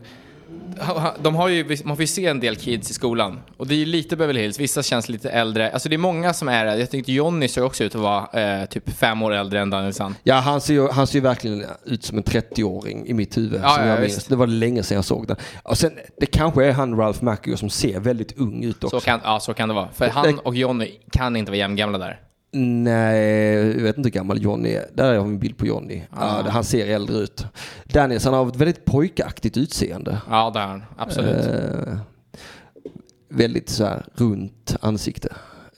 Speaker 2: ha- ha- de har ju, man får ju se en del kids i skolan. Och det är ju lite Beverly Hills, vissa känns lite äldre. Alltså det är många som är det. Jag tyckte Johnny såg också ut att vara eh, typ fem år äldre än Daniel San.
Speaker 1: Ja, han ser, ju, han ser ju verkligen ut som en 30-åring i mitt huvud.
Speaker 2: Ja,
Speaker 1: som
Speaker 2: ja,
Speaker 1: jag minns.
Speaker 2: visst.
Speaker 1: Det var länge sedan jag såg den. Och sen, det kanske är han Ralph Macchio som ser väldigt ung ut också.
Speaker 2: Så kan, ja, så kan det vara. För han och Johnny kan inte vara jämngamla där.
Speaker 1: Nej, jag vet inte hur gammal Johnny är. Där har vi en bild på Johnny. Ja, det- han ser äldre ut. Daniels, han har ett väldigt pojkaktigt utseende.
Speaker 2: Ja, det har han. Absolut.
Speaker 1: Eh, väldigt så här runt ansikte.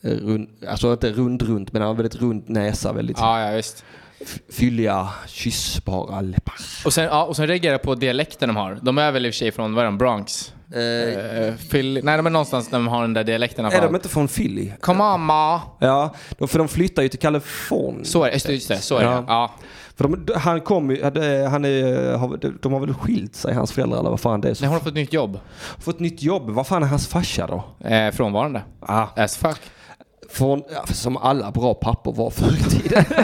Speaker 1: Eh, Rund, alltså inte rund runt, men han har väldigt rund näsa. Väldigt
Speaker 2: Ja, ja, visst.
Speaker 1: f- fylliga, kyssbara läppar.
Speaker 2: Och sen, ja, och sen reagerar jag på dialekten de har. De är väl i och för sig från, vad är de, Bronx? Eh, Philly- Nej, de är någonstans där de har den där dialekten i alla
Speaker 1: Är
Speaker 2: fall.
Speaker 1: de inte från Philly?
Speaker 2: Come on ma!
Speaker 1: Ja, de, för de flyttar ju till Kalifornien.
Speaker 2: Så är det, just det, just det, så är det.
Speaker 1: Ja.
Speaker 2: Ja.
Speaker 1: För de, han kom ju, hade- han är, har- de- de har väl skilt sig, hans föräldrar eller vad fan det är.
Speaker 2: Nej,
Speaker 1: Så
Speaker 2: hon har fått ett nytt jobb.
Speaker 1: fått nytt jobb, vad fan är hans farsa då?
Speaker 2: Eh, frånvarande.
Speaker 1: Ah,
Speaker 2: As fuck.
Speaker 1: från, ja, som alla bra pappor var förr i tiden.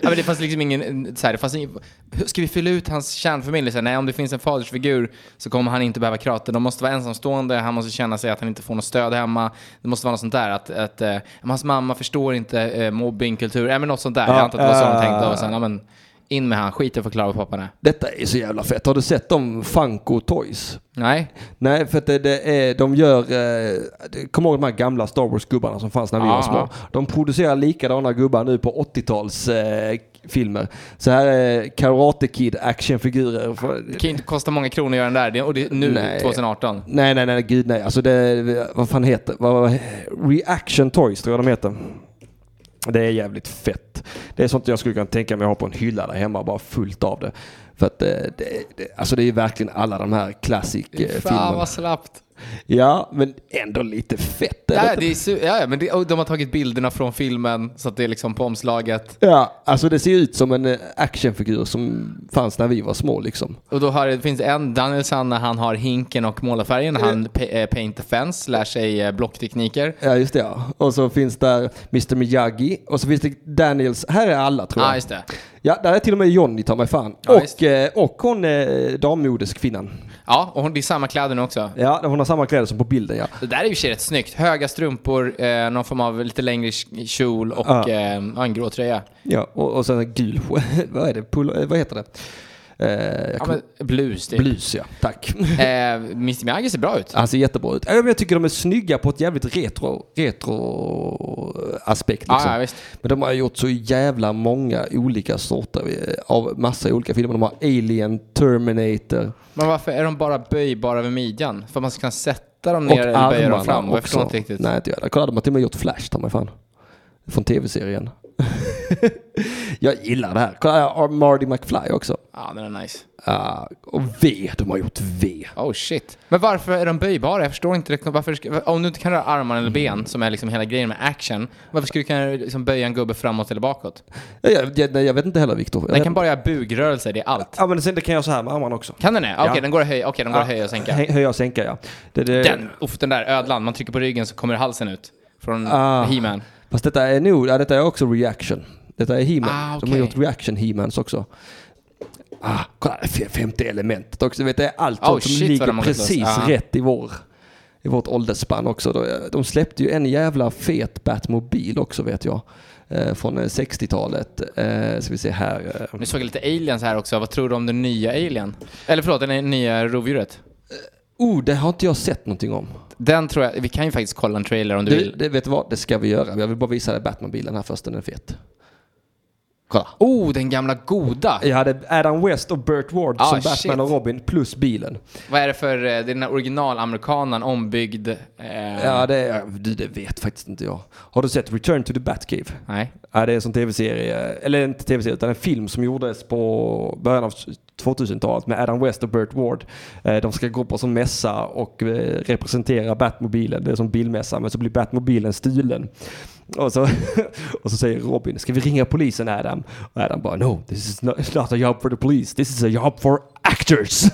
Speaker 2: Ja, men det fanns liksom ingen, så här, det fanns ingen, hur ska vi fylla ut hans kärnfamilj? Så här, nej, om det finns en fadersfigur så kommer han inte behöva krater. De måste vara ensamstående, han måste känna sig att han inte får något stöd hemma. Det måste vara något sånt där, att, att eh, men hans mamma förstår inte eh, mobbingkultur, äh, men något sånt där.
Speaker 1: Ja,
Speaker 2: Jag antar att det var så de
Speaker 1: äh.
Speaker 2: tänkte. Och sen, ja, men, in med han, skit i att förklara vad pappan är.
Speaker 1: Detta är så jävla fett. Har du sett dem Funko Toys?
Speaker 2: Nej,
Speaker 1: Nej, för att det, det är, de gör... Eh, det- Kommer ihåg de här gamla Star Wars-gubbarna som fanns när vi var
Speaker 2: Ja,
Speaker 1: små?
Speaker 2: ja.
Speaker 1: De producerar likadana gubbar nu på 80-tals... Eh, filmer. Så här är Karate Kid actionfigurer. För-
Speaker 2: det kan ju inte kosta många kronor att göra den där. Det, och det är nu,
Speaker 1: Nej.
Speaker 2: 2018.
Speaker 1: Nej, nej, nej, gud nej. Alltså det, vad fan heter vad, vad, Reaction Toys tror jag de heter. Det är jävligt fett. Det är sånt jag skulle kunna tänka mig att ha på en hylla där hemma, bara fullt av det. För att eh, det, det, alltså det är ju verkligen alla de här
Speaker 2: Fan
Speaker 1: klassikfilmerna.
Speaker 2: vad slappt.
Speaker 1: Ja, men ändå lite fett. eller
Speaker 2: Ja,
Speaker 1: inte?
Speaker 2: det är, su- ja, ja, men det, och de har tagit bilderna från filmen så att det är liksom på omslaget.
Speaker 1: ja, alltså det ser ut som en eh, actionfigur som fanns när vi var små liksom.
Speaker 2: Och då har, det finns en, Daniel San när han har hinken och målarfärgen, han pa- eh, paint the fence, lär sig eh, blocktekniker.
Speaker 1: Ja, just det ja. Och så finns där Mr Miyagi och så finns det Daniels. Här är alla tror jag.
Speaker 2: Ja, just det.
Speaker 1: Ja, där är till och med Johnny ta mig fan.
Speaker 2: Ja,
Speaker 1: och,
Speaker 2: visst.
Speaker 1: eh, och hon eh, dammodeskvinnan.
Speaker 2: Ja, och hon, det är samma kläder nu också.
Speaker 1: Ja, hon har samma kläder som på bilden ja.
Speaker 2: Det där är ju i och för sig rätt snyggt. Höga strumpor, eh, någon form av lite längre sk- kjol och
Speaker 1: Ja.
Speaker 2: eh, ja, en grå tröja.
Speaker 1: ja och, och sen en gul, vad är det, Pull, eh, vad heter det? Eh, jag
Speaker 2: Ja,
Speaker 1: kommer-
Speaker 2: men blus typ.
Speaker 1: Blus ja, tack.
Speaker 2: Eh, Mr Miyagi ser bra ut.
Speaker 1: Han ser jättebra ut. Ja, men Jag tycker de är snygga på ett jävligt retro, retro aspekt.
Speaker 2: Ja,
Speaker 1: Liksom.
Speaker 2: ja, visst.
Speaker 1: Men de har gjort så jävla många olika sorter eh, av massa olika filmer. De har Alien, Terminator.
Speaker 2: Men varför är de bara böjbara vid midjan? För att man ska kunna sätta dem
Speaker 1: Och
Speaker 2: ner eller böja
Speaker 1: armarna
Speaker 2: dem fram? Jag förstår
Speaker 1: också.
Speaker 2: inte riktigt.
Speaker 1: Nej, inte jag. Där, Kolla, de har till och med gjort Flash, ta mig fan. Från tv-serien. jag gillar det här. Kolla, jag har Marty McFly också.
Speaker 2: Ja, den är nice.
Speaker 1: Ah, och V, de har gjort V.
Speaker 2: Oh shit. Men varför är de böjbara? Jag förstår inte. riktigt Varför ska, om du inte kan röra armar eller ben, som är liksom hela grejen med action, varför skulle du kunna liksom böja en gubbe framåt eller bakåt?
Speaker 1: Jag, jag, jag, nej, jag vet inte heller, Viktor. Jag
Speaker 2: Den
Speaker 1: vet-
Speaker 2: kan bara göra bugrörelser, det är allt.
Speaker 1: Ja, men sen det kan jag så här med armarna också.
Speaker 2: Kan den det? Okej,
Speaker 1: Ja.
Speaker 2: den går att höja, okay, den går att höja och sänka.
Speaker 1: Ah, Hö- Höja och sänka, ja. Det, det,
Speaker 2: Den, uff, den där ödlan, man trycker på ryggen så kommer halsen ut. Från
Speaker 1: Ah.
Speaker 2: He-Man.
Speaker 1: Fast detta är nog, ja, detta är också reaction. Detta är He-Man.
Speaker 2: Ah,
Speaker 1: De har
Speaker 2: okej.
Speaker 1: gjort reaction He-Mans också. Ah, kolla, f- femte elementet också. Vet, du, det är allt
Speaker 2: Oh,
Speaker 1: sånt som
Speaker 2: shit, vad de
Speaker 1: ligger
Speaker 2: har gått
Speaker 1: precis
Speaker 2: loss. Ah.
Speaker 1: rätt i, vår, i vårt åldersspann också. De- De släppte ju en jävla fet Batmobil också vet jag. Eh, från eh, 60-talet. Eh, ska vi se här. eh.
Speaker 2: Nu såg jag lite aliens här också. Vad tror du om den nya alien? Eller förlåt, den nya rovdjuret.
Speaker 1: Oh, det har inte jag sett någonting om.
Speaker 2: Den tror jag, vi kan ju faktiskt kolla en trailer om du
Speaker 1: Du,
Speaker 2: vill.
Speaker 1: det, vet du vad? Det ska vi göra. Jag vill bara visa dig Batmobilen här först. Den är fet. Kolla.
Speaker 2: Oh, den gamla goda!
Speaker 1: Jag hade Adam West och Burt Ward
Speaker 2: Ah,
Speaker 1: som Batman
Speaker 2: shit.
Speaker 1: och Robin plus bilen.
Speaker 2: Vad är det för, eh, det är den här originalamerikanaren ombyggd... Eh,
Speaker 1: Ja, det, ja, du, det vet faktiskt inte jag. Har du sett Return to the Batcave?
Speaker 2: Nej.
Speaker 1: Ja, det är en sån tv-serie, eller inte tv-serie, utan en film som gjordes på början av 2000-talet med Adam West och Burt Ward. Eh, De ska gå på som mässa och eh, representera Batmobilen. Det är som bilmässa, men så blir Batmobilen stulen. Och så, och så säger Robin, ska vi ringa polisen Adam? Och Adam bara, no, this is not, it's not a job for the police, this is a job for actors.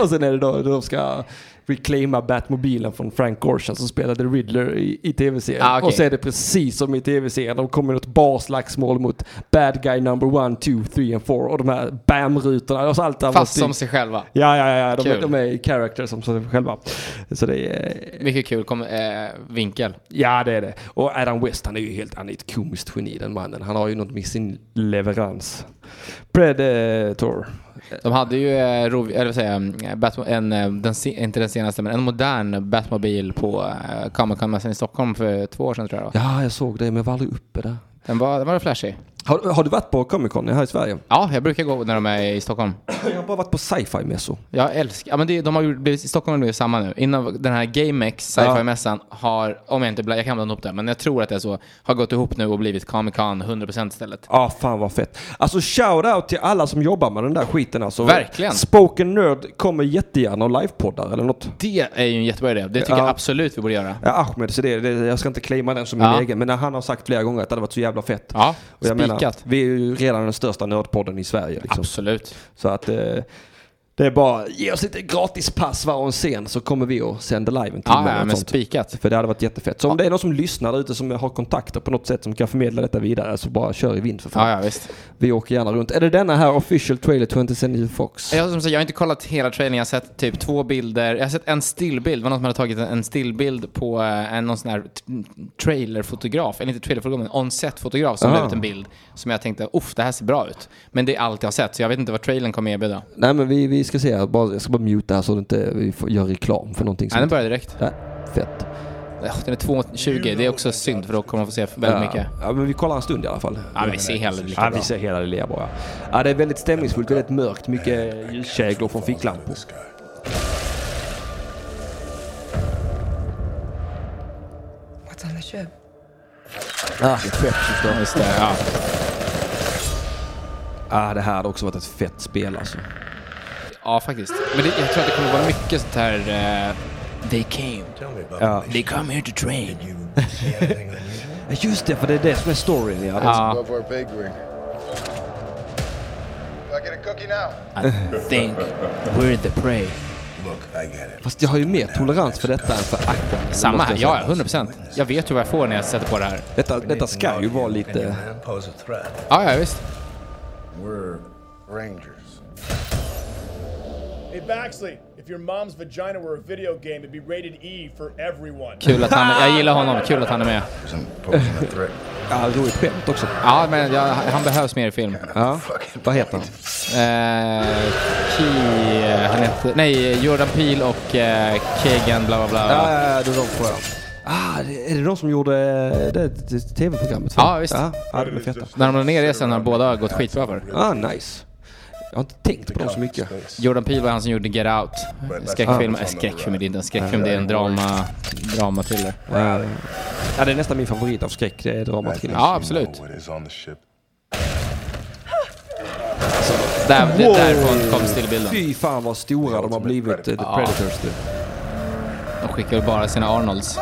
Speaker 1: och sen är det då de ska reclaima Batmobilen från Frank Gorshin som spelade Riddler i, i tv-serien.
Speaker 2: Ah, okej.
Speaker 1: Och så är det precis som i tv-serien. De kommer i ett barslagsmål mot bad guy number one, two, three and four. Och de här BAM-rutorna. Och så allt annat
Speaker 2: Fast
Speaker 1: i-
Speaker 2: som sig själva.
Speaker 1: typ- Ja, ja, ja. De,
Speaker 2: Kul.
Speaker 1: de är characters som sig själva. Så det är...
Speaker 2: Mycket kul kom, eh, vinkel.
Speaker 1: Ja, det är det. Och Adam West, han är ju helt, han är ett komiskt geni den mannen. Han har ju något med sin leverans. Predator.
Speaker 2: De hade ju, eh, rov, eller vad säger jag, Batmo- en, eh, den, se- inte den senaste, men en modern Batmobil på eh, Comic Con-mässan i Stockholm för två år sedan tror jag det var.
Speaker 1: Ja, jag såg det, men jag var aldrig uppe där.
Speaker 2: Den var, den var flashig.
Speaker 1: Har, har du varit på Comic Con här i Sverige?
Speaker 2: Ja, jag brukar gå när de är i Stockholm.
Speaker 1: Jag har bara varit på sci-fi mässor.
Speaker 2: Jag älskar, ja men det, de har ju blivit, i Stockholm har det blivit samma nu. Innan den här GameX sci-fi-mässan har, om jag inte bla- jag kan blanda ihop det, men jag tror att det är så, har gått ihop nu och blivit Comic Con 100% istället.
Speaker 1: Ja, fan vad fett. Alltså shout out till alla som jobbar med den där skiten alltså.
Speaker 2: Verkligen.
Speaker 1: Spoken Nerd kommer jättegärna och livepoddar eller något.
Speaker 2: Det är ju en jättebra idé, det tycker
Speaker 1: Ja.
Speaker 2: jag absolut vi borde göra.
Speaker 1: Ja, Ahmed, så det, det, jag ska inte claima den som min
Speaker 2: Ja.
Speaker 1: egen, men han har sagt flera gånger att det hade varit så jävla fett.
Speaker 2: Ja,
Speaker 1: Och jag menar,
Speaker 2: spikat.
Speaker 1: vi är ju redan den största nördpodden i Sverige. Liksom.
Speaker 2: Absolut.
Speaker 1: Så att eh, det är bara ge oss lite gratispass var och en scen så kommer vi och sänder live en timme.
Speaker 2: Ja,
Speaker 1: eller
Speaker 2: ja
Speaker 1: något
Speaker 2: men
Speaker 1: sånt.
Speaker 2: spikat.
Speaker 1: För det hade varit jättefett. Så om det är någon som lyssnar där ute som har kontakter på något sätt som kan förmedla detta vidare så bara kör i vind för fan.
Speaker 2: Ja, ja visst.
Speaker 1: Vi åker gärna runt. Är det denna här official trailer 20 Century Fox?
Speaker 2: Jag, som sagt, jag har inte kollat hela trailern, jag har sett typ två bilder. Jag har sett en stillbild, det var någon som hade tagit en- en stillbild på eh, en, någon sån här t- trailerfotograf, eller inte trailerfotograf, men on-set-fotograf som la
Speaker 1: Ah.
Speaker 2: ut en bild som jag tänkte, uff, det här ser bra ut. Men det är allt jag har sett, så jag vet inte vad trailern kommer erbjuda.
Speaker 1: Nej men vi, vi ska se, här. Bara- jag ska bara muta här så att inte vi får, gör reklam för någonting.
Speaker 2: Nej,
Speaker 1: Som
Speaker 2: den börjar direkt.
Speaker 1: Nej, fett.
Speaker 2: Ja, Den är 2.20, det är också synd för då kommer man få se väldigt mycket.
Speaker 1: Ja, ja, men vi kollar en stund i alla fall.
Speaker 2: Ja, vi ser hela det lika
Speaker 1: Ja,
Speaker 2: bra.
Speaker 1: vi ser hela det lilla bara. Ja, det är väldigt stämningsfullt, väldigt mörkt, mycket ljuskäglor från ficklampor.
Speaker 6: What's on the ship?
Speaker 1: Ah, fett förstås.
Speaker 2: Just det, ja.
Speaker 1: Ah, det här hade också varit ett fett spel alltså.
Speaker 2: ja, faktiskt. Men det, jag tror att det kommer vara mycket sånt här... eh, They came.
Speaker 1: Ja.
Speaker 2: They come here to train.
Speaker 1: Just det, för det är det som är storyn. Ja.
Speaker 2: Ja,
Speaker 13: for a big ring. Do I get a cookie now?
Speaker 2: I think we're the prey.
Speaker 1: Fast jag har ju mer tolerans för detta än för Aquaman.
Speaker 2: Samma
Speaker 1: måste
Speaker 2: här,
Speaker 1: jag säga.
Speaker 2: ja, 100 procent. Jag vet ju vad jag får när jag sätter på det här.
Speaker 1: Detta, detta ska ju vara lite...
Speaker 2: øh, Ja, ja visst.
Speaker 13: We're rangers.
Speaker 14: Hey Baxley, if your mom's vagina were a video game, it'd be rated E for everyone.
Speaker 2: Kul att han, jag gillar honom, kul att han är med.
Speaker 1: Ja, roligt skämt också.
Speaker 2: Ja, men jag, han behövs mer i film.
Speaker 1: Ja. Vad heter han?
Speaker 2: Eh, Key, eh, han heter, nej, Jordan Peele och eh, Keegan bla bla
Speaker 1: Ja,
Speaker 2: bla.
Speaker 1: ja, ja, det är de två. ja. Ah, det- är det de som gjorde det, det tv-programmet?
Speaker 2: Ja, visst.
Speaker 1: Ja, ja,
Speaker 2: er
Speaker 1: de är feta.
Speaker 2: När de la ner resan har båda gått skitbra för.
Speaker 1: Ah, nice. Jag har inte tänkt på dem så mycket.
Speaker 2: Jordan Peele var han som gjorde Get Out. Skräckfilm, äh, skräckfilm, det är inte en skräckfilm, det är en drama, drama thriller.
Speaker 1: Ja, ja, det är nästan min favorit av skräck, det är dramathriller.
Speaker 2: Ja, absolut.
Speaker 13: What is on the ship?
Speaker 2: Där, det, därifrån kom stillbilden.
Speaker 1: Fy fan vad stora de har blivit, eh, The Predators. Du.
Speaker 2: De skickar väl bara sina Arnolds.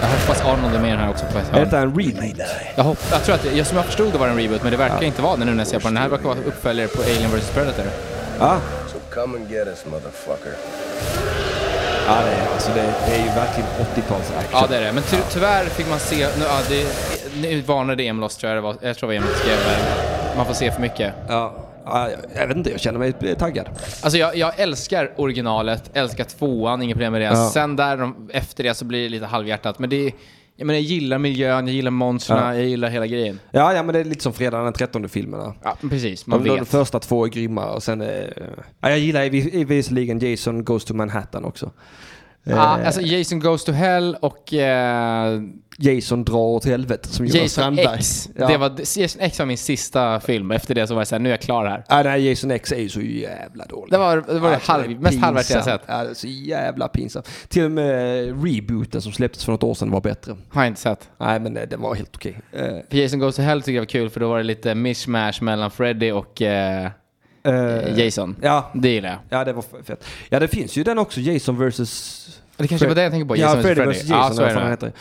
Speaker 2: Jag hoppas Arnold är med i den här också. På ett
Speaker 1: Är
Speaker 2: hörn.
Speaker 1: detta en remake?
Speaker 2: Jag, hopp, jag tror att, det- jag, som jag förstod det var en reboot, men det verkar inte vara det nu när jag ser på den. Den här verkar vara uppföljare på Alien vs Predator.
Speaker 1: Ja.
Speaker 10: So come and get us, motherfucker.
Speaker 1: Ja, det är, alltså det, det är ju verkligen 80-tals action.
Speaker 2: Ja, det är det. Men ty, tyvärr fick man se... Nu, ja, det, nu varnade Emil oss, tror jag det var. Jag tror det var Emil som skrev eh, man får se för mycket.
Speaker 1: Ja, ja, jag- jag vet inte, jag känner mig eh, taggad.
Speaker 2: Alltså jag, jag älskar originalet, älskar tvåan, inga problem med det.
Speaker 1: Ja.
Speaker 2: Sen där de, efter det så blir det lite halvhjärtat. Men det jag, menar, jag gillar miljön, jag gillar monstren,
Speaker 1: Ja.
Speaker 2: jag gillar hela grejen.
Speaker 1: Ja, ja, men det är lite som fredag den 13 filmerna.
Speaker 2: Ja, precis. Man
Speaker 1: De, de
Speaker 2: vet.
Speaker 1: första två är grymma och sen... Eh, ja, jag gillar vis- visserligen Jason Goes to Manhattan också.
Speaker 2: Ja,
Speaker 1: Eh.
Speaker 2: alltså Jason Goes to Hell och... eh,
Speaker 1: Jason drar åt helvete som Jonas
Speaker 2: Jason
Speaker 1: Strandberg.
Speaker 2: X.
Speaker 1: Ja.
Speaker 2: Det var, Jason X var min sista film. Efter det så var jag såhär, nu är jag klar här.
Speaker 1: Ja, nej, Jason X är ju så jävla dålig.
Speaker 2: Det var det, var det
Speaker 1: Alltså,
Speaker 2: halv,
Speaker 1: är
Speaker 2: mest halvvärt jag
Speaker 1: pinsamt.
Speaker 2: sett.
Speaker 1: Ja, det är så jävla pinsamt. Till och med eh, rebooten som släpptes för något år sedan var bättre.
Speaker 2: Har jag inte sett.
Speaker 1: Nej, men eh, den var helt okej. Eh,
Speaker 2: För Jason Goes to Hell tycker jag var kul för då var det lite mishmash mellan Freddy och eh,
Speaker 1: eh,
Speaker 2: Jason.
Speaker 1: ja.
Speaker 2: Det gillar jag.
Speaker 1: ja, det var f- fett. Ja, det finns ju den också, Jason vs...
Speaker 2: Det kanske var det jag tänker på.
Speaker 1: Ja,
Speaker 2: Jason
Speaker 1: Freddy vs Jason.
Speaker 2: Ja,
Speaker 1: eller
Speaker 2: så
Speaker 1: vad
Speaker 2: är
Speaker 1: fan
Speaker 2: det.
Speaker 1: han heter.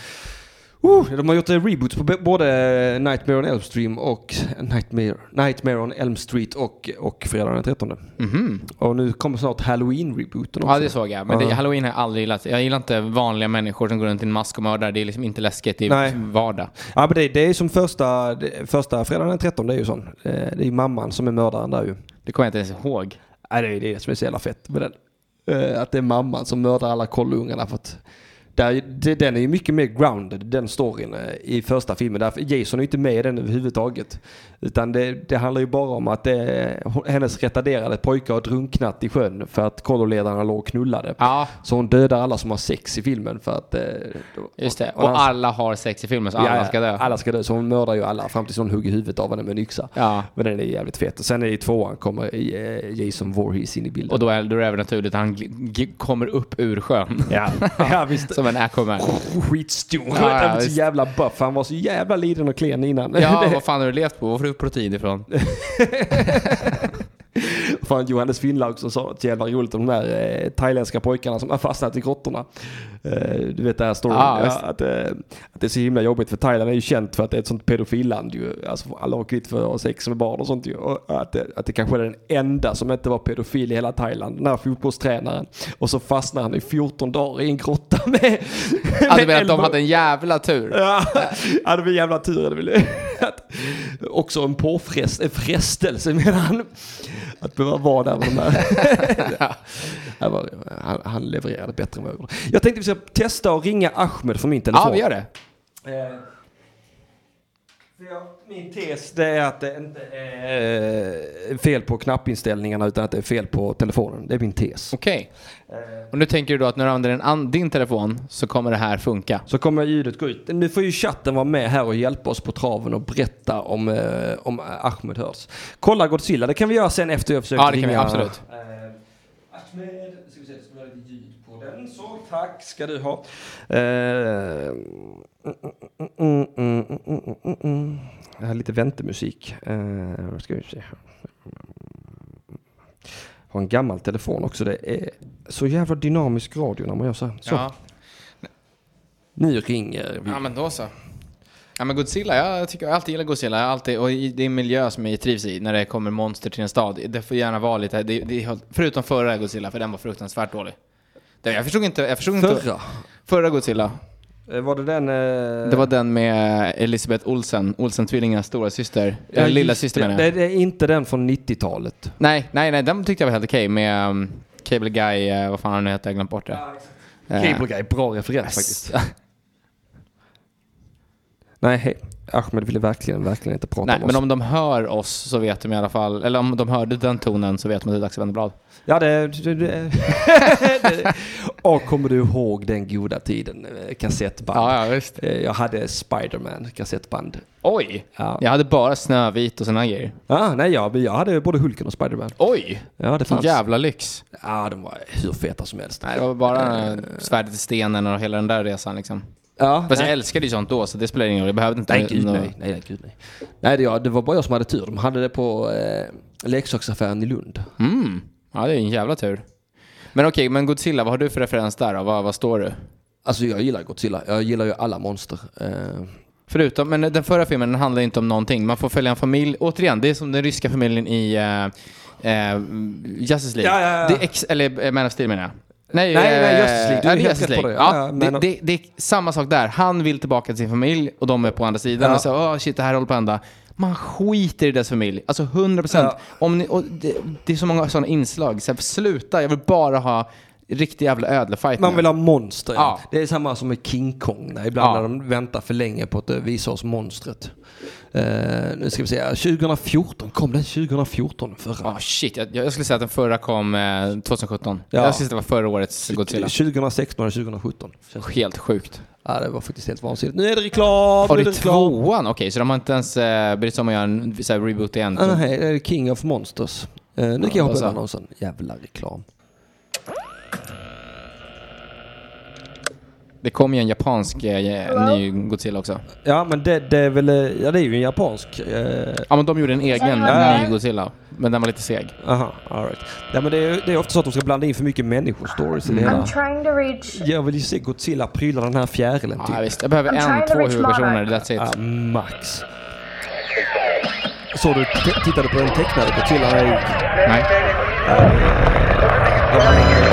Speaker 1: Oh, de har gjort eh, reboots på b- både Nightmare on Elm Street och Nightmare, Nightmare on Elm Street och, och Fredag den 13.
Speaker 2: Mhm.
Speaker 1: Och nu kommer snart Halloween-rebooten också.
Speaker 2: Ja, det såg jag. Men det,
Speaker 1: Ja.
Speaker 2: halloween har jag aldrig gillat. Jag gillar inte vanliga människor som går runt i en mask och mördar. Det är liksom inte läskigt. Det är
Speaker 1: Nej.
Speaker 2: vardag.
Speaker 1: Ja, men det, det är som första, det, första fredagen den 13, det är ju sån. Eh, Det är ju mamman som är mördaren där ju.
Speaker 2: Det kommer jag inte ens ihåg.
Speaker 1: Nej, det är det som är så jävla fett med den. Eh, Att det är mamman som mördar alla kollungarna för att där, det, den är ju mycket mer grounded, den storyn eh, i första filmen. Därför, Jason är ju inte med i den överhuvudtaget. Utan det, det handlar ju bara om att det, hennes retarderade pojke har drunknat i sjön för att kolloledarna låg och knullade. Så hon dödar alla som har sex i filmen för att... eh, då-
Speaker 2: Just det.
Speaker 1: och
Speaker 2: Och
Speaker 1: hans-
Speaker 2: alla har sex i filmen, så alla
Speaker 1: Ja,
Speaker 2: ska dö.
Speaker 1: Alla ska dö, så hon mördar ju alla fram tills någon hugger huvudet av henne med en yxa. Men den är jävligt fet. Och sen är det i tvåan kommer eh, Jason Voorhees in i bilden.
Speaker 2: Och då är, då är det även naturligt att han gl- gl- kommer upp ur sjön.
Speaker 1: Ja, ja visst.
Speaker 2: Som en Aquaman.
Speaker 1: Skitstor.
Speaker 2: Ja, ja,
Speaker 1: han var så
Speaker 2: visst.
Speaker 1: jävla buff. Han var så jävla liten och klen innan.
Speaker 2: Ja, vad fan har du levt på? Var får du protein ifrån?
Speaker 1: Fan, Johannes Finnlaug som sa något jävla roligt om de där eh, thailändska pojkarna som har fastnat i grottorna. Eh, du vet det här storyn.
Speaker 2: Ah,
Speaker 1: ja,
Speaker 2: visst.
Speaker 1: att, eh, att det är så himla jobbigt för Thailand är ju känt för att det är ett sånt pedofilland ju. Alltså alla har kvitt för att ha sex med barn och sånt ju. Och att, det, att det kanske är den enda som inte var pedofil i hela Thailand. Den här fotbollstränaren. Och så fastnar han i 14 dagar i en grotta med...
Speaker 2: Ja, Alltså, du menar att
Speaker 1: elva-
Speaker 2: de hade en jävla tur?
Speaker 1: Ja, ja det var jävla tur. Det blev, att, också en påfrest, en frestelse menar han. Att behöva vara där med de här. Han var, han, han levererade bättre än vad jag gjorde. Jag tänkte vi ska testa att ringa Ahmed från min telefon. Eh,
Speaker 2: Ja, vi gör det.
Speaker 1: Min tes det är att det inte är eh, fel på knappinställningarna utan att det är fel på telefonen. Det är min tes. Eh,
Speaker 2: Okej. Och nu tänker du då att när du använder en an- din telefon så kommer det här funka?
Speaker 1: Så kommer ljudet gå ut. Nu får ju chatten vara med här och hjälpa oss på traven och berätta om, eh, om Ahmed hörs. Kolla Godzilla, det kan vi göra sen efter jag försökt
Speaker 2: Ja, det kan vi,
Speaker 1: ringa-
Speaker 2: absolut.
Speaker 1: Eh, Ahmed, ska vi se, det ska vara lite ljud på den. Så, tack ska du ha. Eh, mm, mm, mm, mm, mm, mm, mm. Jag har lite väntemusik. Eh, vad ska vi se här. Har en gammal telefon också. Det är så jävla dynamisk radio när man gör så här. Så.
Speaker 2: Ja.
Speaker 1: Nu ringer vi.
Speaker 2: Ja, men då så. Ja, men Godzilla, jag, tycker, jag har alltid gillat Godzilla. Jag har alltid, och i- det är en miljö som jag trivs i när det kommer monster till en stad. Det får gärna vara lite, det, det, är- förutom förra Godzilla, för den var fruktansvärt dålig. Det, jag förstod inte, jag förstod
Speaker 1: Förra?
Speaker 2: inte. Förra Godzilla.
Speaker 1: Eh, Var det den... eh,
Speaker 2: Det var den med Elisabeth Olsen, Olsen-tvillingarnas stora syster.
Speaker 1: Ja,
Speaker 2: Eller lilla
Speaker 1: just
Speaker 2: syster
Speaker 1: det.
Speaker 2: menar jag.
Speaker 1: Nej, det är inte den från 90-talet.
Speaker 2: Nej, nej, nej, den tyckte jag var helt okej med um, Cable Guy, eh, vad fan han nu heter, jag har glömt bort det. Eh,
Speaker 1: Cable Guy, bra referens
Speaker 2: yes.
Speaker 1: faktiskt. Nej, hej. Ahmed ville verkligen, verkligen inte prata
Speaker 2: Nej,
Speaker 1: om oss.
Speaker 2: men om de hör oss så vet de i alla fall, eller om de hörde den tonen så vet man att det är dags att vända blad.
Speaker 1: Ja, det... det, det. Och kommer du ihåg den goda tiden? eh, Kassettband.
Speaker 2: Ja, ja, visst.
Speaker 1: Eh, Jag hade Spiderman kassettband.
Speaker 2: Oj!
Speaker 1: Ja.
Speaker 2: Jag hade bara Snövit och sådana grejer.
Speaker 1: Ja, nej, jag, jag hade både Hulken och Spiderman.
Speaker 2: Oj!
Speaker 1: Ja, det fanns.
Speaker 2: Jävla lyx.
Speaker 1: Ja, de var hur feta som helst.
Speaker 2: Nej, det var bara eh, svärdet i stenen och hela den där resan liksom.
Speaker 1: Ja, nej.
Speaker 2: Fast jag älskade ju sånt då, så det spelar ingen roll. Jag behövde inte...
Speaker 1: Nej, gud,
Speaker 2: nå-
Speaker 1: nej, nej, nej, gud, nej. Nej, det, ja, det var bara jag som hade tur. De hade det på eh, leksaksaffären i Lund.
Speaker 2: Mm. Ja, det är en jävla tur. Men okej, men Godzilla, vad har du för referens där då? Vad, vad står du?
Speaker 1: Alltså jag gillar Godzilla. Jag gillar ju alla monster. Eh,
Speaker 2: Förutom, men den förra filmen den handlar inte om någonting. Man får följa en familj, återigen, det är som den ryska familjen i eh, eh, Justice League.
Speaker 1: Ja, ja, ja.
Speaker 2: Det är ex, eller eh, Man of Steel menar jag. Nej,
Speaker 1: Nej, nej,
Speaker 2: eh,
Speaker 1: Justice League. Du är
Speaker 2: ja, det är
Speaker 1: helt
Speaker 2: Justice
Speaker 1: rätt på
Speaker 2: League.
Speaker 1: det, ja. Ja,
Speaker 2: Ja,
Speaker 1: Man
Speaker 2: det,
Speaker 1: of-
Speaker 2: det, det är samma sak där. Han vill tillbaka till sin familj och de är på andra sidan.
Speaker 1: Ja.
Speaker 2: Och så, oh, shit, det här håller på att hända. Man skiter i deras familj. Alltså 100 procent.
Speaker 1: Ja.
Speaker 2: Det, det är så många sådana inslag. Så här, sluta, jag vill bara ha riktig jävla ödlefight
Speaker 1: man
Speaker 2: nu.
Speaker 1: vill ha monster. Ja.
Speaker 2: Ja.
Speaker 1: Det är samma som med King Kong. När ibland när
Speaker 2: Ja.
Speaker 1: de väntar för länge på att eh, visa oss monstret. Eh, nu ska vi se. 2014. Kom den 2014? Förra?
Speaker 2: Ja, shit. Jag, jag skulle säga att den förra kom eh, 2017.
Speaker 1: Ja.
Speaker 2: Jag skulle säga att det var förra årets Godzilla.
Speaker 1: 2016 eller 2017.
Speaker 2: Helt sjukt.
Speaker 1: Ja, det var faktiskt helt vansinnigt. Nu är det reklam!
Speaker 2: Ja,
Speaker 1: nu
Speaker 2: det
Speaker 1: är
Speaker 2: är
Speaker 1: reklam.
Speaker 2: tvåan? Okej, så de har inte ens eh, brytt sig om att göra en så här, reboot igen?
Speaker 1: Ah, nej, det är King of Monsters. Eh, nu kan
Speaker 2: Ja,
Speaker 1: jag hoppa
Speaker 2: alltså.
Speaker 1: över annonsen. Jävla reklam.
Speaker 2: Det kom ju en japansk eh, ny Godzilla också.
Speaker 1: Ja, men det, det är väl... eh, Ja, det är ju en japansk. Eh.
Speaker 2: Ja, men de gjorde en egen
Speaker 1: Ja.
Speaker 2: ny Godzilla. Men den var lite seg.
Speaker 1: Aha, all right. Ja, men det är, det är ofta så att de ska blanda in för mycket människostories i det
Speaker 5: Mm.
Speaker 15: I'm
Speaker 1: hela.
Speaker 15: trying to reach.
Speaker 1: Jag vill ju se Godzilla pryla den här fjärilen typ. Ja,
Speaker 2: visst. Jag behöver I'm en, trying to två reach huvudpersoner, Monarch. that's it.
Speaker 1: Ja, max. Så du t- tittade på den tecknade Godzilla? Nej.
Speaker 2: Nej.
Speaker 1: eh,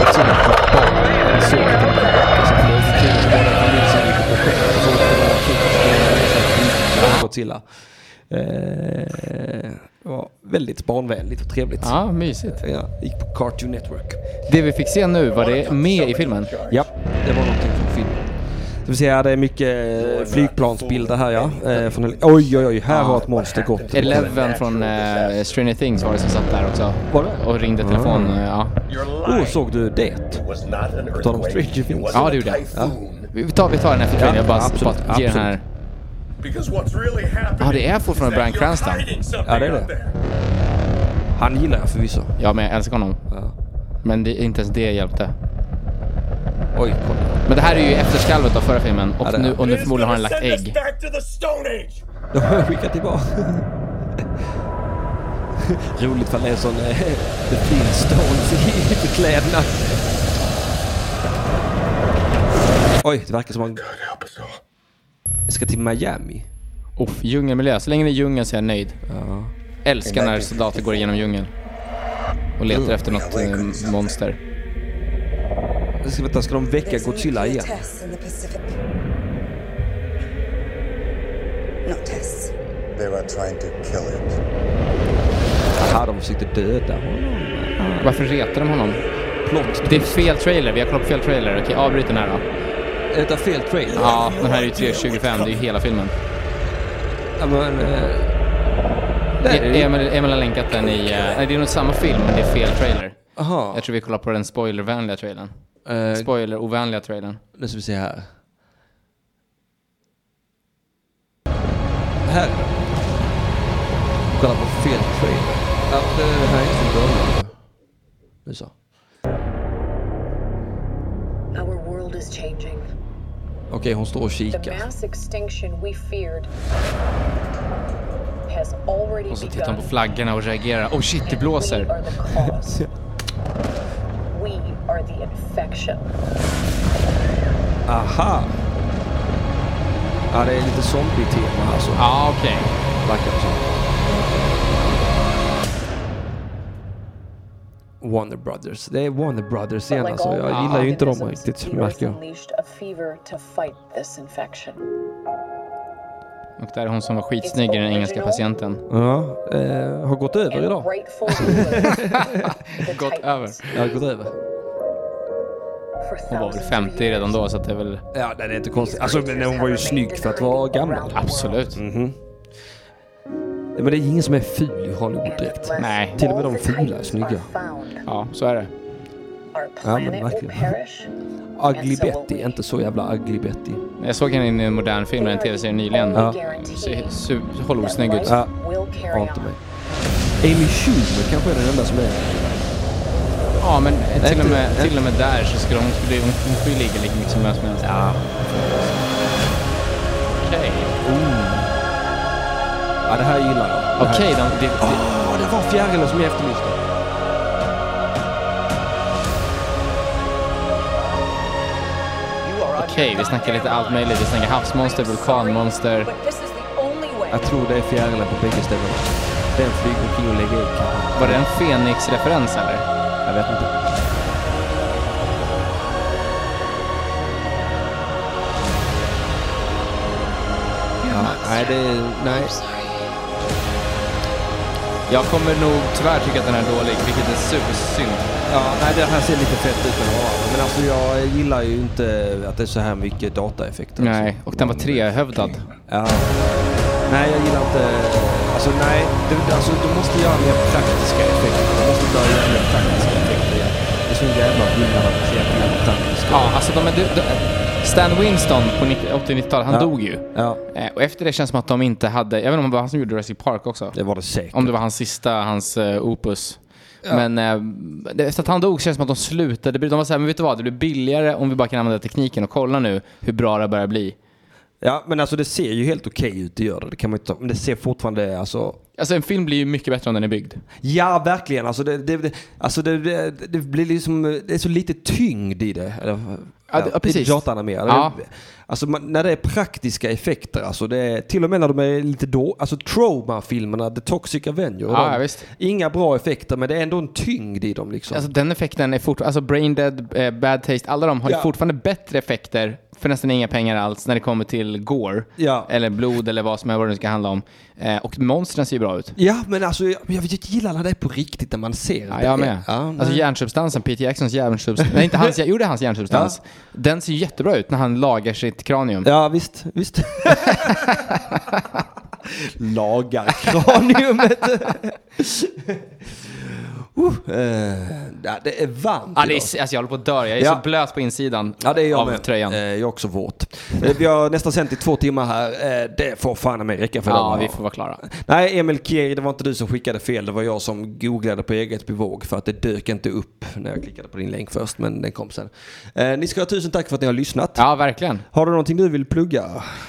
Speaker 1: Godzilla för barn. Jag såg att den var så flög till och var den familj som gick på projekt och såg att det var kul och skulle göra det så här, Godzilla. Eh, det var väldigt barnvänligt och trevligt.
Speaker 2: Ja, mysigt.
Speaker 1: Eh, Ja, gick på Cartoon Network.
Speaker 2: Det vi fick se nu, var det med i filmen?
Speaker 1: Ja, det var någonting från filmen. Det vill säga, det är mycket eh, flygplansbilder här ja. Eh, från, oj, oj, oj, här har ett monster gått.
Speaker 2: Eleven från eh, Stranger Things var det som satt där också. Och ringde telefon.
Speaker 1: Ah.
Speaker 2: eh, Ja.
Speaker 1: Oh, såg du det?
Speaker 2: er
Speaker 1: På tal om Stranger Things.
Speaker 2: Ja, det gjorde jag.
Speaker 1: Ja.
Speaker 2: Vi vi tar, vi tar den efter trailern. Jag bara,
Speaker 1: Ja, absolut,
Speaker 2: bara ger den här...
Speaker 16: Because what's really happening
Speaker 2: Ja, det är fortfarande Bryan Cranston.
Speaker 1: Ja, det är det. Han gillar jag förvisso.
Speaker 2: Ja, men jag älskar honom. Men det, inte ens det hjälpte.
Speaker 1: Oj, kolla.
Speaker 2: Men det här är ju efterskalvet av förra filmen och, nu, och nu förmodligen har han lagt ägg.
Speaker 16: back to the Stone Age.
Speaker 1: Då har jag skickat tillbaka. Roligt för det är sån eh, The Flintstones i förklädnad. Oj, det verkar som han... Ska till Miami.
Speaker 2: Uff, djungelmiljö. Så länge det är djungel så är jag nöjd. Älskar när soldater går igenom djungeln. Och letar
Speaker 1: Mm.
Speaker 2: efter något eh, monster.
Speaker 1: Jag Ska, vänta, ska de väcka Godzilla igen?
Speaker 17: Tests in the Pacific. Not tests.
Speaker 13: They were trying to kill it.
Speaker 1: Jaha, de försökte döda honom.
Speaker 2: Varför retar de honom? Det är fel trailer. Vi har kollat på fel trailer. Okej, avbryt den här då.
Speaker 1: Är detta fel trailer?
Speaker 2: Ja, den här är ju 3.25. Det är ju hela filmen.
Speaker 1: Ja, men... eh,
Speaker 2: E- Emil, Emil har länkat den i... eh, nej, det är nog samma film, men det är fel trailer.
Speaker 1: Aha.
Speaker 2: Jag tror vi kollar på den spoilervänliga trailern.
Speaker 1: Eh,
Speaker 2: Spoilerovänliga trailern.
Speaker 1: Nu ska vi se här. Här. Kolla på fel trailer. Ja, det här är inte från början. Nu så.
Speaker 4: Our world is changing.
Speaker 1: Okej, hon står och
Speaker 4: The
Speaker 1: kikar.
Speaker 4: mass extinction we feared has already
Speaker 2: Och så tittar
Speaker 4: begun.
Speaker 2: hon på flaggorna och reagerar. Oh shit, det blåser!
Speaker 4: We are the infection.
Speaker 1: Aha! Ja, det är lite zombie-tema alltså. Ja,
Speaker 2: ah, okej.
Speaker 1: Verkar det som. Warner Brothers. Det är Warner Brothers igen alltså. Jag
Speaker 4: Ah.
Speaker 1: gillar ju inte dem riktigt,
Speaker 4: The Earth
Speaker 1: märker jag.
Speaker 4: unleashed a fever to fight this infection.
Speaker 2: Och där är hon som var skitsnygg i den engelska patienten.
Speaker 1: Ja, eh, har gått över idag.
Speaker 4: Rightful rulers
Speaker 2: Gått över.
Speaker 1: Jag har gått över.
Speaker 2: Hon var väl 50 redan då, så att det är väl...
Speaker 1: Ja, det är inte konstigt. Alltså, men hon var ju snygg för att vara gammal.
Speaker 2: Absolut.
Speaker 1: Mm. Men det är ingen som är ful i Hollywood direkt.
Speaker 2: Nej.
Speaker 1: Till och med de fula är snygga.
Speaker 2: Ja, så är det.
Speaker 1: Ja, men verkligen. Ugly Betty är inte så jävla Ugly Betty.
Speaker 2: Jag såg henne i en modern film, en tv-serie nyligen.
Speaker 1: Ja.
Speaker 2: Ser su- Hollywood-snygg ut.
Speaker 1: Ja, har inte mig. Amy Schumer kanske är den enda som är...
Speaker 2: Ja, men eh, till
Speaker 1: Inte-
Speaker 2: och med, till
Speaker 1: inte-
Speaker 2: och med där så skulle hon, skulle, hon, hon skulle ligga lika mycket som vem som helst. Ja. Okej.
Speaker 1: Ja, det här gillar jag. Det här-
Speaker 2: Okej, de- det- det-
Speaker 1: Åh, det var fjärilen som jag efterlyste.
Speaker 2: Okej, vi snackar lite allt möjligt. Vi snackar havsmonster, vulkanmonster.
Speaker 8: This is the only way.
Speaker 1: Jag tror det är fjärilen på bägge ställen. Den flyger omkring och lägger ägg.
Speaker 2: Var det en Fenix-referens eller?
Speaker 1: Jag vet inte. Ja, nej, det är... Nej.
Speaker 2: Jag kommer nog tyvärr tycka att den är dålig, vilket är supersynd.
Speaker 1: Ja, nej, det här ser lite fett ut. Men, ja, men alltså, jag gillar ju inte att øh, det är så här mycket dataeffekter.
Speaker 2: Nej, och den var trehövdad.
Speaker 1: Ja. Nej, jag gillar inte... Alltså nej, du, alltså, du måste göra mer praktiska effekter. Du måste börja göra mer praktiska effekter igen. Det är så jävla skillnad att se på jävla praktiska.
Speaker 2: Ja, alltså de är... De, de, Stan Winston på 90 80-90-talet, han
Speaker 1: Ja.
Speaker 2: dog ju.
Speaker 1: Ja.
Speaker 2: Eh, Och efter det känns det som att de inte hade... Jag vet inte om det var han som gjorde Jurassic Park också.
Speaker 1: Det var det säkert.
Speaker 2: Om det var hans sista, hans eh, opus. Men eh, efter att han dog känns det som att de slutade bry- De var såhär, men vet du vad? Det blir billigare om vi bara kan använda tekniken och kolla nu hur bra det börjar bli.
Speaker 1: Ja, men alltså det ser ju helt okej ut, det gör det. Det kan man inte ta. Men det ser fortfarande, alltså...
Speaker 2: Alltså en film blir ju mycket bättre om den är byggd.
Speaker 1: Ja, verkligen. Alltså det, det, det, alltså det, det, det blir liksom, det är så lite tyngd i det. Eller,
Speaker 2: Ja, det- ja, precis.
Speaker 1: Lite dataanimerade.
Speaker 2: Ja.
Speaker 1: Alltså man, när det är praktiska effekter, alltså det är, till och med när de är lite då, alltså trauma-filmerna, The Toxic Avenger.
Speaker 2: Ja,
Speaker 1: de,
Speaker 2: ja, visst.
Speaker 1: Inga bra effekter, men det är ändå en tyngd i dem liksom.
Speaker 2: Alltså den effekten är fortfarande, alltså Brain Dead, eh, Bad Taste, alla de har ju
Speaker 1: Ja.
Speaker 2: fortfarande bättre effekter för nästan inga pengar alls när det kommer till gore.
Speaker 1: Ja.
Speaker 2: Eller blod eller vad som är vad det nu ska handla om. Eh, och monstren ser ju bra ut.
Speaker 1: Ja, men alltså jag, jag gillar när det är på riktigt, när man ser
Speaker 2: Ja,
Speaker 1: det.
Speaker 2: jag med. alltså
Speaker 1: nej.
Speaker 2: hjärnsubstansen, Peter Jacksons hjärnsubstans. nej, inte hans, jo det är hans hjärnsubstans. Den ser ju jättebra ut när han lagar sitt kranium.
Speaker 1: Ja, visst. visst. Lagar kraniumet. uh, ja, det är varmt
Speaker 2: Ja, det
Speaker 1: idag.
Speaker 2: är, alltså, jag håller på att dö. Jag är
Speaker 1: Ja.
Speaker 2: så blöt på insidan
Speaker 1: Ja, det är jag
Speaker 2: av
Speaker 1: med. Eh,
Speaker 2: tröjan.
Speaker 1: jag är också våt. Eh, Vi har nästan sänt i två timmar här. Eh, Det får fan mig räcka för
Speaker 2: Ja,
Speaker 1: idag.
Speaker 2: vi får vara klara.
Speaker 1: Nej, Emil Kieri, det var inte du som skickade fel. Det var jag som googlade på eget bevåg för att det dök inte upp när jag klickade på din länk först, men den kom sen. Eh, Ni ska ha tusen tack för att ni har lyssnat.
Speaker 2: Ja, verkligen.
Speaker 1: Har du någonting du vill plugga?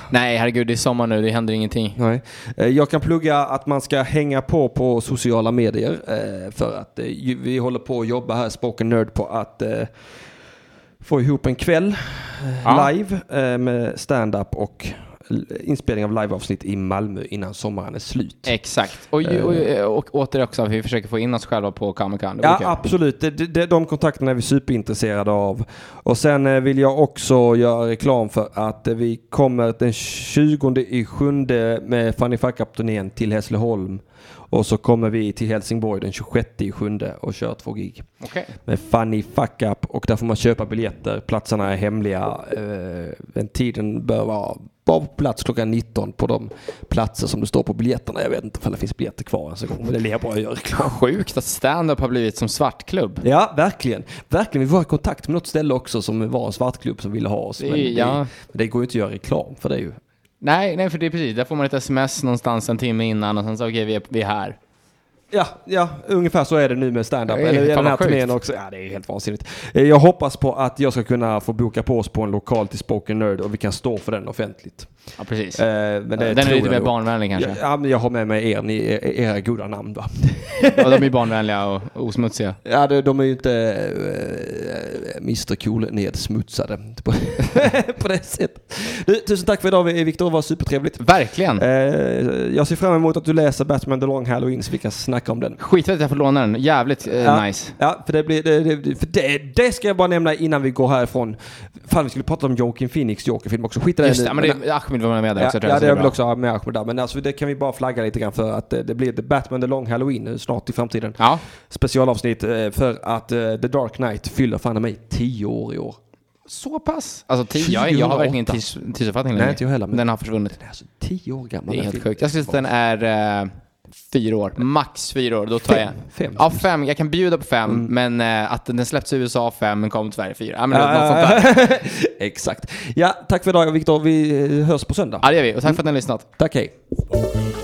Speaker 2: Nej, herregud, det är sommar nu. Det händer ingenting.
Speaker 1: Nej. Eh, Jag kan plugga att man ska hänga på på sociala medier eh, för att eh, ju- vi håller på att jobba här, Spoken Nerd, på att eh, få ihop en kväll eh,
Speaker 2: Ja.
Speaker 1: live eh, med stand-up och l- inspelning av liveavsnitt i Malmö innan sommaren är slut.
Speaker 2: Exakt. Och, ju-
Speaker 1: Eh.
Speaker 2: och, och åter också att vi försöker få in oss själva på Comic Con. Det vore
Speaker 1: Ja,
Speaker 2: kul.
Speaker 1: absolut. De, de, de kontakterna är vi superintresserade av. Och sen eh, vill jag också göra reklam för att eh, vi kommer den 20 i sjunde med Fanny Fuck Up-turnén till Hässleholm. Och så kommer vi till Helsingborg den 26 i sjunde och kör två gig.
Speaker 2: Okej.
Speaker 1: Med Fanny Fuck Up och där får man köpa biljetter. Platserna är hemliga. Eh, men tiden bör vara bara på plats klockan 19 på de platser som det står på biljetterna. Jag vet inte om det finns biljetter kvar ens en gång, men det är lika bra att göra reklam.
Speaker 2: Sjukt att stand-up har blivit som svartklubb.
Speaker 1: Ja, verkligen. Verkligen. Vi var i kontakt med något ställe också som var en svartklubb som ville ha oss.
Speaker 2: Det är-
Speaker 1: Men det,
Speaker 2: ja.
Speaker 1: men det går ju inte att göra reklam för det ju.
Speaker 2: Nej, nej, för det är precis. Där får man ett sms någonstans en timme innan och sen så okej, vi, är, vi är här.
Speaker 1: Ja, ja, ungefär så är det nu med stand-up.
Speaker 2: Det är
Speaker 1: Eller i
Speaker 2: fan
Speaker 1: den här
Speaker 2: vad sjukt.
Speaker 1: turnén också. Ja, det är helt vansinnigt. Eh, Jag hoppas på att jag ska kunna få boka på oss på en lokal till Spoken Nerd och vi kan stå för den offentligt.
Speaker 2: Ja, precis.
Speaker 1: Eh, men det
Speaker 2: Den är
Speaker 1: tror
Speaker 2: lite
Speaker 1: jag
Speaker 2: mer
Speaker 1: nog.
Speaker 2: barnvänlig kanske.
Speaker 1: Ja, Ja, men jag har med mig er, ni, era goda namn va?
Speaker 2: Och de är barnvänliga och osmutsiga.
Speaker 1: Ja, de, de är ju inte äh, Mr Cool nedsmutsade på, på det sättet. Du, tusen tack för idag Viktor, det var supertrevligt. Eh,
Speaker 2: Verkligen.
Speaker 1: jag ser fram emot att du läser Batman The Long Halloween så vi kan snacka om den.
Speaker 2: Skit att jag får låna den. Jävligt eh,
Speaker 1: Ja,
Speaker 2: nice.
Speaker 1: Ja, för, det, blir, det, det, för det, det ska jag bara nämna innan vi går härifrån. Fan, vi skulle prata om Joaquin Phoenix Joker-film också. Skit i det
Speaker 2: Just
Speaker 1: nu.
Speaker 2: det, men det, Ahmed var med där
Speaker 1: Ja,
Speaker 2: också tror jag.
Speaker 1: ja
Speaker 2: så
Speaker 1: det
Speaker 2: är
Speaker 1: jag vill
Speaker 2: bra.
Speaker 1: också ha med Ahmed där. Men alltså, det kan vi bara flagga lite grann för att eh, det blir The Batman The Long Halloween nu snart i framtiden. Specialavsnitt eh, för att eh, The Dark Knight fyller fan i mig 10 år i år.
Speaker 2: Så pass? Alltså, tid, jag, jag har verkligen inte tids, tidsuppfattning
Speaker 1: Nej, inte jag heller, men-
Speaker 2: Den har försvunnit.
Speaker 1: Alltså, 10 år gammal.
Speaker 2: Det är
Speaker 1: den
Speaker 2: helt
Speaker 1: filmen.
Speaker 2: sjukt. Jag skulle säga att den är eh, fyra år. Max fyra år, då tar jag.
Speaker 1: Fem. Mm.
Speaker 2: Ja, fem. Jag kan bjuda på fem, men eh, att den släpptes i USA fem, men kom till Sverige fyra. Ja, men
Speaker 1: Ja,
Speaker 2: något
Speaker 1: ja,
Speaker 2: sånt där.
Speaker 1: Exakt. Ja, tack för idag Viktor. Vi eh, hörs på söndag.
Speaker 2: Ja, det gör vi. Och tack för att ni har lyssnat.
Speaker 1: Tack, hej.